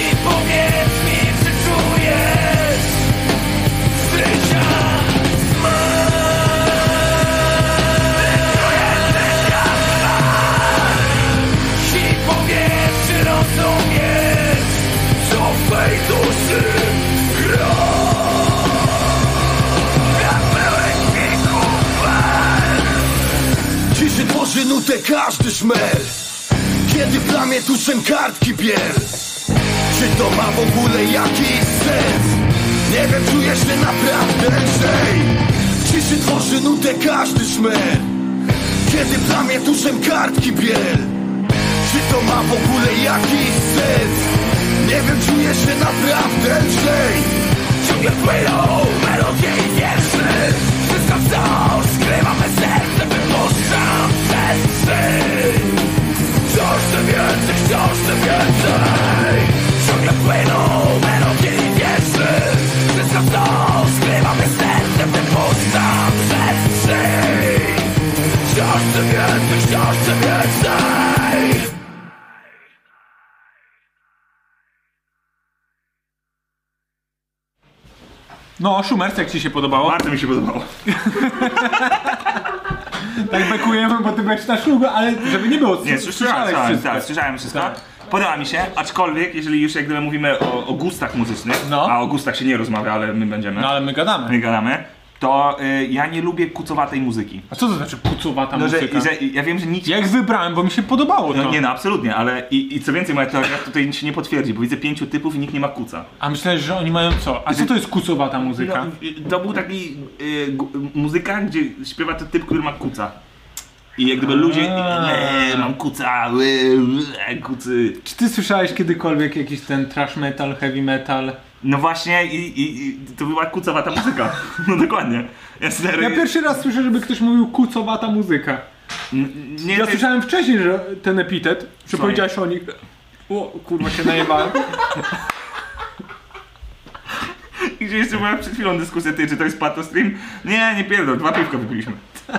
S7: I powiedz mi, czy czujesz Życia I powiedz, czy rozumiesz Co w tej duszy gra Ja pełen dźwięków fal. Ciszy tworzy nutę każdy szmer Kiedy plamie tuszem kartki biel Czy to ma w ogóle jakiś sens? Nie wiem, czujesz się naprawdę lżej Ciszy tworzy nutę każdy szmer Kiedy plamie tuszem kartki biel czy to ma w ogóle jakiś sens? Nie wiem, czuję się naprawdę lżej Ciągle płyną melodie i wiersze Wszystko wciąż skrywamy serce Wypuszczam przestrzeń Wciąż chcę więcej, wciąż chcę więcej Ciągle płyną melodie i wiersze Wszystko wciąż skrywamy serce Wypuszczam przestrzeń Wciąż chcę więcej, wciąż chcę więcej
S4: No, Szumers, jak ci się podobało?
S2: Bardzo mi się podobało.
S4: Tak bekujemy, bo ty będziesz na szlugu, ale żeby nie było...
S2: Nie, słyszałem, słyszałem,
S4: wszystko.
S2: tak, słyszałem wszystko. Podoba mi się, aczkolwiek jeżeli już jak gdyby mówimy o, o gustach muzycznych,
S4: No.
S2: a o gustach się nie rozmawia, ale my będziemy,
S4: No ale my gadamy.
S2: my gadamy, to y, ja nie lubię kucowatej muzyki.
S4: A co to znaczy pucowata
S2: No, że,
S4: muzyka?
S2: że, ja wiem, że nic...
S4: Ja ich wybrałem, bo mi się podobało to.
S2: No, nie no, absolutnie, ale i, i co więcej, moja teoria tutaj się nie potwierdzi, bo widzę pięciu typów i nikt nie ma kuca.
S4: A myślałeś, że oni mają co? A co to jest kucowata
S2: No,
S4: muzyka?
S2: y, to był taki y, gu- muzyka, gdzie śpiewa to typ, który ma kuca. I jak gdyby ludzie, e, mam kuca, e, e, kucy.
S4: Czy ty słyszałeś kiedykolwiek jakiś ten trash metal, heavy metal?
S2: No właśnie i, i, i to była kucowata muzyka. No dokładnie. Ja, stary,
S4: Ja pierwszy raz słyszę, żeby ktoś mówił kucowata muzyka.
S2: n- nie,
S4: Ja
S2: ty-
S4: słyszałem wcześniej, że ten epitet, że
S2: Co?
S4: powiedziałeś o nich... O, kurwa się najebałem.
S2: Gdzie jeszcze była przed chwilą dyskusja, ty, czy to jest patostream? Nie, nie pierdol, dwa piwka wypiliśmy.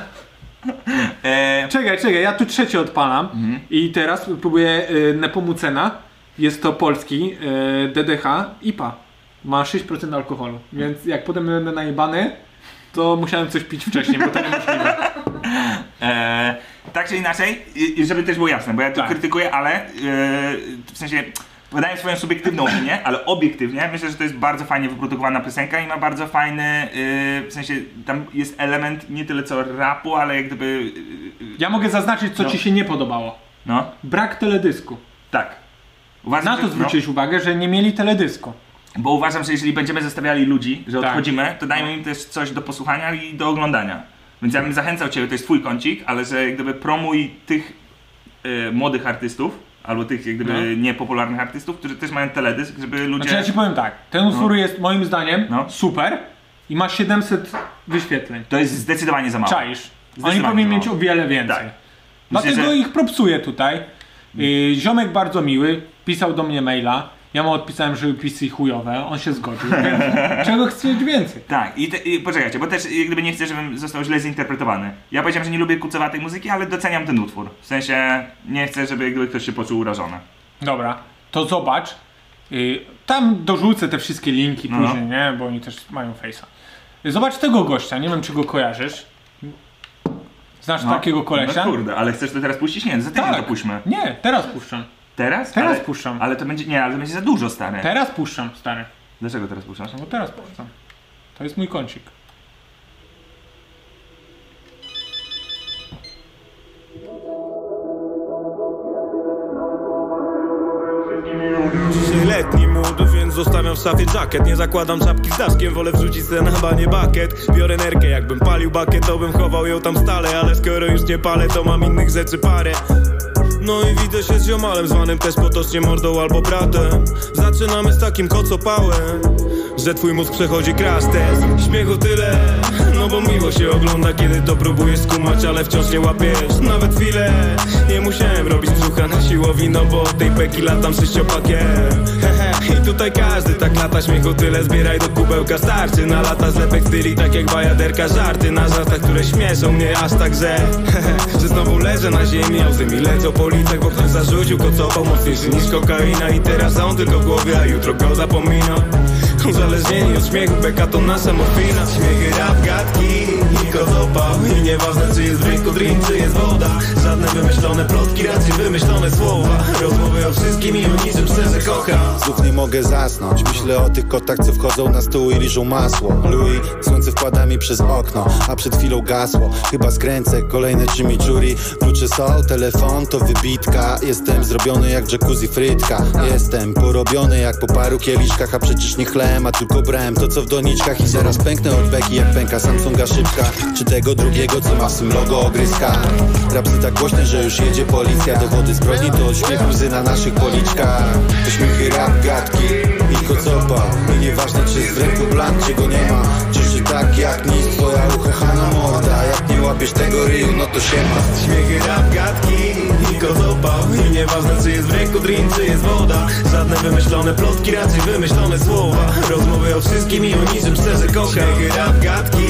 S2: E,
S4: Czekaj, czekaj, ja tu trzecie odpalam
S2: Mhm.
S4: i teraz próbuję y, Nepomucena. Jest to polski y, DDH IPA. Ma 6% alkoholu, więc jak potem będę najebany, to musiałem coś pić wcześniej, bo to nie możliwe.
S2: E, tak czy inaczej, i- i żeby też było jasne, bo ja to
S4: Tak.
S2: krytykuję, ale e, w sensie podaję swoją subiektywną opinię, ale obiektywnie myślę, że to jest bardzo fajnie wyprodukowana piosenka i ma bardzo fajny, e, w sensie tam jest element nie tyle co rapu, ale jak gdyby, e, e,
S4: Ja mogę zaznaczyć, co
S2: No.
S4: ci się nie podobało.
S2: no,
S4: Brak teledysku.
S2: tak. Uważam,
S4: Na to
S2: że- no.
S4: zwróciłeś uwagę, że nie mieli teledysku.
S2: Bo uważam, że jeżeli będziemy zestawiali ludzi, że
S4: Tak.
S2: odchodzimy, to dajmy im też coś do posłuchania i do oglądania. Więc ja bym zachęcał Ciebie, to jest Twój kącik, ale że jak gdyby promuj tych e, młodych artystów, albo tych jak gdyby niepopularnych artystów, którzy też mają teledysk, żeby ludzie...
S4: No. Znaczy ja ci powiem tak, ten utwór jest moim zdaniem
S2: No.
S4: super i ma 700 wyświetleń.
S2: To jest zdecydowanie za mało.
S4: Czaisz. Oni
S2: No. Zdecydowanie
S4: powinni mieć
S2: mało.
S4: o wiele więcej.
S2: Tak. Myślę,
S4: Dlatego
S2: że- Mm.
S4: ich propsuję tutaj. Yy, ziomek bardzo miły, pisał do mnie maila. Ja mu odpisałem, że pisy chujowe, on się zgodził. więc Czego chcesz więcej?
S2: Tak, i, te, i poczekajcie, bo też jak gdyby nie chcę, żebym został źle zinterpretowany. Ja powiedziałem, że nie lubię kucowatej muzyki, ale doceniam ten utwór. W sensie nie chcę, żeby jak gdyby ktoś się poczuł urażony.
S4: Dobra, to zobacz. Yy, tam dorzucę te wszystkie linki
S2: No.
S4: później, nie? Bo oni też mają Y, face'a.
S5: Zobacz tego gościa, nie wiem czy go kojarzysz. Znasz takiego kolesia?
S2: No kurde, ale chcesz to teraz puścić? Nie, no za tydzień
S5: Tak.
S2: to puśćmy.
S5: Nie, teraz puszczam.
S2: Teraz?
S5: Teraz
S2: ale,
S5: puszczam.
S2: Ale to będzie, nie, ale to będzie za dużo, stary.
S5: Teraz puszczam, stary.
S2: Dlaczego teraz puszczasz?
S5: No bo teraz puszczam. To jest mój kącik.
S9: Dzisiaj letni mód, więc zostawiam w szafie jacket Nie zakładam czapki z daszkiem, wolę wrzucić se na banie bakiet Biorę nerkę, jakbym palił bakiet, to bym chował ją tam stale Ale skoro już nie palę, to mam innych rzeczy parę no i widzę się z ziomalem, zwanym też potocznie mordą albo bratem Zaczynamy z takim kocopałem, że twój mózg przechodzi crash test Śmiechu tyle, no bo miło się ogląda, kiedy to próbujesz skumać Ale wciąż nie łapiesz, nawet chwilę Nie musiałem robić brzucha na siłowni, no bo od tej peki latam sześciopakiem Hehe, i tutaj każdy tak lata, śmiechu tyle Zbieraj do kubełka, starczy na lata Zlepek styli, tak jak bajaderka, żarty na żartach Które śmieszą mnie aż tak, że hehe, Że znowu leżę na ziemi, a łzy mi lecą po licach Bo ktoś zarzucił kocową mocniejszy niż kokaina I teraz on tylko w głowie, a jutro go zapomina Uzależnieni od śmiechu, beka to nasza morfina Śmiechy, rap, gadki i kozopał I nieważne czy jest w rynku drink, czy jest woda Żadne wymyślone plotki, raczej wymyślone słowa Rozmowy o wszystkim i o niczym szczerze kocham
S10: Znów nie mogę zasnąć Myślę o tych kotach, co wchodzą na stół i liżą masło Louis, słońce wpada mi przez okno A przed chwilą gasło Chyba skręcę kolejne Jimmy Jury Klucze są, telefon to wybitka Jestem zrobiony jak w jacuzzi frytka Jestem porobiony jak po paru kieliszkach A przecież nie chlem, a tylko brałem To co w doniczkach i zaraz pęknę od beki Jak pęka Samsunga szybka Czy tego drugiego, co ma w swym logo ogryska Rapsy tak głośne, że już jedzie policja Dowody zbrodni to od śmiechu łzy na naszych policzkach To śmiechy rap, gadki i kocopa I nieważne czy jest w ręku blank, czy go nie ma Cieszy tak jak nic, twoja uchechana morda Jak nie łapiesz tego ryju, no to się ma
S9: Śmiechy, rap, gadki i kozopał I nieważne czy jest w ręku drink, czy jest woda Żadne wymyślone plotki, raczej wymyślone słowa Rozmowy o wszystkim i o niczym szczerze kocham Śmiechy, rap, gadki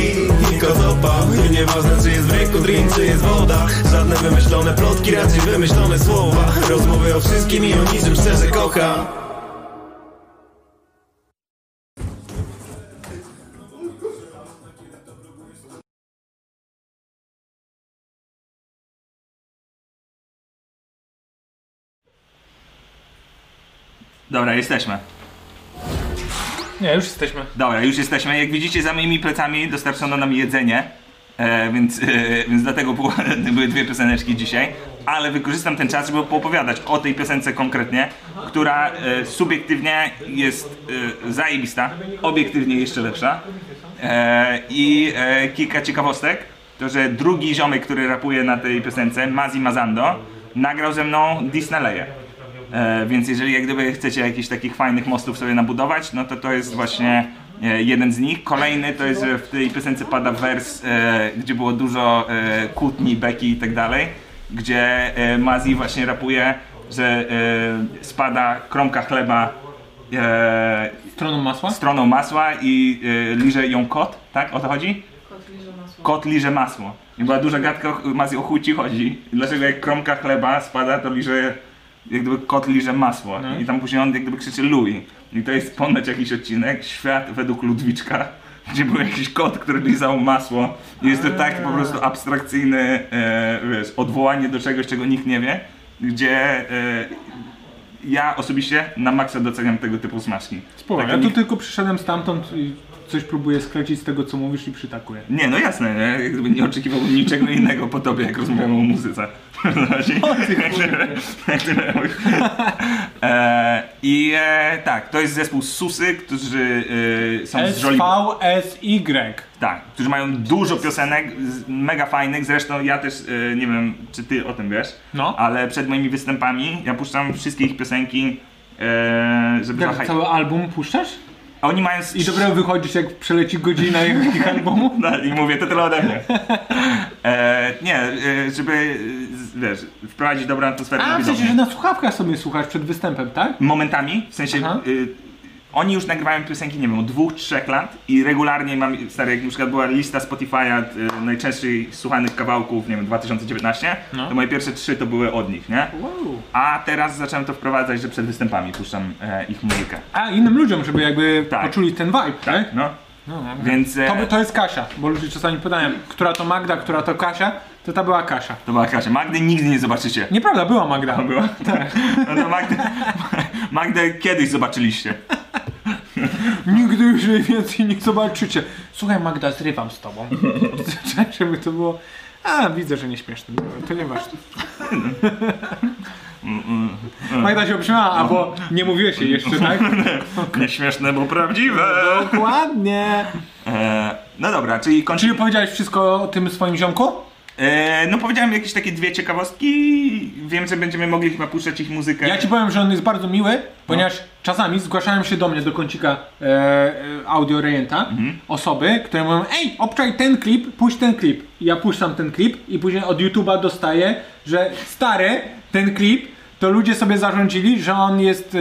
S9: i kozopał I nieważne czy jest w ręku drink, czy jest woda Żadne wymyślone plotki, raczej wymyślone słowa Rozmowy o wszystkim i o niczym szczerze kocham
S2: Dobra, jesteśmy.
S5: Nie, już jesteśmy.
S2: Dobra, już jesteśmy. Jak widzicie, za moimi plecami dostarczono nam jedzenie, e, więc, e, więc dlatego było, były dwie pioseneczki dzisiaj. Ale wykorzystam ten czas, żeby poopowiadać o tej piosence konkretnie, która e, subiektywnie jest e, zajebista, obiektywnie jeszcze lepsza. E, I e, kilka ciekawostek. To, że drugi ziomek, który rapuje na tej piosence, Mazi Mazando, nagrał ze mną Disneyleję. E, więc jeżeli jak gdyby chcecie jakichś takich fajnych mostów sobie nabudować, no to to jest właśnie e, jeden z nich. Kolejny to jest, że w tej piosence pada wers, e, gdzie było dużo e, kłótni, beki i tak dalej, gdzie e, Mazi właśnie rapuje, że e, spada kromka chleba e,
S5: Stroną masła?
S2: stroną masła i e, liże ją kot, tak? O to chodzi? Kot liże masło. I była duża gadka, o- Mazi o chuj ci chodzi. Dlaczego jak kromka chleba spada, to liże, jak gdyby kot liże masło. I tam później on jak gdyby krzyczy Louis. I to jest ponoć jakiś odcinek, świat według Ludwiczka, gdzie był jakiś kot, który lizał masło. I jest to tak po prostu abstrakcyjne, e, wiesz, odwołanie do czegoś, czego nikt nie wie, gdzie e, ja osobiście na maksa doceniam tego typu smaczki.
S5: Spoko,
S2: Takie
S5: ja tu
S2: nikt-
S5: tylko przyszedłem stamtąd i coś próbuję sklecić z tego co mówisz i przytakuję.
S2: Nie, no jasne, nie? Jakby nie oczekiwałbym niczego innego po tobie, jak rozmawiamy o muzyce. E, I e, tak, to jest zespół Susy, którzy e, są z Żoliborza.
S5: SVSY.
S2: Tak, którzy mają dużo piosenek, z- mega fajnych, zresztą ja też, e, nie wiem, czy ty o tym wiesz,
S5: No.
S2: ale przed moimi występami ja puszczam wszystkie ich piosenki, e, żeby
S5: Jak
S2: zahaj-
S5: cały album puszczasz?
S2: A Oni mają... z
S5: I dopiero wychodzisz jak przeleci godzina ich ich albumu?
S2: No, I mówię, to tyle ode mnie. E, nie, e, żeby, e, z- wiesz, wprowadzić dobrą atmosferę na
S5: A, w
S2: widownię.
S5: sensie, że na słuchawkach sobie słuchasz przed występem, tak?
S2: Momentami, w sensie,
S5: Aha.
S2: y, oni już nagrywają piosenki, nie wiem, od dwóch, trzech lat i regularnie mam, stary, jak na przykład była lista Spotify'a y, najczęściej słuchanych kawałków, nie wiem, 2019, to moje pierwsze trzy to były od nich, nie?
S5: Wow.
S2: A teraz zacząłem to wprowadzać, że przed występami puszczam e, ich muzykę.
S5: A innym ludziom, żeby jakby
S2: Tak.
S5: poczuli ten vibe, tak?
S2: No. Więc e,
S4: To, by- to jest Kasia, bo ludzie czasami pytają, która to Magda, która to Kasia, to ta była Kasia.
S2: to była Kasia. Magdy nigdy nie zobaczycie.
S4: Nieprawda, była Magda.
S2: Była? No to Magdę, Magdę kiedyś zobaczyliście.
S4: Nigdy już jej więcej nie zobaczycie. Słuchaj Magda, zrywam z tobą. Chciałem, żeby to było... A, widzę, że nie śmieszne. Dobra, To nieważne. Magda się obśmiała, albo nie mówiłeś jej jeszcze, tak?
S2: Nieśmieszne, bo prawdziwe.
S4: Dokładnie.
S2: E, no dobra, czyli
S4: Czyli
S2: kończymy.
S4: powiedziałeś wszystko o tym swoim ziomku?
S2: E, no powiedziałem jakieś takie dwie ciekawostki. Wiem, że będziemy mogli chyba puszczać ich muzykę.
S4: Ja ci powiem, że on jest bardzo miły, ponieważ czasami zgłaszają się do mnie, do kącika e, e, audio rejenta, osoby, które mówią, ej, obczaj ten klip, puść ten klip. I ja puszczam ten klip i później od YouTube'a dostaję, że stary, ten klip, to ludzie sobie zarządzili, że on jest e,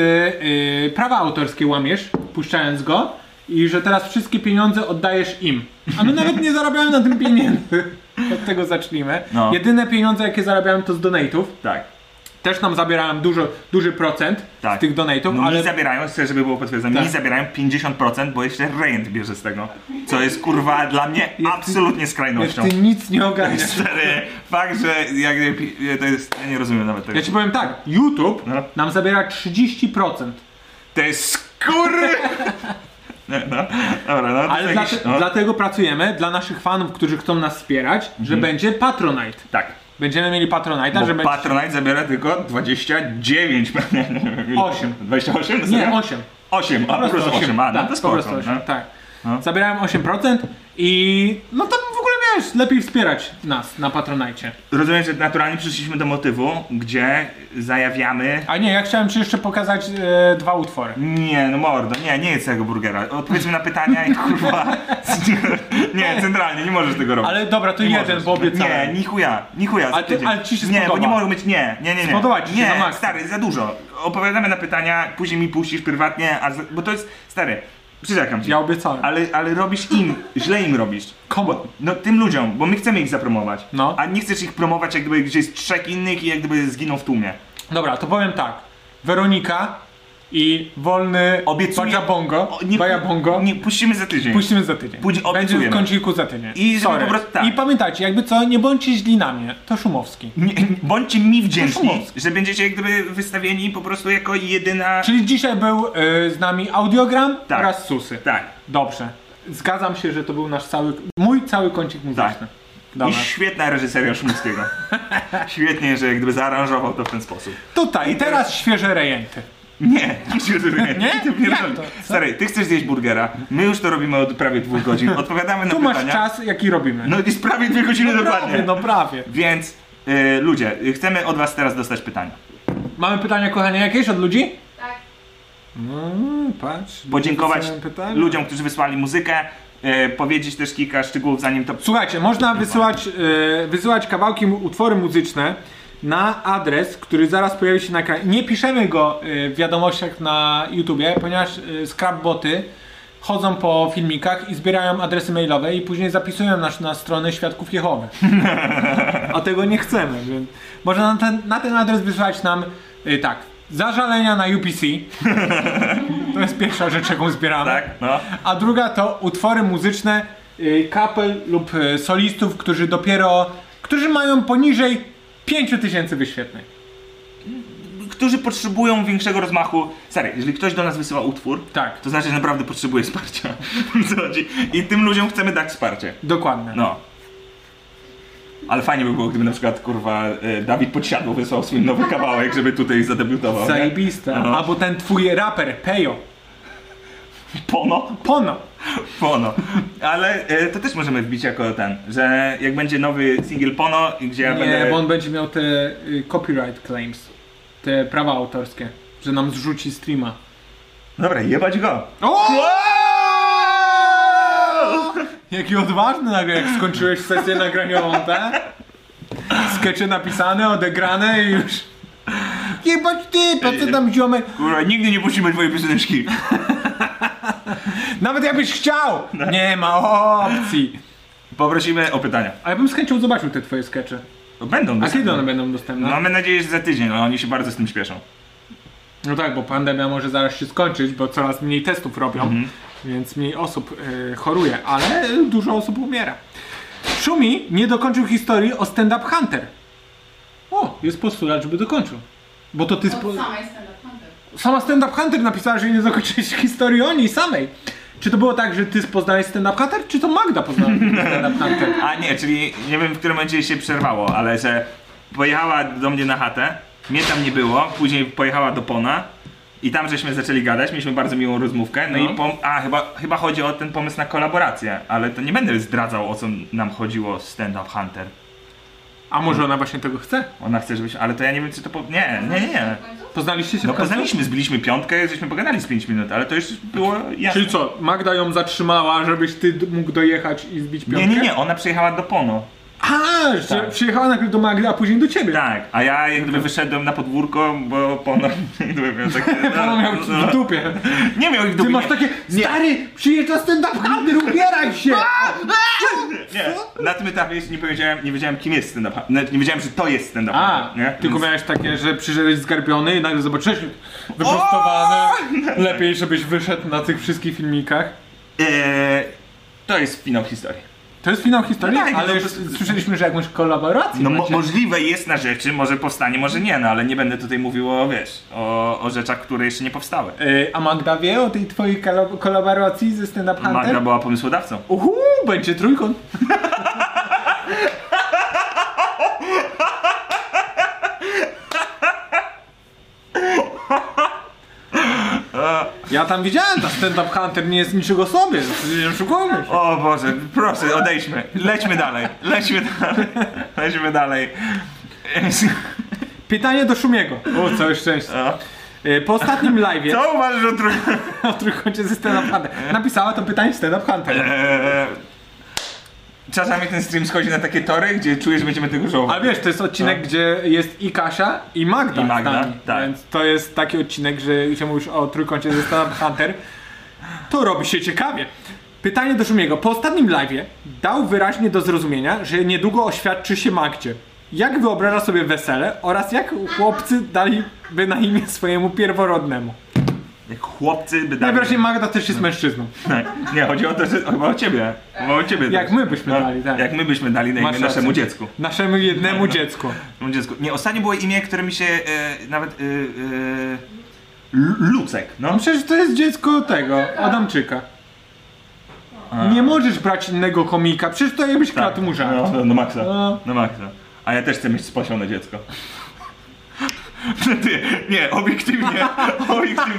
S4: e, prawa autorskie łamiesz, puszczając go i że teraz wszystkie pieniądze oddajesz im. A my nawet nie zarabiamy na tym pieniędzy. Od tego zacznijmy.
S2: No.
S4: Jedyne pieniądze, jakie zarabiałem, to z donate'ów.
S2: Tak.
S4: Też nam zabierałem dużo, duży procent
S2: Tak.
S4: z tych donate'ów,
S2: No, Mi
S4: ale
S2: zabierają, chcę, żeby było potwierdzone, mi
S4: Tak.
S2: zabierają 50%, bo jeszcze rent bierze z tego. Co jest kurwa dla mnie absolutnie
S4: wiesz,
S2: skrajnością.
S4: ty nic nie ogarniasz.
S2: Stary, fakt, że jak, to jest, ja nie rozumiem nawet tego.
S4: Ja ci powiem tak, YouTube
S2: No.
S4: nam zabiera 30%,
S2: To jest skóry! No, no, dobra, no to
S4: ale
S2: jakiś,
S4: dlate-
S2: no,
S4: dlatego pracujemy dla naszych fanów, którzy chcą nas wspierać, że będzie Patronite.
S2: Tak.
S4: Będziemy mieli Patronite'a, że
S2: Mhm. Bo
S4: będzie...
S2: Patronite zabiera tylko 29, pewnie. nie wiem, ile.
S4: Osiem.
S2: 28? to
S4: Nie,
S2: serio?
S4: 8.
S2: 8, a
S4: Po
S2: plus
S4: prostu
S2: 8,
S4: 8.
S2: a no
S4: tak,
S2: to
S4: po
S2: spoko.
S4: prostu 8,
S2: no.
S4: tak.
S2: No.
S4: Zabierałem 8% i no to w ogóle wiesz, lepiej wspierać nas na Patronite.
S2: Rozumiem, że naturalnie przyszliśmy do motywu, gdzie zajawiamy
S4: A nie, ja chciałem ci jeszcze pokazać e, dwa utwory.
S2: Nie, no mordo, nie, nie jedz tego burgera. Odpowiedzmy na pytania i kurwa. nie, centralnie, nie możesz tego robić.
S4: Ale dobra, to
S2: nie
S4: jeden,
S2: możesz. no
S4: bo obiecałem.
S2: Nie, ni chuja, ni chuja. za
S4: Ale ty-
S2: tydzień.
S4: ale ci się
S2: Nie, bo
S4: spodoba.
S2: nie mogę mieć, nie, nie, nie, nie.
S4: Spodoba ci się
S2: nie,
S4: na maksa.
S2: stary, za dużo. Opowiadamy na pytania, później mi puścisz prywatnie, a za, bo to jest, stary, przyrzekam ci.
S4: Ja obiecałem.
S2: Ale, ale robisz im, źle im robisz.
S4: Komu?
S2: No tym ludziom, bo my chcemy ich zapromować.
S4: No.
S2: A nie chcesz ich promować, jak gdyby gdzieś trzech innych i jak gdyby zginą w tłumie.
S4: Dobra, to powiem tak. Weronika i wolny
S2: Obiecuję-
S4: Baja Bongo.
S2: O,
S4: Baja Bongo.
S2: Nie, puścimy za tydzień.
S4: Puścimy za tydzień.
S2: Pójdź-
S4: Będzie
S2: obiecujemy.
S4: w kąciku za tydzień.
S2: I żeby
S4: Sorry.
S2: po prostu tak.
S4: I pamiętajcie, jakby co, nie bądźcie źli na mnie. To Szumowski.
S2: Nie, bądźcie mi wdzięczni,
S4: Proszę
S2: że będziecie jak gdyby wystawieni po prostu jako jedyna...
S4: Czyli dzisiaj był y, z nami audiogram
S2: Tak.
S4: oraz susy.
S2: Tak.
S4: Dobrze. Zgadzam się, że to był nasz cały, mój cały kącik muzyczny.
S2: Tak. I
S4: Dobra.
S2: świetna reżyseria Szumskiego. Świetnie, że jak gdyby zaaranżował to w ten sposób.
S4: Tutaj, i teraz świeże rejenty.
S2: Nie, nie,
S4: Nie?
S2: Ty pierdol-
S4: Jak to? Co?
S2: Stary, ty chcesz zjeść burgera, my już to robimy od prawie dwóch godzin, odpowiadamy na
S4: Tu
S2: pytania.
S4: masz czas, jaki robimy.
S2: No jest prawie dwie godziny dokładnie.
S4: prawie, no prawie.
S2: Więc y, ludzie, y, chcemy od was teraz dostać pytania.
S4: Mamy pytania, kochanie, jakieś od ludzi?
S5: Tak.
S4: Mm, patrz.
S2: Podziękować
S4: wysyłałem pytania.
S2: ludziom, którzy wysłali muzykę, y, powiedzieć też kilka szczegółów zanim to...
S4: Słuchajcie, można wysyłać, e, wysyłać kawałki, mu- utwory muzyczne na adres, który zaraz pojawi się na ekranie. Nie piszemy go e, w wiadomościach na YouTubie, ponieważ e, scrapboty chodzą po filmikach i zbierają adresy mailowe i później zapisują nas na stronę Świadków Jehowy. A tego nie chcemy, więc można na ten, na ten adres wysłać nam e, tak, zażalenia na UPC. to jest pierwsza rzecz, jaką zbieramy.
S2: Tak? No.
S4: A druga to utwory muzyczne y, kapel lub y, solistów, którzy dopiero, którzy mają poniżej 5000 wyświetleń.
S2: którzy potrzebują większego rozmachu. Stary, jeżeli ktoś do nas wysyła utwór,
S4: Tak.
S2: to znaczy, że naprawdę potrzebuje wsparcia. Co chodzi? I tym ludziom chcemy dać wsparcie.
S4: Dokładnie.
S2: No. Ale fajnie by było, gdyby na przykład kurwa e, Dawid Podsiadło wysłał swój nowy kawałek, żeby tutaj zadebiutował. nie?
S4: Zajebiste.
S2: No.
S4: Albo ten twój raper, Pejo.
S2: Pono?
S4: Pono.
S2: Pono. Ale e, to też możemy wbić jako ten, że jak będzie nowy singiel Pono, gdzie ja
S4: Nie,
S2: będę...
S4: bo on będzie miał te y, copyright claims. Te prawa autorskie. Że nam zrzuci streama.
S2: Dobra, jebać go.
S4: O!
S2: Wow!
S4: Jaki odważny nagle, jak skończyłeś sesję nagraniową, tak? Skecze napisane, odegrane i już. Jebać ty, po co tam ziomek?
S2: Kurwa, nigdy nie puścimy twojej pioseneczki.
S4: Nawet jakbyś chciał! Nie ma opcji!
S2: Poprosimy o pytania.
S4: A ja bym z chęcią zobaczył te twoje skecze.
S2: Będą
S4: A kiedy
S2: dostępne.
S4: one będą dostępne?
S2: No,
S4: No,
S2: Mamy nadzieję, że za tydzień, ale oni się bardzo z tym śpieszą.
S4: No tak, bo pandemia może zaraz się skończyć, bo coraz mniej testów robią. więc mniej osób y, choruje, ale dużo osób umiera. Szumi nie dokończył historii o Stand Up Hunter. O, jest postulat, żeby dokończył. Bo to ty... Spo...
S11: Od samej stand-up hunter.
S4: Sama Stand Up Hunter napisała, że nie zakończyłeś historii o niej samej. Czy to było tak, że ty poznałeś Stand Up Hunter, czy to Magda poznała Stand Up Hunter?
S2: A nie, czyli nie wiem w którym momencie się przerwało, ale że pojechała do mnie na chatę, mnie tam nie było, później pojechała do Pona i tam żeśmy zaczęli gadać, mieliśmy bardzo miłą rozmówkę, no, i pom- a chyba, chyba chodzi o ten pomysł na kolaborację, ale to nie będę zdradzał o co nam chodziło z Stand Up Hunter.
S4: A może ona właśnie tego chce?
S2: Ona chce, żebyś, ale to ja nie wiem czy to po... nie, nie, nie, nie.
S4: Poznaliście się
S2: No
S4: w końcu?
S2: poznaliśmy, zbiliśmy piątkę, żeśmy pogadali z 5 minut, ale to już było jasne.
S4: Czyli co, Magda ją zatrzymała, żebyś ty d- mógł dojechać i zbić
S2: Nie,
S4: piątkę?
S2: nie, nie, ona przyjechała do Pono.
S4: A, że
S2: Tak.
S4: przyjechała najpierw do Magdy, a później do ciebie.
S2: Tak, a ja jak gdyby wyszedłem na podwórko, bo Pono jak gdyby miał takie...
S4: Ona miała w dupie.
S2: Nie miał ich No, w
S4: Ty
S2: dupie,
S4: masz
S2: nie.
S4: takie, stary, przyjeżdża stand-up hunter, ubieraj się!
S2: Nie, na tym etapie jeszcze nie powiedziałem, nie wiedziałem kim jest stand-up, hu- nawet nie wiedziałem, że to jest stand-up.
S4: A,
S2: hu- nie?
S4: tylko miałeś takie, że przyszedłeś zgarbiony i nagle zobaczyłeś wyprostowany. Lepiej, żebyś wyszedł na tych wszystkich filmikach.
S2: Eee, to jest finał historii.
S4: To jest finał historii,
S2: No tak,
S4: ale
S2: no
S4: już
S2: to jest-
S4: słyszeliśmy, że jakąś kolaborację
S2: No mo-
S4: macie.
S2: możliwe jest na rzeczy, może powstanie, może nie, no ale nie będę tutaj mówił o, wiesz, o, o rzeczach, które jeszcze nie powstały.
S4: Y, A Magda wie o tej twojej kolo- kolaboracji ze stand-up hunter?
S2: Magda była pomysłodawcą.
S4: Uhu, będzie trójkąt. Ja tam widziałem, ta stand-up hunter nie jest niczego sobie, nie oszukujmy się.
S2: O Boże, proszę, odejdźmy. Lećmy dalej, lećmy dalej, lećmy dalej.
S4: Pytanie do Szumiego. O, całe szczęście.
S2: No.
S4: Y, Po ostatnim live'ie
S2: Co uważasz o trój...
S4: o trójkącie ze stand-up hunter napisała to pytanie stand-up hunter.
S2: Eee, Czasami ten stream schodzi na takie tory, gdzie czujesz, że będziemy tego żałować.
S4: Ale wiesz, to jest odcinek, gdzie jest i Kasia, i Magda.
S2: No. I Magda,
S4: z nami.
S2: tak.
S4: Więc to jest taki odcinek, że gdzie mówisz o trójkącie ze Stand Hunter. To robi się ciekawie. Pytanie do Szumiego. Po ostatnim live'ie dał wyraźnie do zrozumienia, że niedługo oświadczy się Magdzie. Jak wyobraża sobie wesele oraz jak chłopcy daliby na imię swojemu pierworodnemu?
S2: Tak. Jak chłopcy by dali.
S4: Najwyraźniej Magda też
S2: No.
S4: jest mężczyzną.
S2: Tak. Nie, chodzi o to, że chyba o ciebie. Chyba o ciebie.
S4: Jak
S2: tak.
S4: my byśmy dali, tak.
S2: Jak my byśmy dali na imię
S4: Masz
S2: naszemu
S4: rację.
S2: dziecku.
S4: Naszemu
S2: Tak, no.
S4: jednemu dziecku.
S2: Naszemu dziecku. Nie, ostatnio było imię, które mi się e, nawet... E, e, Lu- Lucek, no.
S4: No przecież to jest dziecko tego, Adamczyka. Nie możesz brać innego komika, przecież to jakbyś kratł mu żart.
S2: No, no, no maksa.
S4: No.
S2: No maksa. A ja też chcę mieć spasione dziecko. No Ty, nie, obiektywnie, obiektywnie.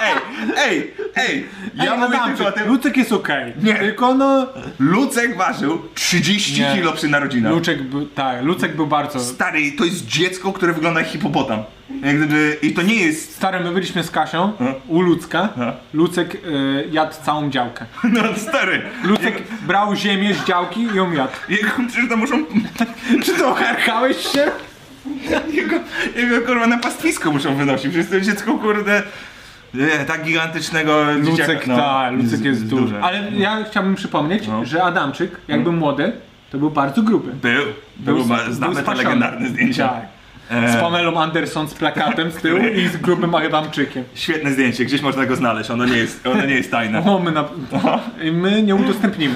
S2: Ej, ej, ej. Ja
S4: Ej,
S2: mówię
S4: Adamczyk,
S2: tylko o tym.
S4: Lucek jest okej.
S2: Nie.
S4: Tylko no...
S2: Tak. Lucek ważył 30
S4: Nie.
S2: kilo przy narodzinach.
S4: Luczek był, tak, Lucek był bardzo...
S2: Stary, to jest dziecko, które wygląda jak hipopotam. Jak gdyby, i to nie jest...
S4: Stary, my byliśmy z Kasią
S2: No.
S4: u Lucka.
S2: No.
S4: Lucek y, jadł całą działkę.
S2: No stary,
S4: Lucek brał ziemię z działki i ją jadł.
S2: jego, przecież to muszą...
S4: Czy to okarkałeś się?
S2: Jego, jego kurwa na pastwisko muszą wynosić, przecież to dziecko kurde... Nie, tak gigantycznego
S4: Lucek,
S2: dzieciaka, no.
S4: tak, Lucek jest
S2: z-
S4: duży.
S2: duże.
S4: Ale ja chciałbym przypomnieć,
S2: No.
S4: że Adamczyk, jakby młody, to był bardzo gruby.
S2: Był, był, był
S4: był
S2: znamy te
S4: spasiony.
S2: legendarne zdjęcia.
S4: Tak.
S2: E,
S4: Z Pamelą Anderson z plakatem z tyłu i z grubym Adamczykiem.
S2: Świetne zdjęcie, gdzieś można go znaleźć, ono nie jest, ono nie jest tajne.
S4: O, my, na... I my nie udostępnimy.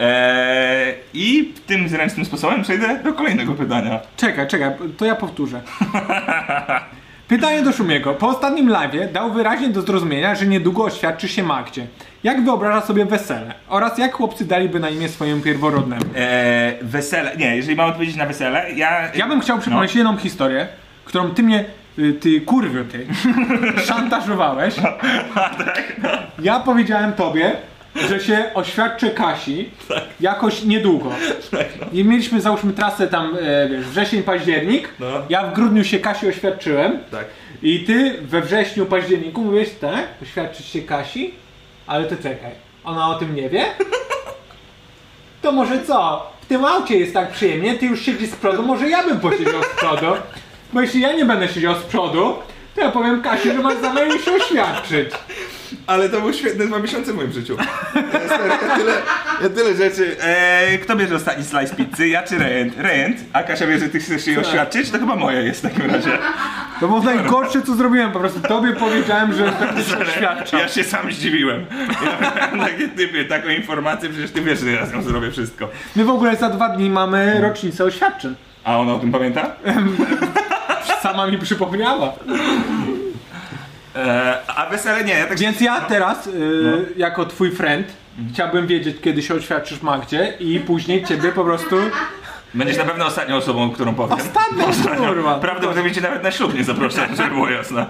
S2: E, I tym zręcznym sposobem przejdę do kolejnego pytania.
S4: Czekaj, czekaj, to ja powtórzę. Pytanie do Szumiego. Po ostatnim live dał wyraźnie do zrozumienia, że niedługo oświadczy się Magdzie. Jak wyobraża sobie wesele? Oraz jak chłopcy daliby na imię swojemu pierworodnemu?
S2: E, wesele, nie, jeżeli mam odpowiedzieć na wesele, ja...
S4: Ja bym chciał przypomnieć
S2: No.
S4: jedną historię, którą ty mnie, y, ty kurwio ty, szantażowałeś.
S2: Tak.
S4: Ja powiedziałem tobie, że się oświadczę Kasi
S2: Tak.
S4: jakoś niedługo.
S2: no.
S4: I mieliśmy, załóżmy, trasę tam, e, wiesz, wrzesień, październik.
S2: No.
S4: Ja w grudniu się Kasi oświadczyłem.
S2: Tak.
S4: I ty we wrześniu, październiku mówisz, tak, oświadczysz się Kasi, ale to czekaj, ona o tym nie wie? To może co? W tym aucie jest tak przyjemnie, ty już siedzisz z przodu, może ja bym posiedział z przodu. Bo jeśli ja nie będę siedział z przodu, to ja powiem Kasi, że masz zamiar jej się oświadczyć.
S2: Ale to były świetne dwa miesiące w moim życiu. Ja, stary, ja, tyle, ja tyle rzeczy. Eee, kto bierze ostatni slice pizzy? Ja czy Rejent? Rejent, a Kasia wie, że ty chcesz jej oświadczyć? To chyba moja jest w takim razie.
S4: To było najgorsze, co zrobiłem. Po prostu tobie powiedziałem, że tak praktycznie świadczam.
S2: Ja się sam zdziwiłem. Ja takie typy, taką informację, przecież ty wiesz, że ja z nią zrobię wszystko.
S4: My w ogóle za dwa dni mamy rocznicę oświadczeń.
S2: A ona o tym pamięta?
S4: Sama mi przypomniała.
S2: E, a wesele nie, ja tak
S4: Więc ja teraz, y, jako twój friend, chciałbym wiedzieć, kiedy się oświadczysz Magdzie i później ciebie po prostu...
S2: Będziesz na pewno ostatnią osobą, którą powiem.
S4: Ostatnią, kurwa.
S2: Prawdopodobnie cię nawet na ślub nie zaproszę, żeby było jasno.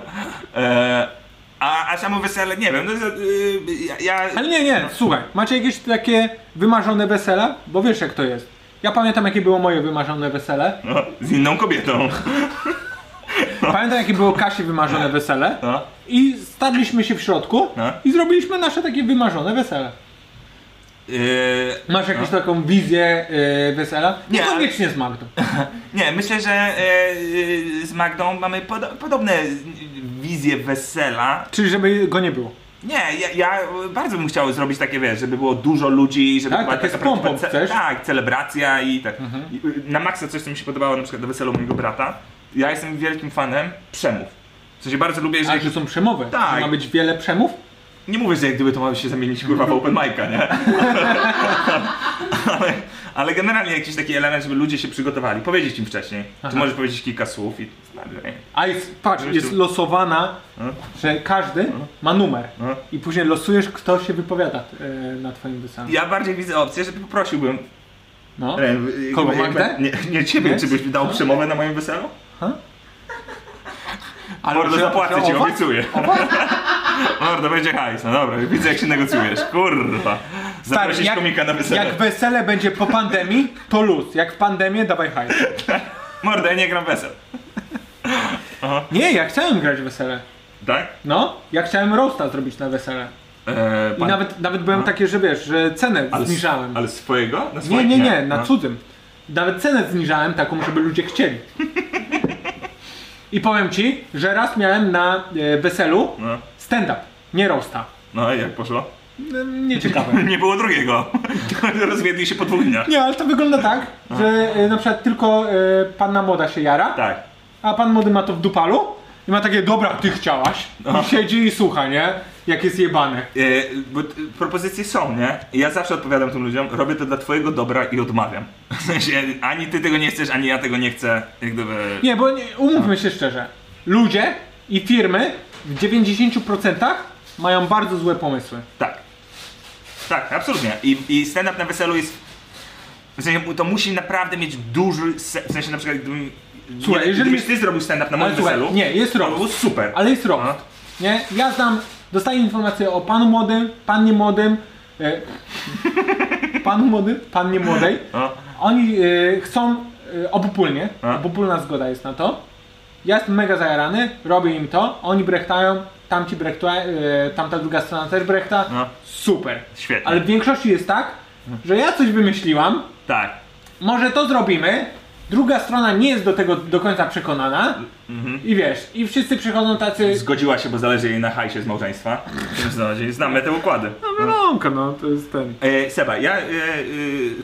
S2: E, a, a samo wesele, nie wiem, no, za- y, ja, ja...
S4: Ale nie, nie, słuchaj, macie jakieś takie wymarzone wesela? Bo wiesz jak to jest. Ja pamiętam jakie było moje wymarzone wesele.
S2: No, z inną kobietą.
S4: Pamiętam jakie było Kasi wymarzone wesele.
S2: No.
S4: I stadliśmy się w środku
S2: No.
S4: i zrobiliśmy nasze takie wymarzone wesele.
S2: Y,
S4: Masz jakąś taką wizję y, wesela?
S2: Nie, ale-
S4: Niekoniecznie z Magdą.
S2: Nie, myślę, że e, e, z Magdą mamy podo podobne e, wizje wesela.
S4: Czyli żeby go nie było.
S2: Nie, ja, ja bardzo bym chciał zrobić takie, wiesz, żeby było dużo ludzi, żeby
S4: Tak,
S2: była
S4: takie
S2: taka
S4: z pompą
S2: prawdziwa ce-
S4: chcesz? Mhm.
S2: Tak, celebracja i tak. I, y, Na maksa coś, co mi się podobało na przykład do weselu mojego brata. Ja jestem wielkim fanem przemów. W sensie bardzo lubię, że
S4: Ale że są przemowy.
S2: Tak.
S4: Że Ma być wiele przemów?
S2: nie mówię, że jak gdyby to ma się zamienić kurwa w open mic'a, nie? ale, ale generalnie jakiś taki element, żeby ludzie się przygotowali. Powiedzieć im wcześniej. Ty możesz powiedzieć kilka słów i...
S4: A jest, patrz, jest losowana, że każdy ma numer.
S2: No.
S4: I później losujesz, kto się wypowiada e, na twoim weselu.
S2: Ja bardziej widzę opcję, że poprosiłbym
S4: No.
S2: Ren,
S4: Kogo,
S2: jakby-
S4: Magdę?
S2: Nie, nie ciebie,
S4: Nie?
S2: czy byś mi dał przemowę na moim weselu?
S4: Ale
S2: Mordo,
S4: że-
S2: zapłacę
S4: że
S2: ci,
S4: owa-
S2: obiecuję. Mordo, będzie hajs, no dobra, widzę jak się negocjujesz, kurwa. Zaprosisz
S4: jak-
S2: komika na wesele.
S4: Jak wesele będzie po pandemii, to luz. Jak w pandemię, dawaj hajs.
S2: Mordo, ja nie gram wesel,
S4: Nie, ja chciałem grać w wesele.
S2: tak?
S4: No, ja chciałem roasta zrobić na wesele.
S2: Eee,
S4: I nawet, nawet byłem takie, że wiesz, że cenę
S2: ale s-
S4: zniżałem.
S2: Ale swojego? Na
S4: Nie,
S2: swoim?
S4: nie, nie, na
S2: No.
S4: cudzym. Nawet cenę zniżałem taką, żeby ludzie chcieli. I powiem ci, że raz miałem na e, weselu
S2: No,
S4: stand-up, nie roasta.
S2: no i jak poszło?
S4: E, Nieciekawe.
S2: Nie było drugiego. Rozwiedli się po dwóch dniach.
S4: Nie, ale to wygląda tak, że e, na przykład tylko e, panna młoda się jara,
S2: Tak.
S4: a pan młody ma to w dupalu i ma takie, dobra, ty chciałaś. I siedzi i słucha, nie? Jak jest jebany.
S2: Eee, bo t- propozycje są, nie? I ja zawsze odpowiadam tym ludziom, robię to dla twojego dobra i odmawiam. W sensie, ani ty tego nie chcesz, ani ja tego nie chcę, jak gdyby...
S4: Nie, bo nie, umówmy się szczerze. Ludzie i firmy w 90% mają bardzo złe pomysły.
S2: Tak. Tak, absolutnie. I, i stand-up na weselu jest. W sensie to musi naprawdę mieć duży. Se... W sensie na przykład gdybym.
S4: Słuchaj,
S2: nie,
S4: jeżeli-
S2: Gdybyś ty zrobił stand-up na moim
S4: słuchaj,
S2: weselu.
S4: nie, jest
S2: to
S4: roast.
S2: było super.
S4: Ale jest roast.
S2: No.
S4: Nie? Ja znam, dostaję informacje o panu młodym, pannie młodym, e, panu młodym, pannie młodej.
S2: No.
S4: Oni e, chcą e, obopólnie,
S2: A?
S4: obopólna zgoda jest na to. Ja jestem mega zajarany, robię im to, oni brechtają, tamci brechtają, e, tamta druga strona też brechta.
S2: No.
S4: Super.
S2: Świetnie.
S4: Ale w większości jest tak, że ja coś wymyśliłam,
S2: Tak.
S4: może to zrobimy. Druga strona nie jest do tego do końca przekonana.
S2: Mhm.
S4: I wiesz, i wszyscy przychodzą tacy.
S2: Zgodziła się, bo zależy jej na hajsie z małżeństwa. Wiesz, co chodzi? Znamy te układy.
S4: Mąka, no to jest ten.
S2: E, Seba, ja e, e,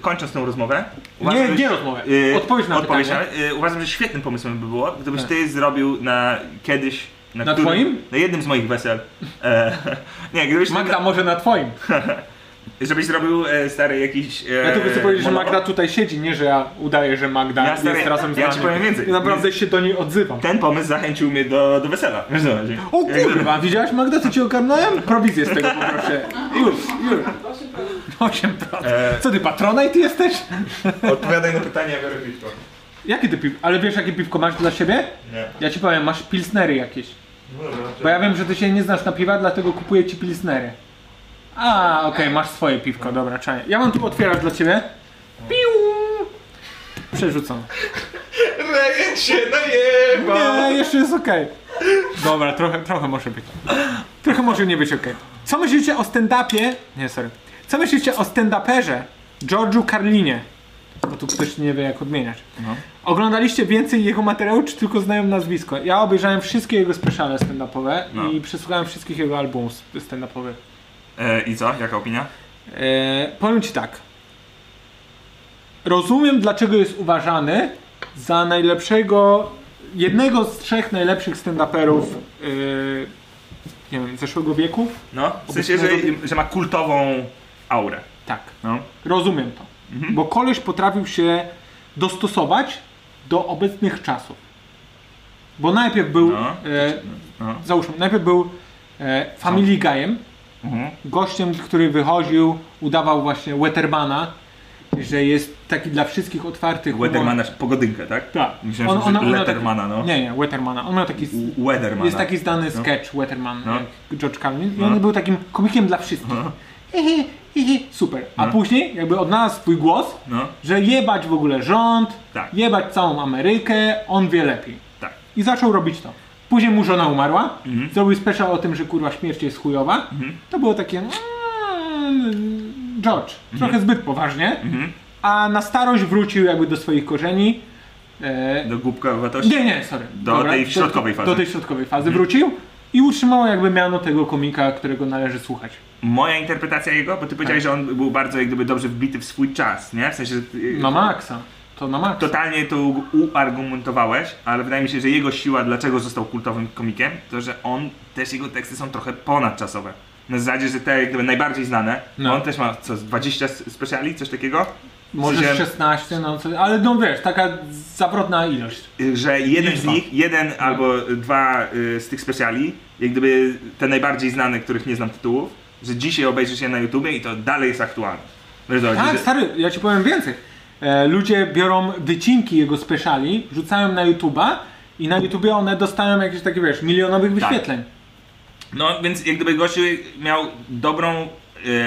S2: kończąc tę rozmowę.
S4: Nie,
S2: że-
S4: nie rozmowę.
S2: e,
S4: Odpowiedź na
S2: odpowiedź
S4: pytanie. Tak.
S2: na- e, uważam, że świetnym pomysłem by było, gdybyś ty zrobił na kiedyś.
S4: Na
S2: którym-
S4: twoim?
S2: Na jednym z moich wesel. E, nie, gdybyś. ty-
S4: Magda może na twoim.
S2: Żebyś zrobił e, stary jakiś. E,
S4: Ja tylko chcę powiedzieć, że
S2: monolog.
S4: Magda tutaj siedzi, nie że ja udaję, że Magda
S2: Ja,
S4: jest
S2: stary,
S4: razem z
S2: ja
S4: nami.
S2: ci powiem więcej.
S4: I naprawdę się do niej odzywam.
S2: Ten pomysł zachęcił mnie do, do wesela. Wiesz, co chodzi?
S4: O
S2: Jak gdyby-
S4: kurwa, widziałaś Magda, co ci ogarnąłem? Prowizję z tego poproszę. Już, już.
S2: E,
S4: 8%. Co ty, patrona i ty jesteś?
S2: Odpowiadaj na pytanie, ja biorę piwko.
S4: Jakie ty piw... Ale wiesz, jakie piwko masz dla siebie?
S2: Nie.
S4: Ja ci powiem, masz pilsnery jakieś.
S2: No dobra.
S4: Bo ja wiem, że ty się nie znasz na piwa, dlatego kupuję ci pilsnery. A, okej, masz swoje piwko, dobra, czaję. Ja mam tu otwierać dla ciebie. Piu! Przerzucam.
S2: Rejent się najebał!
S4: Nie, jeszcze jest okej. Dobra, trochę, trochę może być. Trochę może nie być okej. Co myślicie o stand-upie? Nie, sorry. Co myślicie o stand-uperze George'u Carlinie? Bo tu ktoś nie wie, jak odmieniać. Oglądaliście więcej jego materiału, czy tylko znają nazwisko? Ja obejrzałem wszystkie jego speciale stand-upowe
S2: No.
S4: i przesłuchałem wszystkich jego albumów stand-upowych.
S2: E, I co? Jaka opinia?
S4: E, powiem ci tak. Rozumiem, dlaczego jest uważany za najlepszego jednego z trzech najlepszych stand-uperów yy, nie wiem, zeszłego wieku.
S2: No, w sensie, że, że ma kultową aurę.
S4: Tak,
S2: No.
S4: rozumiem to.
S2: Mhm.
S4: Bo koleś potrafił się dostosować do obecnych czasów. Bo najpierw był,
S2: No.
S4: e,
S2: No.
S4: załóżmy, najpierw był e, Family Guy'em,
S2: Mhm.
S4: gościem, który wychodził, udawał właśnie Wettermana, że jest taki dla wszystkich otwarty humor.
S2: Weathermana, pogodynkę, tak?
S4: Tak.
S2: Myślałem, że
S4: miał
S2: Lettermana,
S4: taki,
S2: no.
S4: Nie, nie, Wettermana. On miał taki... s-
S2: U- Weathermana.
S4: Jest taki znany
S2: No.
S4: sketch Wetterman,
S2: No.
S4: jak George Carlin. I on był takim komikiem dla wszystkich. Hihi, hihi, super. A
S2: No.
S4: później jakby odnalazł swój głos,
S2: No,
S4: że jebać w ogóle rząd,
S2: Tak.
S4: jebać całą Amerykę, on wie lepiej.
S2: tak.
S4: I zaczął robić to. Później mu żona umarła,
S2: Mhm.
S4: zrobił special o tym, że kurwa śmierć jest chujowa. To było takie... mm, George, trochę zbyt poważnie.
S2: Mhm.
S4: A na starość wrócił jakby do swoich korzeni. E,
S2: Do głupka obywatelstwa?
S4: nie, nie, sorry.
S2: Do tej środkowej fazy. Mhm.
S4: Do tej środkowej fazy wrócił i utrzymał jakby miano tego komika, którego należy słuchać.
S2: Moja interpretacja jego, bo ty powiedziałeś,
S4: Tak.
S2: że on był bardzo jak gdyby dobrze wbity w swój czas, nie? W sensie, że... y,
S4: Na maksa. To na maksa.
S2: Totalnie to tak, uargumentowałeś, ale wydaje mi się, że jego siła, dlaczego został kultowym komikiem, to że on, też jego teksty są trochę ponadczasowe. Na zasadzie, że te jak gdyby najbardziej znane,
S4: No.
S2: on też ma co, z 20 speciali, coś takiego?
S4: Może
S2: że-
S4: z 16, no co, ale no wiesz, taka zawrotna ilość.
S2: Y, Że jeden z
S4: Liczba.
S2: nich, jeden albo dwa y, z tych speciali, jak gdyby te najbardziej znane, których nie znam tytułów, że dzisiaj obejrzy się na YouTubie i to dalej jest aktualne. Wiesz, o co chodzi,
S4: Tak,
S2: że-
S4: stary, ja ci powiem więcej. E, ludzie biorą wycinki jego speciali, rzucają na YouTube'a i na YouTubie one dostają jakieś takie, wiesz,
S2: Tak,
S4: milionowych wyświetleń.
S2: No więc jak gdyby gościu miał dobrą.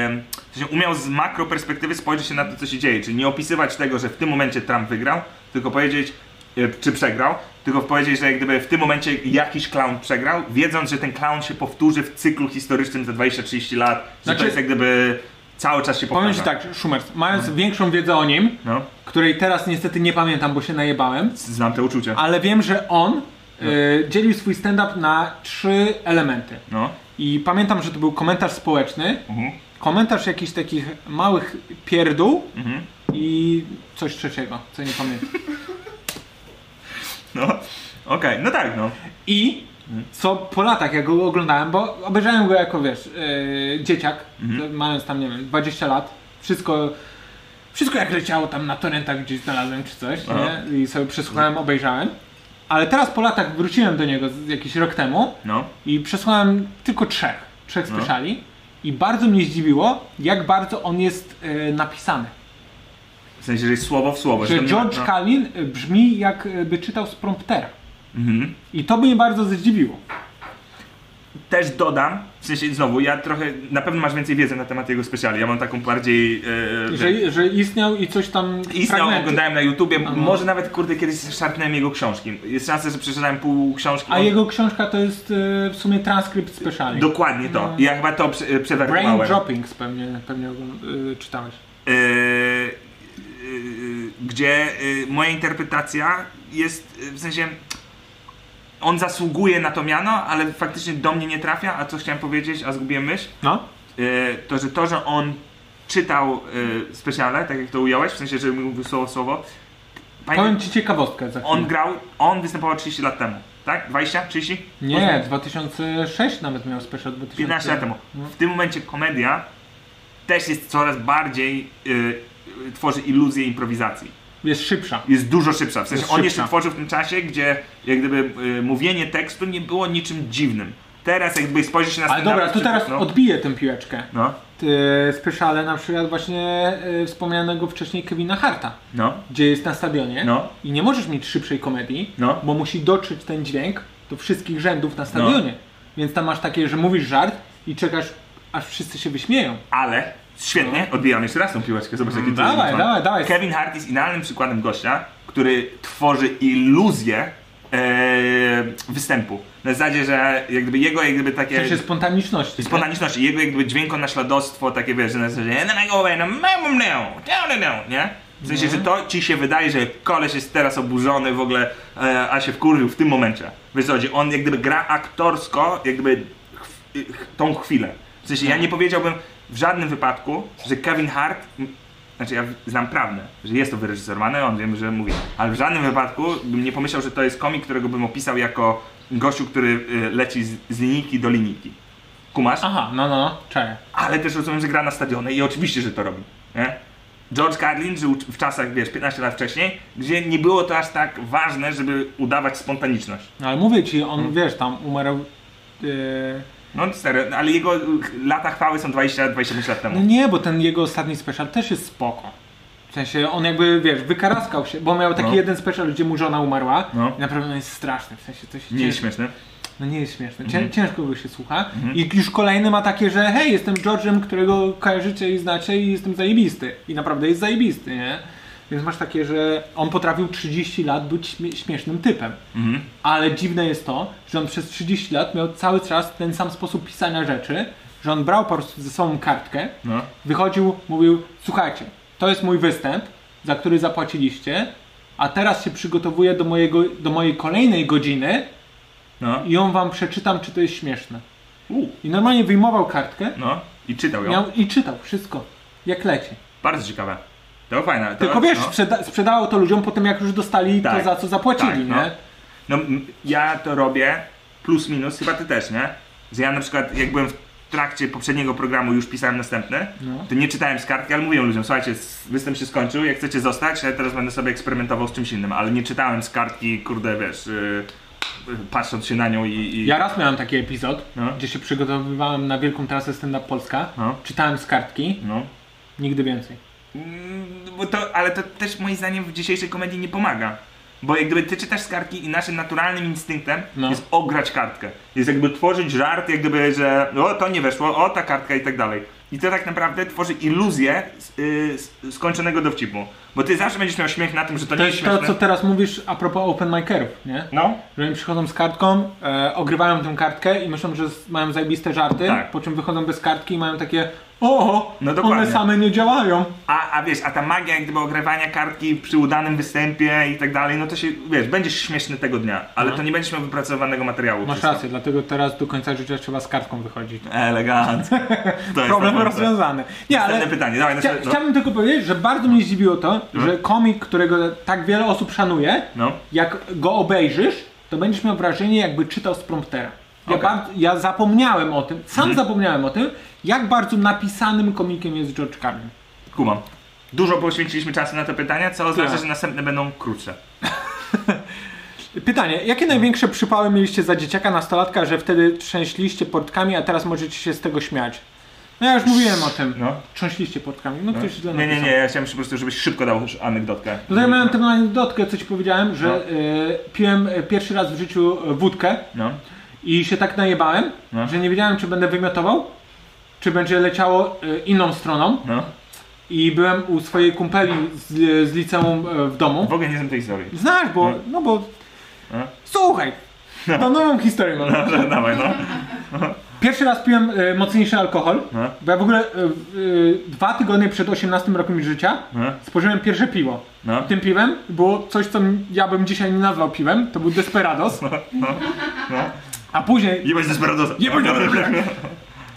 S2: em, w sensie umiał z makro perspektywy spojrzeć się na to, co się dzieje. Czyli nie opisywać tego, że w tym momencie Trump wygrał, tylko powiedzieć, e, czy przegrał, tylko powiedzieć, że jak gdyby w tym momencie jakiś clown przegrał, wiedząc, że ten clown się powtórzy w cyklu historycznym za 20-30 lat, że
S4: Znaczy-
S2: to jest jak gdyby cały czas się powtarza.
S4: Powiem ci tak, Szumers, mając
S2: Mhm.
S4: większą wiedzę o nim,
S2: No,
S4: której teraz niestety nie pamiętam, bo się najebałem,
S2: znam te uczucia.
S4: ale wiem, że on y, dzielił swój stand-up na trzy elementy.
S2: No.
S4: I pamiętam, że to był komentarz społeczny,
S2: Mhm.
S4: komentarz jakichś takich małych pierdół
S2: Mhm.
S4: i coś trzeciego, co nie pamiętam.
S2: No. Okej, no tak, no.
S4: I co po latach, jak go oglądałem, bo obejrzałem go jako, wiesz, yy, dzieciak,
S2: Mhm.
S4: mając tam, nie wiem, 20 lat, wszystko, wszystko jak leciało tam na torrentach gdzieś znalazłem czy coś,
S2: Aha.
S4: nie? I sobie przesłuchałem, obejrzałem. Ale teraz po latach wróciłem do niego z- jakiś rok temu
S2: No.
S4: i przesłałem tylko trzech, trzech speciali i bardzo mnie zdziwiło, jak bardzo on jest e, napisany.
S2: W sensie, że jest słowo w słowo.
S4: Że
S2: to nie ma-
S4: George
S2: no.
S4: Carlin e, brzmi jakby czytał z promptera.
S2: Mhm.
S4: I to mnie bardzo zdziwiło.
S2: też dodam, w sensie znowu, ja trochę, na pewno masz więcej wiedzy na temat jego specjali, ja mam taką bardziej... E, że...
S4: Że, że istniał i coś tam
S2: Istniał,
S4: fragmenty.
S2: oglądałem na YouTubie, może nawet kurde kiedyś szarpnąłem jego książki. Jest szansa, że przeczytałem pół książki.
S4: A
S2: on-
S4: jego książka to jest e, w sumie transkrypt specialny.
S2: Dokładnie to.
S4: No.
S2: Ja chyba to prze, e,
S4: Brain
S2: przewertowałem.
S4: Droppings pewnie, pewnie oglą- e, czytałeś.
S2: E, e, gdzie e, moja interpretacja jest, e, w sensie... On zasługuje na to miano, ale faktycznie do mnie nie trafia, a co chciałem powiedzieć, a zgubiłem myśl.
S4: No.
S2: e, to, że to, że on czytał e, specjalne, tak jak to ująłeś, w sensie, że mówił słowo w słowo,
S4: Powiem
S2: pamiętam,
S4: ci ciekawostkę za chwilę.
S2: on grał, on występował 30 lat temu, tak? 20, 30?
S4: Nie, 2006 nawet miał special 2000.
S2: 15 lat temu.
S4: No.
S2: W tym momencie komedia też jest coraz bardziej, e, e, tworzy iluzję improwizacji.
S4: Jest szybsza.
S2: Jest dużo szybsza. W sensie
S4: Jest
S2: on
S4: szybsza.
S2: jeszcze tworzył w tym czasie, gdzie jak gdyby e, mówienie tekstu nie było niczym dziwnym. Teraz jakby spojrzeć się na
S4: Ale dobra,
S2: stand-upy,
S4: to
S2: czy-
S4: teraz
S2: no,
S4: odbiję tę piłeczkę.
S2: no,
S4: Ty, speciale na przykład właśnie e, wspomnianego wcześniej Kevina Harta,
S2: no,
S4: gdzie jest na stadionie
S2: No.
S4: i nie możesz mieć szybszej komedii,
S2: no,
S4: bo musi dotrzeć ten dźwięk do wszystkich rzędów na stadionie.
S2: No.
S4: Więc tam masz takie, że mówisz żart i czekasz, aż wszyscy się wyśmieją.
S2: ale świetnie, odbijam jeszcze raz tą piłeczkę, zobacz jaki to jest
S4: Dawaj,
S2: dzwon.
S4: dawaj, dawaj.
S2: Kevin Hart jest idealnym przykładem gościa, który tworzy iluzję e, występu. Na zasadzie, że jak gdyby jego jak gdyby takie
S4: Przecież spontaniczności.
S2: spontaniczność, jego jak gdyby dźwięko naśladowstwo, takie wiesz, że na zasadzie "And then I go away, no, no, no, no, no", nie? W sensie, że to ci się wydaje, że koleś jest teraz oburzony w ogóle, e, a się wkurzył w tym momencie. Wiesz co chodzi, on jak gdyby gra aktorsko, jak gdyby chw- y, ch- tą chwilę. W sensie, ja nie powiedziałbym w żadnym wypadku, że Kevin Hart m- znaczy ja znam prawdę, że jest to wyreżyserowane, on wiem, że mówi, ale w żadnym wypadku bym nie pomyślał, że to jest komik, którego bym opisał jako gościu, który y, leci z, z linijki do linijki. Kumasz?
S4: Aha, no, no, no, czaję.
S2: ale też rozumiem, że gra na stadionie i oczywiście, że to robi. Nie? George Carlin żył w czasach, wiesz, 15 lat wcześniej, gdzie nie było to aż tak ważne, żeby udawać spontaniczność.
S4: No, ale mówię ci,
S2: Mm.
S4: on, wiesz, tam umarł... Yy...
S2: No stary, ale jego y, lata chwały są 20-25 lat
S4: No
S2: temu.
S4: nie, bo ten jego ostatni special też jest spoko. W sensie on jakby, wiesz, wykaraskał się, bo miał taki
S2: No.
S4: jeden special, gdzie mu żona umarła.
S2: No.
S4: I naprawdę on jest straszny, w sensie to się
S2: Nie jest Mhm.
S4: ciężko,
S2: śmieszne.
S4: no nie jest śmieszne. Cię, Ciężko go się słucha. I już kolejny ma takie, że hej, jestem George'em, którego kojarzycie i znacie i jestem zajebisty. I naprawdę jest zajebisty, nie? Więc masz takie, że on potrafił 30 lat być śmie- śmiesznym typem.
S2: Mhm.
S4: Ale dziwne jest to, że on przez 30 lat miał cały czas ten sam sposób pisania rzeczy, że on brał po prostu ze sobą kartkę,
S2: No.
S4: wychodził, mówił, słuchajcie, to jest mój występ, za który zapłaciliście, a teraz się przygotowuję do, mojego, do mojej kolejnej godziny
S2: No.
S4: i ją wam przeczytam, czy to jest śmieszne.
S2: U.
S4: I normalnie wyjmował kartkę
S2: No. I czytał ją.
S4: miał, i czytał wszystko, jak leci.
S2: Bardzo ciekawe. To fajne. To,
S4: Tylko wiesz,
S2: no.
S4: sprzeda sprzedało to ludziom po tym, jak już dostali
S2: Tak.
S4: to, za co zapłacili,
S2: Tak, no.
S4: nie?
S2: No, m- ja to robię plus minus, chyba ty też, nie? Że ja na przykład jak byłem w trakcie poprzedniego programu już pisałem następny, to nie czytałem z kartki, ale mówiłem ludziom, słuchajcie, s- występ się skończył, jak chcecie zostać, ja teraz będę sobie eksperymentował z czymś innym, ale nie czytałem z kartki, kurde, wiesz, yy, yy, patrząc się na nią i... i... tak,
S4: Ja raz miałem taki epizod,
S2: No.
S4: gdzie się przygotowywałem na wielką trasę stand-up Polska,
S2: No.
S4: czytałem z kartki,
S2: No.
S4: nigdy więcej.
S2: Mm, Bo to, ale to też moim zdaniem w dzisiejszej komedii nie pomaga. Bo jak gdyby ty czytasz z kartki i naszym naturalnym instynktem
S4: No.
S2: jest ograć kartkę. Jest jakby tworzyć żart, jak gdyby, że o to nie weszło, o ta kartka i tak dalej. I to tak naprawdę tworzy iluzję s- y, s- skończonego dowcipu. Bo ty zawsze będziesz miał śmiech na tym, że to,
S4: To
S2: nie jest
S4: jest to,
S2: śmieszne.
S4: co teraz mówisz a propos open micerów, nie?
S2: No,
S4: Że oni przychodzą z kartką, e, ogrywają tę kartkę i myślą, że z- mają zajebiste żarty,
S2: Tak.
S4: po czym wychodzą bez kartki i mają takie o,
S2: No dokładnie.
S4: one same nie działają.
S2: a, a wiesz, a ta magia jak gdyby ogrywania kartki przy udanym występie i tak dalej, no to się, wiesz, będziesz śmieszny tego dnia, ale to nie będziesz miał wypracowanego materiału.
S4: No. Masz
S2: przez to.
S4: rację, dlatego teraz do końca życia trzeba z kartką wychodzić.
S2: Elegancko. To jest
S4: Problem
S2: naprawdę.
S4: rozwiązany. Nie, ale
S2: Następne pytanie, Znaczy, no. dawaj,
S4: chcia,
S2: następne.
S4: chciałbym tylko powiedzieć, że bardzo mnie zdziwiło to, że komik, którego tak wiele osób szanuje,
S2: No.
S4: jak go obejrzysz, to będziesz miał wrażenie, jakby czytał z promptera. Ja,
S2: Okej. Mhm.
S4: bardzo, ja zapomniałem o tym, sam zapomniałem o tym, jak bardzo napisanym komikiem jest George Carlin.
S2: Kumam. Dużo poświęciliśmy czasu na te pytania, co oznacza,
S4: Tak.
S2: że następne będą krótsze.
S4: Pytanie, jakie największe przypały mieliście za dzieciaka, nastolatka, że wtedy trzęśliście portkami, a teraz możecie się z tego śmiać? No ja już mówiłem o tym.
S2: No.
S4: Trząśliście portkami, no ktoś źle
S2: Nie, nie,
S4: napisał.
S2: nie, no. ja chciałem po prostu, żebyś szybko dał już anegdotkę.
S4: Tutaj miałem tę anegdotkę, co ci powiedziałem, że y, piłem y, pierwszy raz w życiu y, wódkę
S2: No.
S4: i się tak najebałem,
S2: No.
S4: że nie wiedziałem, czy będę wymiotował, czy będzie leciało y, inną stroną.
S2: No.
S4: I byłem u swojej kumpeli z, z liceum e, w domu.
S2: W ogóle nie znam tej historii.
S4: Znasz, bo,
S2: Mm.
S4: no bo...
S2: No.
S4: Słuchaj! To nową historię mam.
S2: Dobrze, dawaj, no.
S4: Pierwszy raz piłem e, mocniejszy alkohol,
S2: No.
S4: bo ja w ogóle e, w- e, dwa tygodnie przed 18 rokiem życia
S2: No.
S4: spożyłem pierwsze piwo.
S2: No.
S4: Tym piwem było coś, co m- ja bym dzisiaj nie nazwał piwem, to był Desperados.
S2: No,
S4: A później,
S2: Jebać Desperadosa. Jebać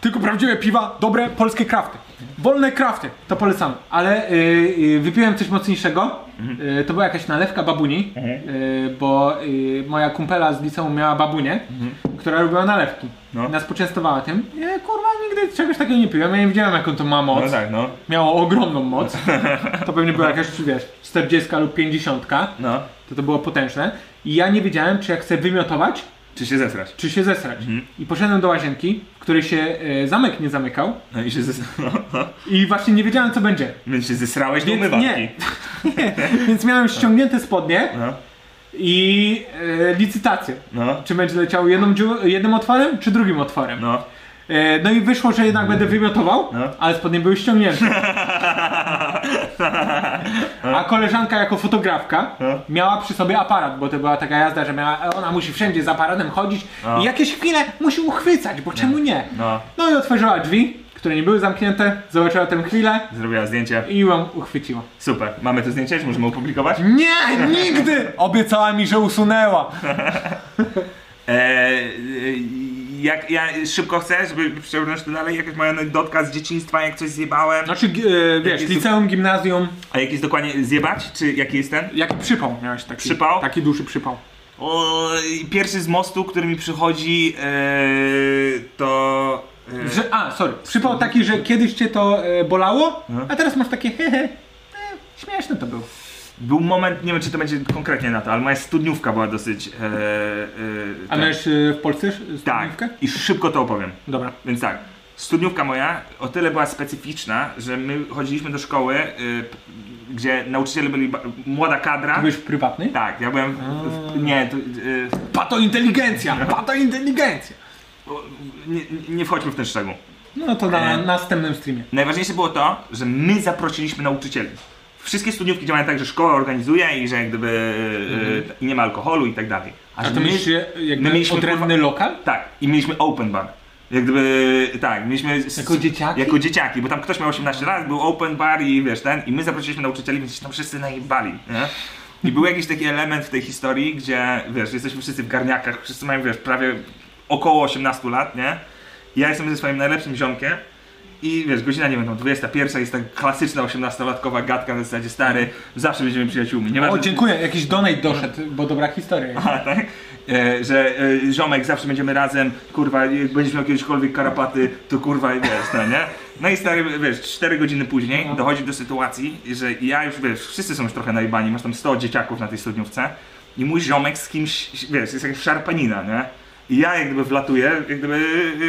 S4: tylko prawdziwe piwa, dobre polskie krafty. Wolne krafty, to polecam. Ale e, e, wypiłem coś mocniejszego,
S2: Mhm.
S4: E, to była jakaś nalewka babuni, e, bo e, moja kumpela z liceum miała babunię, która robiła nalewki.
S2: Mhm. No.
S4: Nas poczęstowała tym. Ja kurwa nigdy czegoś takiego nie piłem, ja nie wiedziałem jaką to ma moc.
S2: No tak, no.
S4: Miało ogromną moc. To pewnie była jakaś, wiesz, 40 lub 50.
S2: No.
S4: To to było potężne. I ja nie wiedziałem, czy ja chcę wymiotować,
S2: Czy się zesrać?
S4: czy się zesrać.
S2: Mhm.
S4: I poszedłem do łazienki, w której się e, zamek nie zamykał.
S2: No i się zesrałeś. No, no.
S4: I właśnie nie wiedziałem, co będzie.
S2: Więc się zesrałeś do
S4: Więc
S2: umywalki.
S4: nie. Więc miałem ściągnięte spodnie
S2: No.
S4: i e, licytację.
S2: No.
S4: Czy będzie leciał jedną dziu- jednym otworem, czy drugim otworem.
S2: No.
S4: E, no i wyszło, że jednak będę wymiotował,
S2: No.
S4: ale spodnie były ściągnięte. A koleżanka jako fotografka
S2: No.
S4: miała przy sobie aparat, bo to była taka jazda, że miała, e, ona musi wszędzie z aparatem chodzić i jakieś chwile musi uchwycać, bo czemu nie?
S2: No.
S4: No i otworzyła drzwi, które nie były zamknięte, zobaczyła tę chwilę
S2: Zrobiła zdjęcie.
S4: i ją uchwyciła.
S2: Super. Mamy to zdjęcie? Czy możemy opublikować?
S4: Nie, nigdy! Obiecała mi, że usunęła.
S2: Eee, E, jak ja szybko chcę, żeby przebrnąć to dalej, jakaś moja anegdotka z dzieciństwa, jak coś zjebałem.
S4: Znaczy, g- e, wiesz,
S2: Jaki-
S4: liceum, gimnazjum,
S2: A jak jest dokładnie zjebać? Czy jaki jest ten?
S4: jaki przypał miałeś taki?
S2: Przypał?
S4: Taki duży przypał.
S2: O, i pierwszy z mostu, który mi przychodzi, e, to... e,
S4: Że, a, sorry, przypał taki, że kiedyś cię to e, bolało,
S2: Mhm.
S4: a teraz masz takie hehe, e, śmieszne to było.
S2: Był moment, nie wiem czy to będzie konkretnie na to, ale moja studniówka była dosyć... E, e,
S4: A
S2: tak.
S4: miałeś e, w Polsce
S2: Tak,
S4: studniówkę?
S2: i szybko to opowiem.
S4: Dobra.
S2: Więc tak, studniówka moja o tyle była specyficzna, że my chodziliśmy do szkoły, y, p- gdzie nauczyciele byli ba- młoda kadra.
S4: Byłeś w prywatnej?
S2: Tak, ja byłem. W, w, nie, tu, y,
S4: Pato inteligencja, pato inteligencja.
S2: o, nie, nie wchodźmy w ten szczegół.
S4: No to na
S2: E.
S4: następnym streamie.
S2: Najważniejsze było to, że my zaprosiliśmy nauczycieli. Wszystkie studniówki działają tak, że szkoła organizuje i że jak gdyby y, i nie ma alkoholu i tak dalej. A,
S4: A
S2: że
S4: to
S2: my-
S4: mieliście jakby
S2: my mieliśmy
S4: odrębny
S2: kurwa-
S4: lokal?
S2: Tak, i mieliśmy open bar. Jak gdyby, tak, mieliśmy... s-
S4: Jako dzieciaki?
S2: Jako dzieciaki, bo tam ktoś miał 18 lat, był open bar i wiesz, ten, i my zaprosiliśmy nauczycieli, więc się tam wszyscy najebali, nie? I był jakiś taki element w tej historii, gdzie, wiesz, jesteśmy wszyscy w garniakach, wszyscy mają, wiesz, prawie około 18 lat, nie? Ja jestem ze swoim najlepszym ziomkiem i wiesz, godzina, nie wiem, tam 21 jest tak klasyczna 18-latkowa gadka na zasadzie, stary, zawsze będziemy przyjaciółmi, nie
S4: O, dziękuję, jakiś donate doszedł, bo dobra historia.
S2: Aha, tak? E, że e, ziomek zawsze będziemy razem, kurwa, jak będziesz miał kiedyśkolwiek karapaty, to kurwa i wiesz, no nie? No i stary, wiesz, 4 godziny później dochodzi do sytuacji, że ja już, wiesz, wszyscy są już trochę najbani, masz tam 100 dzieciaków na tej studniówce i mój ziomek z kimś, wiesz, jest jakaś szarpanina, nie? I ja jak gdyby wlatuję, jak gdyby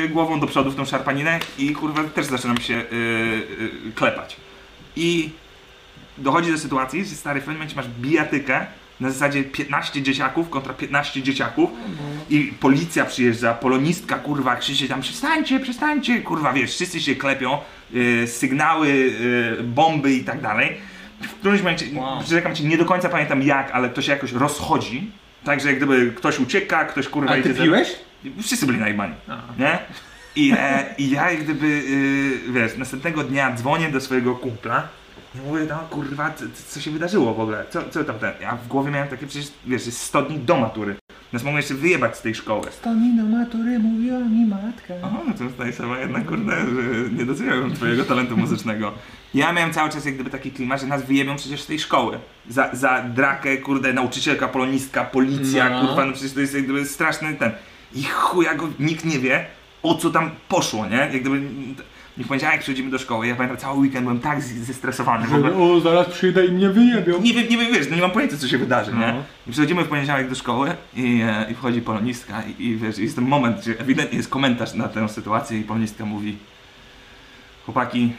S2: y, głową do przodu w tą szarpaninę i kurwa też zaczynam się y, y, klepać. I dochodzi do sytuacji, że stary, w pewnym momencie masz bijatykę na zasadzie 15 dzieciaków kontra 15 dzieciaków i policja przyjeżdża, polonistka kurwa krzyczy tam przestańcie, przestańcie, kurwa wiesz, wszyscy się klepią, y, sygnały, y, bomby i tak dalej. W którymś momencie, przyrzekam ci, nie do końca pamiętam jak, ale to się jakoś rozchodzi. Także jak gdyby ktoś ucieka, ktoś kurwa
S4: A ty
S2: idzie za-
S4: piłeś?
S2: Wszyscy byli najmani, nie? I, e, I ja jak gdyby, y, wiesz, następnego dnia dzwonię do swojego kumpla i mówię, no kurwa, co, co się wydarzyło w ogóle? Co, co tam ten? Ja w głowie miałem takie przecież, wiesz, jest 100 dni do matury. Nas mogą jeszcze wyjebać z tej szkoły.
S4: To mi do matury mówiła mi matka.
S2: Aha, no to tutaj sama jednak, kurde, że nie doceniałem twojego talentu muzycznego. Ja miałem cały czas jak gdyby taki klimat, że nas wyjebią przecież z tej szkoły. Za, za drakę, kurde, nauczycielka, polonistka, policja,
S4: No.
S2: kurwa, no przecież to jest jak gdyby straszny ten. I chuja go, nikt nie wie, o co tam poszło, nie? Jak gdyby... Nie powiedziałem, jak przychodzimy do szkoły, ja pamiętam, cały weekend byłem tak z- zestresowany. w ogóle.
S4: O, zaraz przyjdę i mnie wyjebią.
S2: Nie wiem, nie wiem, wiesz, no nie mam pojęcia, co się wydarzy, nie? I przychodzimy w poniedziałek do szkoły i, e, i wchodzi polonistka i, i wiesz, jest ten moment, gdzie ewidentnie jest komentarz na tę sytuację i polonistka mówi Chłopaki,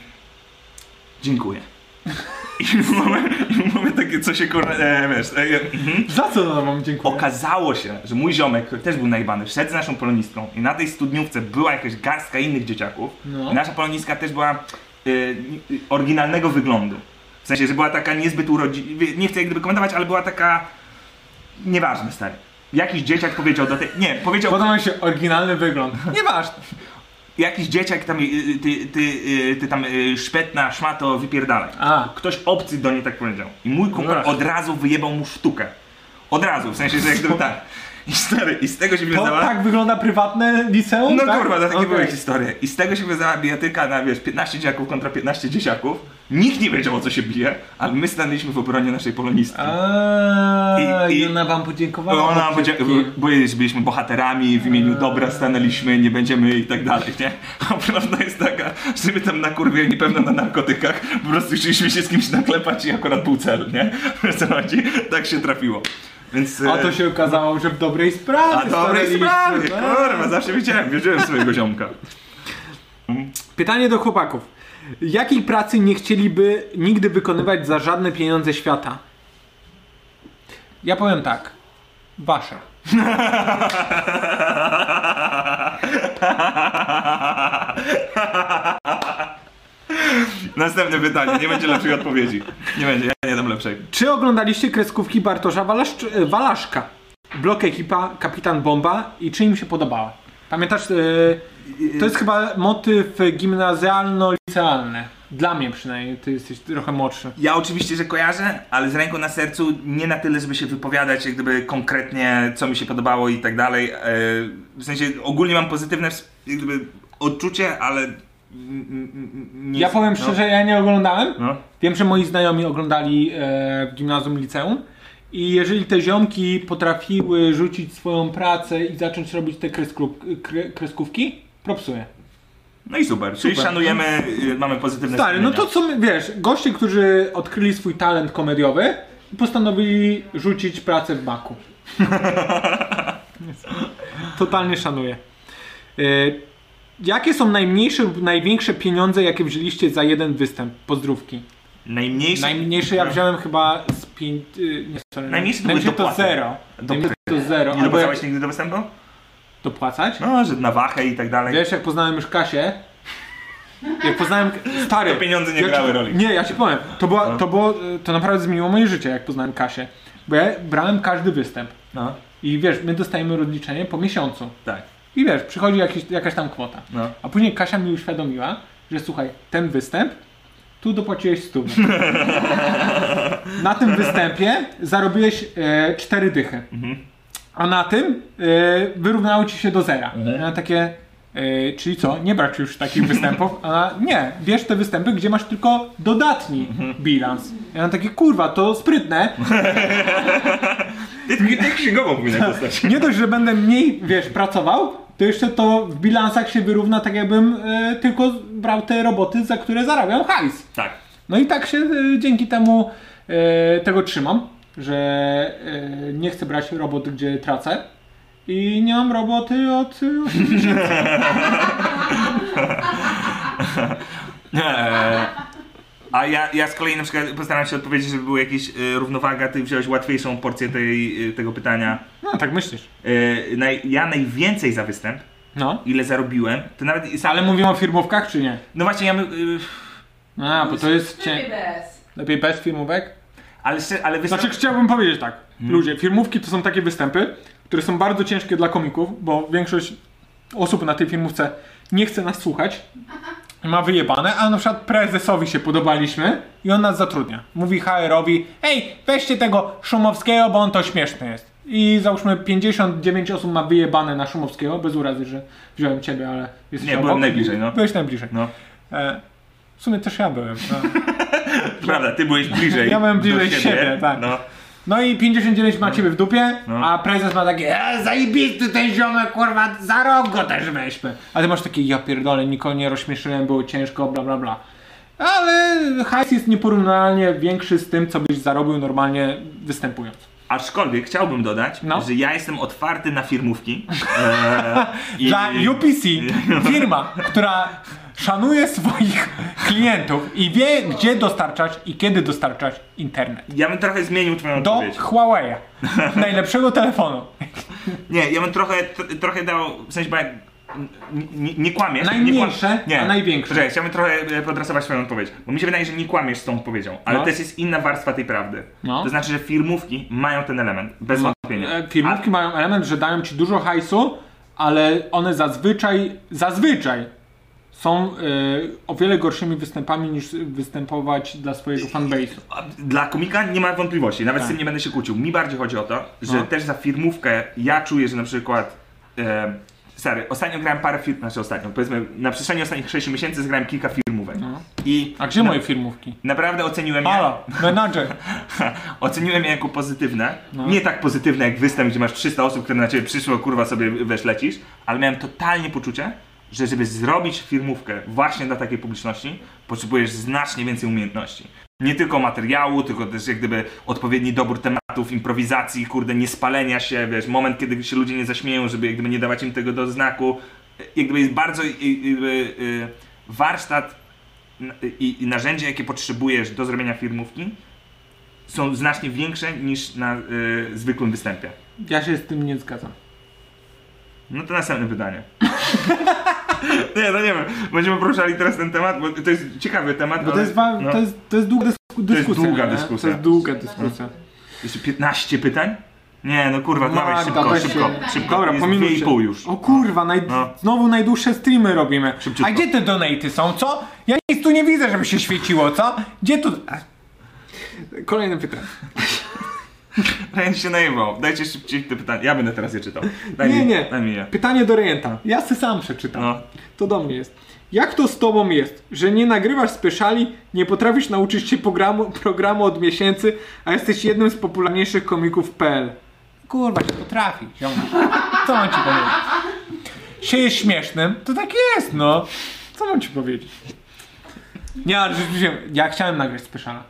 S2: dziękuję. I mamy, i mamy takie, co się kurwa, e, wiesz, e, e, mhm.
S4: Za co wam dziękuję?
S2: Okazało się, że mój ziomek, który też był najbany, szedł z naszą polonistką i na tej studniówce była jakaś garstka innych dzieciaków. I nasza polonistka też była y, y, oryginalnego wyglądu. W sensie, że była taka niezbyt urodzina, nie chcę jak gdyby komentować, ale była taka... Nieważne, stary. Jakiś dzieciak powiedział do tej... Nie, powiedział...
S4: Podoba mi się oryginalny wygląd. Nieważne.
S2: Jakiś dzieciak tam, y, y, ty, ty, y, ty tam y, szpetna, szmato, wypierdalaj.
S4: A,
S2: Ktoś obcy do niej tak powiedział. I mój kumpel
S4: Dobra.
S2: od razu wyjebał mu sztukę. Od razu, w sensie, że jak gdyby tak. I stary, i z tego się
S4: to
S2: wiązała...
S4: tak wygląda prywatne liceum?
S2: No
S4: tak?
S2: kurwa, to takie
S4: Okej.
S2: były historie. I z tego się wiązała bijatyka na, wiesz, 15 dzieciaków kontra 15 dzieciaków. Nikt nie wiedział, o co się bije, ale my stanęliśmy w obronie naszej polonistki.
S4: A,
S2: I-
S4: Eee, I,
S2: i-
S4: ona wam podziękowała.
S2: Ona
S4: no, bo
S2: powiedziała,
S4: wszystkie-
S2: bo jest- byliśmy bohaterami, w imieniu dobra stanęliśmy, nie będziemy i tak dalej, nie? A prawda jest taka, że my tam na kurwie niepewno na narkotykach, po prostu chcieliśmy się z kimś naklepać i akurat był cel, nie? Wiesz co chodzi? Tak się trafiło. Więc...
S4: A to
S2: e,
S4: się okazało, że w dobrej sprawie.
S2: A dobrej
S4: stanęliście,
S2: sprawie,
S4: tak?
S2: kurwa, zawsze wiedziałem, wierzyłem w swojego ziomka.
S4: Pytanie do chłopaków. Jakiej pracy nie chcieliby nigdy wykonywać za żadne pieniądze świata? Ja powiem tak. Wasze.
S2: Następne pytanie, nie będzie lepszej odpowiedzi. Nie będzie, ja nie dam lepszej.
S4: Czy oglądaliście kreskówki Bartosza Walaszcz- e, Walaszka? Blok Ekipa, Kapitan Bomba i czy im się podobała? Pamiętasz, e, to jest chyba motyw gimnazjalno-licealny. Dla mnie przynajmniej, ty jesteś trochę młodszy.
S2: Ja oczywiście, że kojarzę, ale z ręką na sercu nie na tyle, żeby się wypowiadać jak gdyby konkretnie, co mi się podobało i tak dalej. E, W sensie ogólnie mam pozytywne ws- jak gdyby, odczucie, ale... mm, mm, mm, Nie
S4: Ja powiem szczerze, ja nie oglądałem.
S2: No.
S4: Wiem, że moi znajomi oglądali e, w gimnazjum liceum. I jeżeli te ziomki potrafiły rzucić swoją pracę i zacząć robić te kreskru- kre- kreskówki, propsuję.
S2: no i super, czyli
S4: Super.
S2: szanujemy, y, mamy pozytywne
S4: Stary, no to
S2: wspomnienia.
S4: co, my- wiesz, goście, którzy odkryli swój talent komediowy, postanowili rzucić pracę w baku. Totalnie szanuję. E, Jakie są najmniejsze lub największe pieniądze, jakie wzięliście za jeden występ? Pozdrówki.
S2: Najmniejsze...
S4: Najmniejsze ja wziąłem chyba z pięć... y, Nie, sorry.
S2: Najmniejsze to były
S4: to
S2: dopłaty.
S4: zero. Najmniejsze to zero.
S2: Nie no
S4: Albo jak
S2: dopisałeś nigdy do występu?
S4: dopłacać?
S2: No, że na wachę i tak dalej.
S4: Wiesz, jak poznałem już Kasię, jak poznałem... Stary,
S2: To pieniądze nie
S4: ja ci-
S2: grały roli. No.
S4: Nie, ja ci powiem, to, była, to, było, y, to naprawdę zmieniło moje życie, jak poznałem Kasię. Bo ja brałem każdy występ.
S2: No,
S4: I wiesz, my dostajemy rozliczenie po miesiącu.
S2: tak.
S4: I wiesz, przychodzi jakiś, jakaś tam kwota.
S2: No.
S4: A później Kasia mi uświadomiła, że słuchaj, ten występ, tu dopłaciłeś 100. na tym występie zarobiłeś e, 4 dychy. A na tym e, wyrównało ci się do zera. Ja takie, e, czyli co, nie brać już takich występów? A ona, nie, bierz te występy, gdzie masz tylko dodatni bilans. Ja mam takie, kurwa, to sprytne.
S2: Ty, ty, ty księgową powinieneś dostać.
S4: Nie dość, że będę mniej, wiesz, pracował, to jeszcze to w bilansach się wyrówna tak jakbym e, tylko brał te roboty, za które zarabiam hajs.
S2: Tak.
S4: No i tak się e, dzięki temu e, tego trzymam, że e, nie chcę brać robot, gdzie tracę i nie mam roboty od e, 80.
S2: Eee, A ja, ja z kolei na przykład postaram się odpowiedzieć, żeby była jakaś y, równowaga, ty wziąłeś łatwiejszą porcję tej, y, tego pytania.
S4: No tak myślisz.
S2: Y, naj, ja najwięcej za występ,
S4: No.
S2: ile zarobiłem, to nawet... Sam,
S4: Ale mówimy o firmówkach czy nie?
S2: no właśnie, ja... my- Y,
S4: A, bo to jest
S5: Cię...
S4: cię... lepiej bez firmówek.
S2: ale, szczer- ale występ...
S4: Znaczy chciałbym powiedzieć tak, ludzie, filmówki to są takie występy, które są bardzo ciężkie dla komików, bo większość osób na tej filmówce nie chce nas słuchać, ma wyjebane, a na przykład prezesowi się podobaliśmy i on nas zatrudnia. Mówi HR-owi, ej, weźcie tego Szumowskiego, bo on to śmieszny jest. I załóżmy 59 osób ma wyjebane na Szumowskiego, bez urazy, że wziąłem ciebie, ale jesteś
S2: Nie,
S4: obok.
S2: byłem najbliżej, no.
S4: Byłeś najbliżej.
S2: No,
S4: E, w sumie też ja byłem. No.
S2: prawda, ty byłeś bliżej
S4: Ja byłem
S2: do
S4: bliżej siebie, tak.
S2: No.
S4: No i 59 ma ciebie w dupie,
S2: No.
S4: a prezes ma takie e, zajebisty ten ziomek, kurwa, za rok go też weźmy. A ty masz takie, ja pierdolę, nikogo nie rozśmieszyłem, było ciężko, bla bla bla. Ale hajs jest nieporównalnie większy z tym, co byś zarobił normalnie występując.
S2: Aczkolwiek chciałbym dodać,
S4: No.
S2: że ja jestem otwarty na firmówki. Eee, i-
S4: Dla
S2: i- No.
S4: UPC, firma, która szanuje swoich klientów i wie, gdzie dostarczać i kiedy dostarczać internet.
S2: Ja bym trochę zmienił twoją
S4: Do
S2: odpowiedź.
S4: Huawei'a, najlepszego telefonu.
S2: Nie, ja bym trochę, tr- trochę dał, w sensie, bo jak, n- nie, nie kłamiesz.
S4: Najmniejsze,
S2: nie, kłam- nie.
S4: a największe.
S2: Poczekaj, chciałbym trochę e, podrasować swoją odpowiedź, bo mi się wydaje, że nie kłamiesz z tą odpowiedzią, ale
S4: No.
S2: też jest inna warstwa tej prawdy.
S4: No.
S2: To znaczy, że firmówki mają ten element, bez wątpienia.
S4: E, Firmówki mają element, że dają ci dużo hajsu, ale one zazwyczaj, zazwyczaj są e, o wiele gorszymi występami niż występować dla swojego fanbase'u.
S2: A Dla komika nie ma wątpliwości, nawet z tym nie będę się kłócił. Mi bardziej chodzi o to, że
S4: Tak. No.
S2: też za firmówkę ja czuję, że na przykład. E, sorry, ostatnio grałem parę firm, znaczy ostatnio, powiedzmy, na przestrzeni ostatnich 6 miesięcy zgrałem kilka firmówek. I
S4: No. A gdzie
S2: na,
S4: moje firmówki?
S2: Naprawdę oceniłem je.
S4: Halo, menadżer.
S2: Oceniłem je jako pozytywne. Nie tak pozytywne jak występ, gdzie masz 300 osób, które na ciebie przyszło, kurwa sobie wiesz, lecisz, ale miałem totalnie poczucie, że żeby zrobić firmówkę właśnie dla takiej publiczności, potrzebujesz znacznie więcej umiejętności. Nie tylko materiału, tylko też jak gdyby odpowiedni dobór tematów, improwizacji, kurde, nie spalenia się, wiesz, moment, kiedy się ludzie nie zaśmieją, żeby jak gdyby nie dawać im tego do znaku. Jak gdyby jest bardzo jak gdyby, y, warsztat i, i narzędzia, jakie potrzebujesz do zrobienia firmówki, są znacznie większe niż na y, zwykłym występie.
S4: Ja się z tym nie zgadzam.
S2: No to następne pytanie. nie, no nie wiem. Będziemy poruszali teraz ten temat, bo to jest ciekawy temat.
S4: Bo to
S2: ale-
S4: jest, wa-
S2: no.
S4: to jest, to jest długa dysku- dyskusja.
S2: długa
S4: nie?
S2: dyskusja.
S4: To jest długa dyskusja.
S2: Jeszcze 15 pytań? Nie, no kurwa, dawaj
S4: Magda,
S2: szybko,
S4: weź
S2: szybko,
S4: się.
S2: szybko.
S4: Dobra,
S2: jest
S4: po minucie.
S2: dwie i pół już.
S4: O kurwa, naj...
S2: No.
S4: znowu najdłuższe streamy robimy.
S2: Szybciutko.
S4: A gdzie te donaty są, co? Ja nic tu nie widzę, żeby się świeciło, co? Gdzie tu... A,
S12: Kolejne pytanie.
S2: Rejent się najebał. Dajcie szybciej te pytania. Ja będę teraz je czytał. Daj
S12: Nie,
S2: mi,
S12: nie.
S2: Daj mi je.
S12: Pytanie do Rejenta. Ja se sam przeczytam.
S2: No.
S12: To do mnie jest. Jak to z tobą jest, że nie nagrywasz speciali, nie potrafisz nauczyć się programu, programu od miesięcy, a jesteś jednym z popularniejszych komików PL?
S4: Kurwa, się potrafi, ziomek. Co mam ci powiedzieć? Się jest śmiesznym, to tak jest, no.
S12: Co mam ci powiedzieć?
S4: Nie, ale rzeczywiście, ja chciałem nagrać speciala,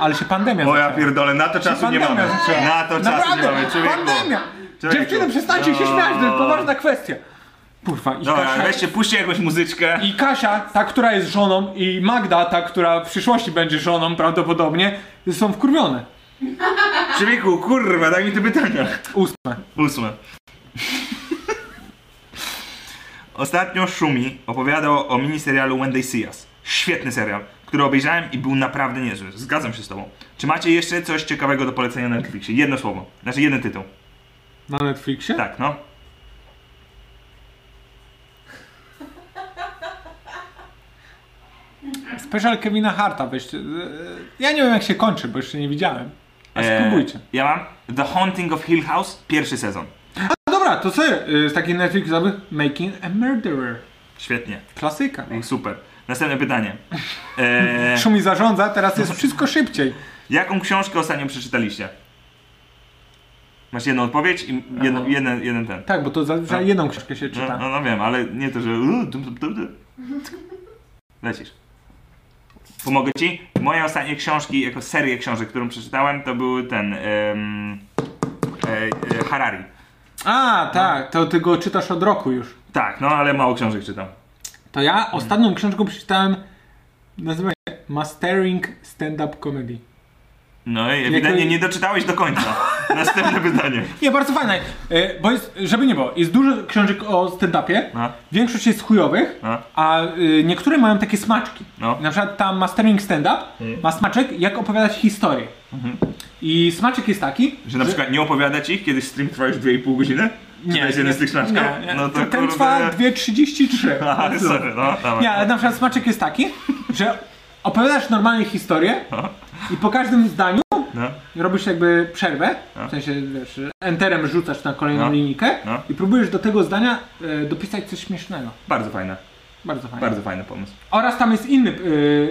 S4: ale się pandemia
S2: O ja
S4: zaczęła.
S2: pierdolę, na to czasu nie mamy.
S4: pandemia zaczęła.
S2: Na to czasu nie
S4: Naprawdę,
S2: mamy, człowieku.
S4: pandemia!
S2: Człowieku.
S4: Dziewczyny, przestańcie się śmiać, to jest
S2: No.
S4: poważna kwestia. Kurwa, i tak-
S2: Dobra,
S4: Kasia...
S2: weźcie, puśćcie jakąś muzyczkę.
S4: I Kasia, ta, która jest żoną, i Magda, ta, która w przyszłości będzie żoną prawdopodobnie, są wkurwione.
S2: Człowieku, kurwa, daj mi te pytania.
S4: Ósme.
S2: Ósme. Ostatnio Szumi opowiadał o miniserialu When They See Us. Świetny serial, który obejrzałem i był naprawdę niezły. Zgadzam się z tobą. Czy macie jeszcze coś ciekawego do polecenia na Netflixie? Jedno słowo. Znaczy jeden tytuł.
S4: Na Netflixie?
S2: Tak, no.
S4: Special Kevina Harta, weźcie. e, Ja nie wiem jak się kończy, bo jeszcze nie widziałem. A
S2: Eee,
S4: spróbujcie.
S2: ja mam The Haunting of Hill House, pierwszy sezon.
S4: A dobra, to co e, z takich Netflixowych? Making a Murderer.
S2: Świetnie,
S4: Klasyka.
S2: super. Następne pytanie. Eee,
S4: Szumi zarządza, teraz jest wszystko szybciej.
S2: jaką książkę ostatnio przeczytaliście? Masz jedną odpowiedź i jedno, jeden, jeden ten.
S4: Tak, bo to zazwyczaj jedną książkę się
S2: No,
S4: czyta.
S2: no, no wiem, ale nie to, że. uuu, dum, dum, dum, dum. Lecisz. Pomogę ci? Moje ostatnie książki, jako serię książek, którą przeczytałem, to były ten. em, e, e, Harari.
S4: A, tak,
S2: No.
S4: to ty go czytasz od roku już.
S2: Tak, no ale mało książek czytam.
S4: To ja
S2: Mm.
S4: ostatnią książką przeczytałem, nazywa się Mastering Stand-Up Comedy.
S2: No i ewidentnie nie doczytałeś do końca. Następne pytanie.
S4: Nie, bardzo fajne, e, bo jest, żeby nie było, jest dużo książek o stand-upie,
S2: No.
S4: większość jest chujowych,
S2: No.
S4: a y, niektóre mają takie smaczki.
S2: No. Mm.
S4: Na przykład tam Mastering Stand-Up ma smaczek, jak opowiadać historię. I smaczek jest taki,
S2: Że na przykład Mhm. nie opowiadać ich, kiedy stream trwa już 2,5 godziny? Nie. Czy jeden z tych książek?
S4: nie, nie,
S2: No to
S4: ten trwa 2.33.
S2: Aha, sorry, no, dawaj.
S4: Nie, ale na przykład smaczek jest taki, że opowiadasz normalnie historię i po każdym zdaniu
S2: No.
S4: robisz jakby przerwę, w sensie wiesz, enterem rzucasz na kolejną
S2: No.
S4: linijkę
S2: No.
S4: i próbujesz do tego zdania e, dopisać coś śmiesznego.
S2: Bardzo fajne,
S4: Bardzo fajnie.
S2: bardzo fajny pomysł.
S4: Oraz tam jest inny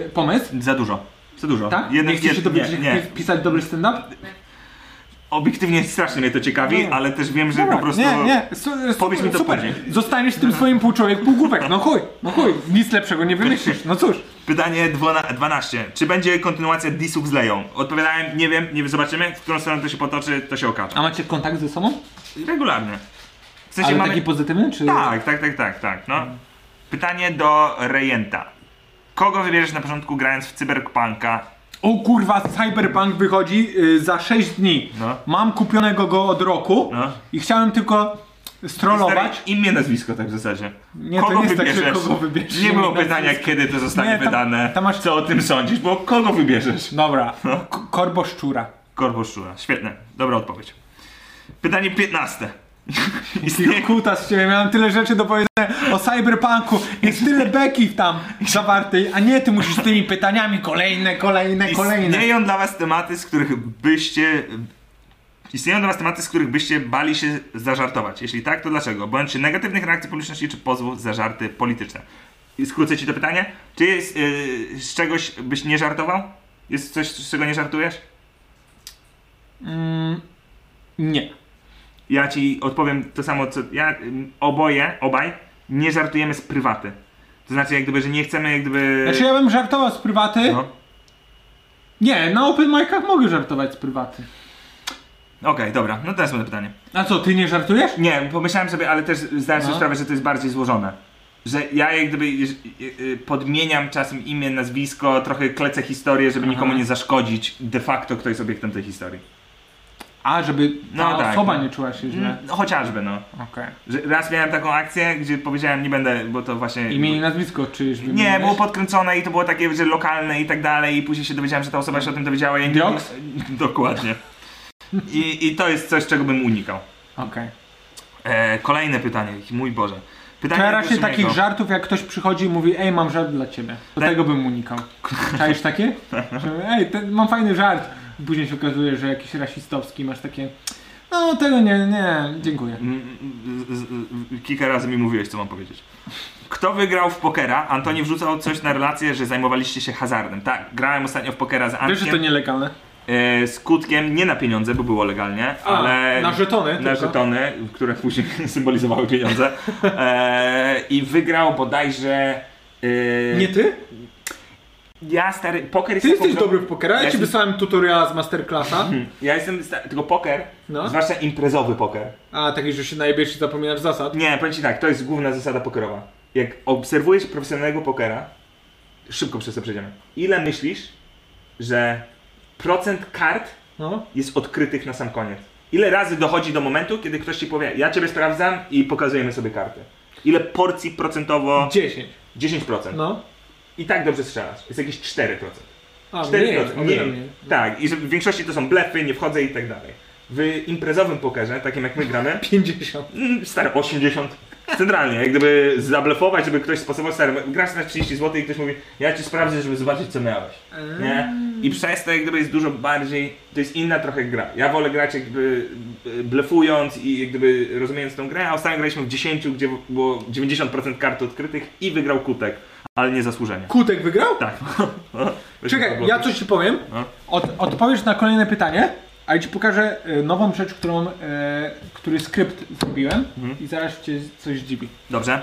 S4: e, pomysł,
S2: Za dużo. Za dużo.
S4: tak?
S2: Jeden-
S4: nie chcesz się
S2: jed-
S4: dobrze
S2: nie, nie.
S4: pisać dobry stand-up?
S2: Obiektywnie strasznie mnie to ciekawi,
S4: No.
S2: ale też wiem, że
S4: Dobra,
S2: po prostu...
S4: Nie, nie, su,
S2: Powiedz mi to
S4: super.
S2: później.
S4: Zostaniesz tym swoim półczłowiek półgłówek, no chuj, no chuj, nic lepszego nie wymyślisz, no cóż.
S2: Pytanie dwona- 12. Czy będzie kontynuacja Disów z Leją? Odpowiadałem, nie wiem, nie zobaczymy. W którą stronę to się potoczy, to się okaże.
S4: A macie kontakt ze sobą?
S2: Regularnie. W sensie
S4: Ale
S2: mamy...
S4: taki pozytywny, czy...
S2: Tak, tak, tak, tak, tak. No. Pytanie do Rejenta. Kogo wybierzesz na początku grając w Cyberpunka?
S4: O kurwa, Cyberpunk wychodzi y, za 6 dni.
S2: No.
S4: Mam kupionego go od roku
S2: No.
S4: i chciałem tylko strollować.
S2: Stary, Imię, nazwisko tak w zasadzie.
S4: Nie, to nie jest tak, że kogo wybierzesz,
S2: Nie było
S4: imię,
S2: pytania,
S4: nazwisko.
S2: kiedy to zostanie
S4: Nie, tam-
S2: wydane.
S4: tam masz-
S2: Co o tym sądzisz? Bo kogo wybierzesz?
S4: Dobra,
S2: No.
S4: K- korbo szczura.
S2: Korbo szczura. Świetne. Dobra odpowiedź. Pytanie 15. Istnieje,
S4: Kuta z ciebie, miałem tyle rzeczy do powiedzenia o cyberpunku, jest tyle beki tam zawartej, a nie ty musisz z tymi pytaniami kolejne, kolejne, kolejne.
S2: istnieją dla was tematy, z których byście... Istnieją dla was tematy, z których byście bali się zażartować. Jeśli tak, to dlaczego? Bądź negatywnych reakcji publiczności czy pozwów za żarty polityczne. I skrócę ci to pytanie. Czy jest, yy, z czegoś byś nie żartował? Jest coś, z czego nie żartujesz?
S4: Nie.
S2: Ja ci odpowiem to samo, co ja. ym, Oboje, obaj, nie żartujemy z prywaty. To znaczy, jak gdyby, że nie chcemy, jak gdyby.
S4: Znaczy ja bym żartował z prywaty.
S2: No.
S4: Nie, na open micach mogę żartować z prywaty.
S2: Okej, dobra, no to następne pytanie.
S4: A co, ty nie żartujesz?
S2: Nie, pomyślałem sobie, ale też zdałem sobie sprawę, że to jest bardziej złożone. Że ja jak gdyby jeż- y- y, podmieniam czasem imię, nazwisko, trochę klecę historię, żeby nikomu nie zaszkodzić de facto, kto jest obiektem tej historii.
S4: A, żeby ta
S2: No tak,
S4: osoba
S2: no.
S4: nie czuła się źle.
S2: Mm, no, chociażby, no.
S4: Okej.
S2: Że raz miałem taką akcję, gdzie powiedziałem, nie będę, bo to właśnie.
S4: Imię i nazwisko czyjeś wymieniłeś?
S2: Nie, było podkręcone i to było takie, że lokalne i tak dalej i później się dowiedziałem, że ta osoba się o tym dowiedziała. Ja nie-
S4: Dioks?
S2: Dokładnie. I, I to jest coś, czego bym unikał.
S4: Okej.
S2: E, kolejne pytanie, mój Boże. Pytanie
S4: Teraz się
S2: Kusumiego.
S4: takich żartów, jak ktoś przychodzi i mówi, ej, mam żart dla ciebie. Do
S2: no. Tak.
S4: tego bym unikał. Czaisz takie? Że, Ej, ten, mam fajny żart. Później się okazuje, że jakiś rasistowski, masz takie, no tego nie, nie, dziękuję.
S2: Mm, z- z- z- Kilka razy mi mówiłeś, co mam powiedzieć. Kto wygrał w pokera? Antoni wrzucał coś na relację, że zajmowaliście się hazardem. Tak, grałem ostatnio w pokera z
S4: Wiesz, że to
S2: Antkiem.
S4: nielegalne?
S2: e, Skutkiem nie na pieniądze, bo było legalnie, ale
S4: na żetony
S2: na
S4: tylko.
S2: żetony, które później symbolizowały pieniądze. E, I wygrał bodajże. E,
S4: Nie ty?
S2: Ja stary. Poker jest
S4: Ty
S2: taką
S4: jesteś
S2: grą-
S4: dobry w pokera,
S2: Ja
S4: ja, ci
S2: jestem-
S4: wysłałem tutoriala z masterclassa.
S2: Ja jestem. sta- Tylko poker.
S4: No.
S2: Zwłaszcza imprezowy poker.
S4: A, taki, że się najebiesz i zapominasz zasad.
S2: Nie, powiem ci tak, to jest główna zasada pokerowa. Jak obserwujesz profesjonalnego pokera, szybko przez to przejdziemy. Ile myślisz, że procent kart
S4: No.
S2: jest odkrytych na sam koniec? Ile razy dochodzi do momentu, kiedy ktoś ci powie, ja ciebie sprawdzam i pokazujemy sobie karty? Ile porcji procentowo?
S4: 10.
S2: 10%.
S4: No.
S2: I tak dobrze strzelasz. Jest jakieś 4%.
S4: A,
S2: 4%.
S4: mniej, o wiele
S2: mniej.
S4: mniej.
S2: Tak, i że w większości to są blefy, nie wchodzę i tak dalej. W imprezowym pokerze, takim jak my gramy,
S4: 50.
S2: Mm, Stary, 80. Centralnie, jak gdyby zablefować, żeby ktoś sposobował, stary, grasz na 30 zł i ktoś mówi, ja ci sprawdzę, żeby zobaczyć co miałeś. Nie?
S4: Mm.
S2: I przez to jak gdyby jest dużo bardziej, to jest inna trochę gra. Ja wolę grać jak gdyby e, blefując i jak gdyby rozumiejąc tą grę, a ostatnio graliśmy w 10, gdzie było 90% kart odkrytych i wygrał Kutek, ale nie zasłużenie.
S4: Kutek wygrał?
S2: Tak.
S4: Czekaj, ja coś ci powiem.
S2: No.
S4: Od, odpowiesz na kolejne pytanie, a ja ci pokażę e, nową rzecz, którą, e, który skrypt zrobiłem i zaraz cię coś dziwi.
S2: Dobrze.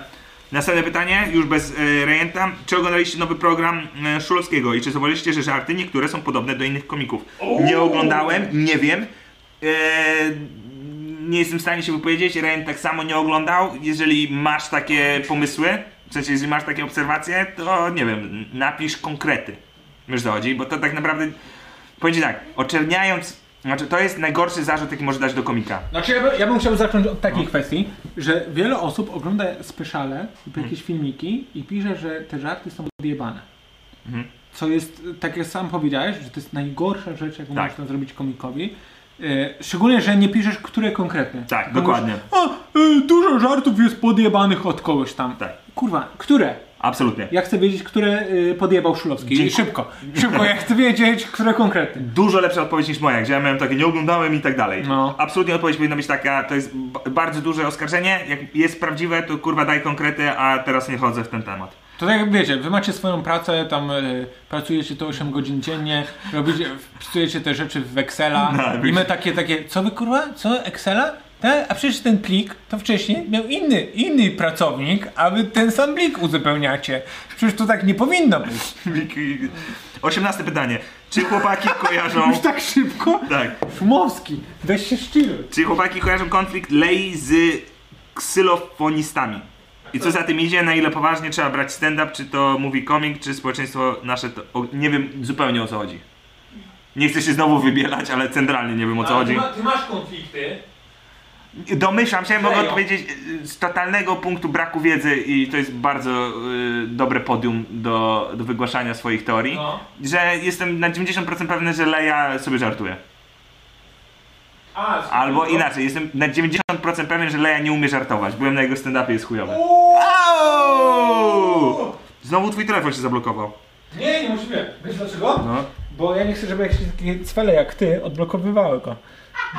S2: Następne pytanie, już bez e, Rejenta. Czy oglądaliście nowy program e, Szulowskiego i czy zauważyliście, że żarty niektóre są podobne do innych komików? Nie oglądałem, nie wiem. E, nie jestem w stanie się wypowiedzieć, Rejent tak samo nie oglądał. Jeżeli masz takie pomysły, w sensie jeżeli masz takie obserwacje, to nie wiem, napisz konkrety. Wiesz o co chodzi, bo to tak naprawdę, powiem ci tak, oczerniając, znaczy to jest najgorszy zarzut, jaki możesz dać do komika.
S4: Znaczy ja, by, ja bym chciał zacząć od
S2: No.
S4: takiej kwestii, że wiele osób ogląda speszale lub
S2: Mhm.
S4: jakieś filmiki i pisze, że te żarty są odjebane.
S2: Mhm.
S4: Co jest, tak jak sam powiedziałeś, że to jest najgorsza rzecz, jaką
S2: Tak.
S4: można zrobić komikowi. E, Szczególnie, że nie piszesz, które konkretnie.
S2: Tak,
S4: Bo
S2: dokładnie.
S4: mówisz, A, y, dużo żartów jest podjebanych od kogoś tam.
S2: Tak.
S4: Kurwa, które?
S2: Absolutnie.
S4: Ja chcę wiedzieć, które y, podjebał Szulowski. I
S2: Dziękuję.
S4: Szybko, szybko, ja chcę wiedzieć, które konkretnie.
S2: dużo lepsza odpowiedź niż moja, gdzie ja miałem takie nie oglądałem i tak dalej.
S4: No.
S2: Absolutnie odpowiedź powinna być taka, to jest b- bardzo duże oskarżenie, jak jest prawdziwe, to kurwa daj konkrety, a teraz nie chodzę w ten temat.
S4: To tak jak wiecie, wy macie swoją pracę, tam y, pracujecie to 8 godzin dziennie, robicie, wpisujecie te rzeczy w Excela i my takie, takie, co wy kurwa, co Excela? Te, a przecież ten plik to wcześniej miał inny, inny pracownik, a wy ten sam plik uzupełniacie. Przecież to tak nie powinno być.
S2: Osiemnaste pytanie. Czy chłopaki kojarzą...
S4: Już tak szybko?
S2: tak.
S4: Szumowski, weź się szczyluj.
S2: Czy chłopaki kojarzą konflikt lei z ksylofonistami? I co za tym idzie, na ile poważnie trzeba brać stand-up, czy to mówi komik, czy społeczeństwo nasze to... O, nie wiem zupełnie o co chodzi. Nie chcę się znowu wybielać, ale centralnie nie wiem o co chodzi.
S9: masz konflikty.
S2: Domyślam się, mogę
S9: Kleją.
S2: odpowiedzieć y, z totalnego punktu braku wiedzy i to jest bardzo y, dobre podium do, do wygłaszania swoich teorii,
S9: No.
S2: że jestem na 90% pewny, że Leia sobie żartuje.
S9: A,
S2: Albo inaczej, jestem na 90% pewien, że Leia nie umie żartować. Byłem na jego stand-upie, jest chujowy. Au! Znowu twój telefon się zablokował.
S4: Nie, nie musimy. Wiesz dlaczego?
S2: No.
S4: Bo ja nie chcę, żeby jakieś takie cwele jak ty odblokowywały go.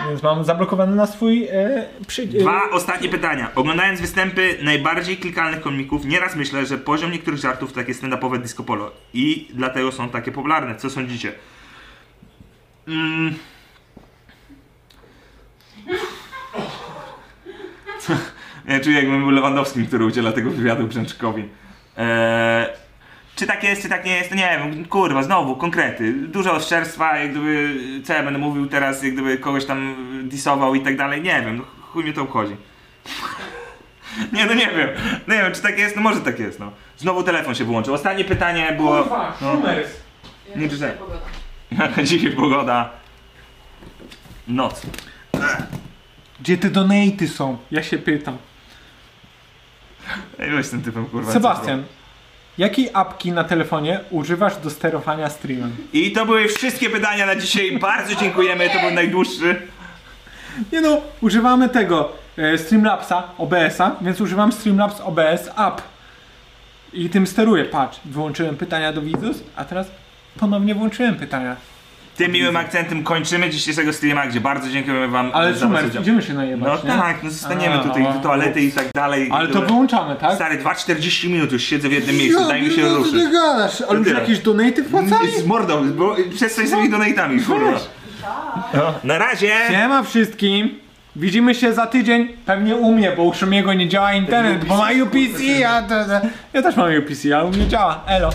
S4: Więc mam zablokowany na swój e, przy... e,
S2: Dwa ostatnie pytania. Oglądając występy najbardziej klikalnych komików, nieraz myślę, że poziom niektórych żartów to takie stand-upowe disco polo i dlatego są takie popularne. Co sądzicie? Mm. Co? Ja czuję jakbym był Lewandowskim, który udziela tego wywiadu Brzęczykowi. Eee, czy tak jest, czy tak nie jest, to nie wiem, kurwa, znowu, konkrety. Dużo oszczerstwa, jak gdyby, co ja będę mówił teraz, jak gdyby kogoś tam disował i tak dalej, nie wiem, no chuj mnie to obchodzi. nie, no nie wiem, no nie wiem, czy tak jest, no może tak jest, no. Znowu telefon się wyłączył. Ostatnie pytanie było...
S9: Kurwa,
S4: No.
S9: szumers.
S2: Nie czytaj. Dzisiaj pogoda. Noc.
S4: Gdzie te donaty są? Ja się pytam.
S2: Ej, weź tym typem, kurwa.
S4: Sebastian, jakiej apki na telefonie używasz do sterowania streamem?
S2: I to były wszystkie pytania na dzisiaj. Bardzo dziękujemy, to był najdłuższy.
S4: Nie no, używamy tego e, Streamlabsa, OBS-a, więc używam Streamlabs OBS App. I tym steruję, patrz, wyłączyłem pytania do widzów, a teraz ponownie włączyłem pytania.
S2: Tym miłym akcentem kończymy dzisiejszego streama, gdzie bardzo dziękujemy wam
S4: Ale
S2: za
S4: super,
S2: udział.
S4: idziemy się najebać,
S2: No
S4: nie?
S2: tak, no zostaniemy
S4: A,
S2: tutaj do toalety i tak dalej.
S4: Ale to
S2: Dobra.
S4: wyłączamy, tak?
S2: Stary, 2,40 minut już siedzę w jednym miejscu, daj mi się ruszyć.
S4: gadasz,
S2: już
S4: ale już
S2: tyle.
S4: jakieś
S2: jakieś
S4: donaty wpłacali?
S2: Z mordą, bo przez coś z tymi donatami, kurwa. No, na razie!
S4: Siema wszystkim! Widzimy się za tydzień, pewnie u mnie, bo u Szumiego nie działa internet, bo ma UPC, ja, ja też mam UPC, ale u mnie działa, elo.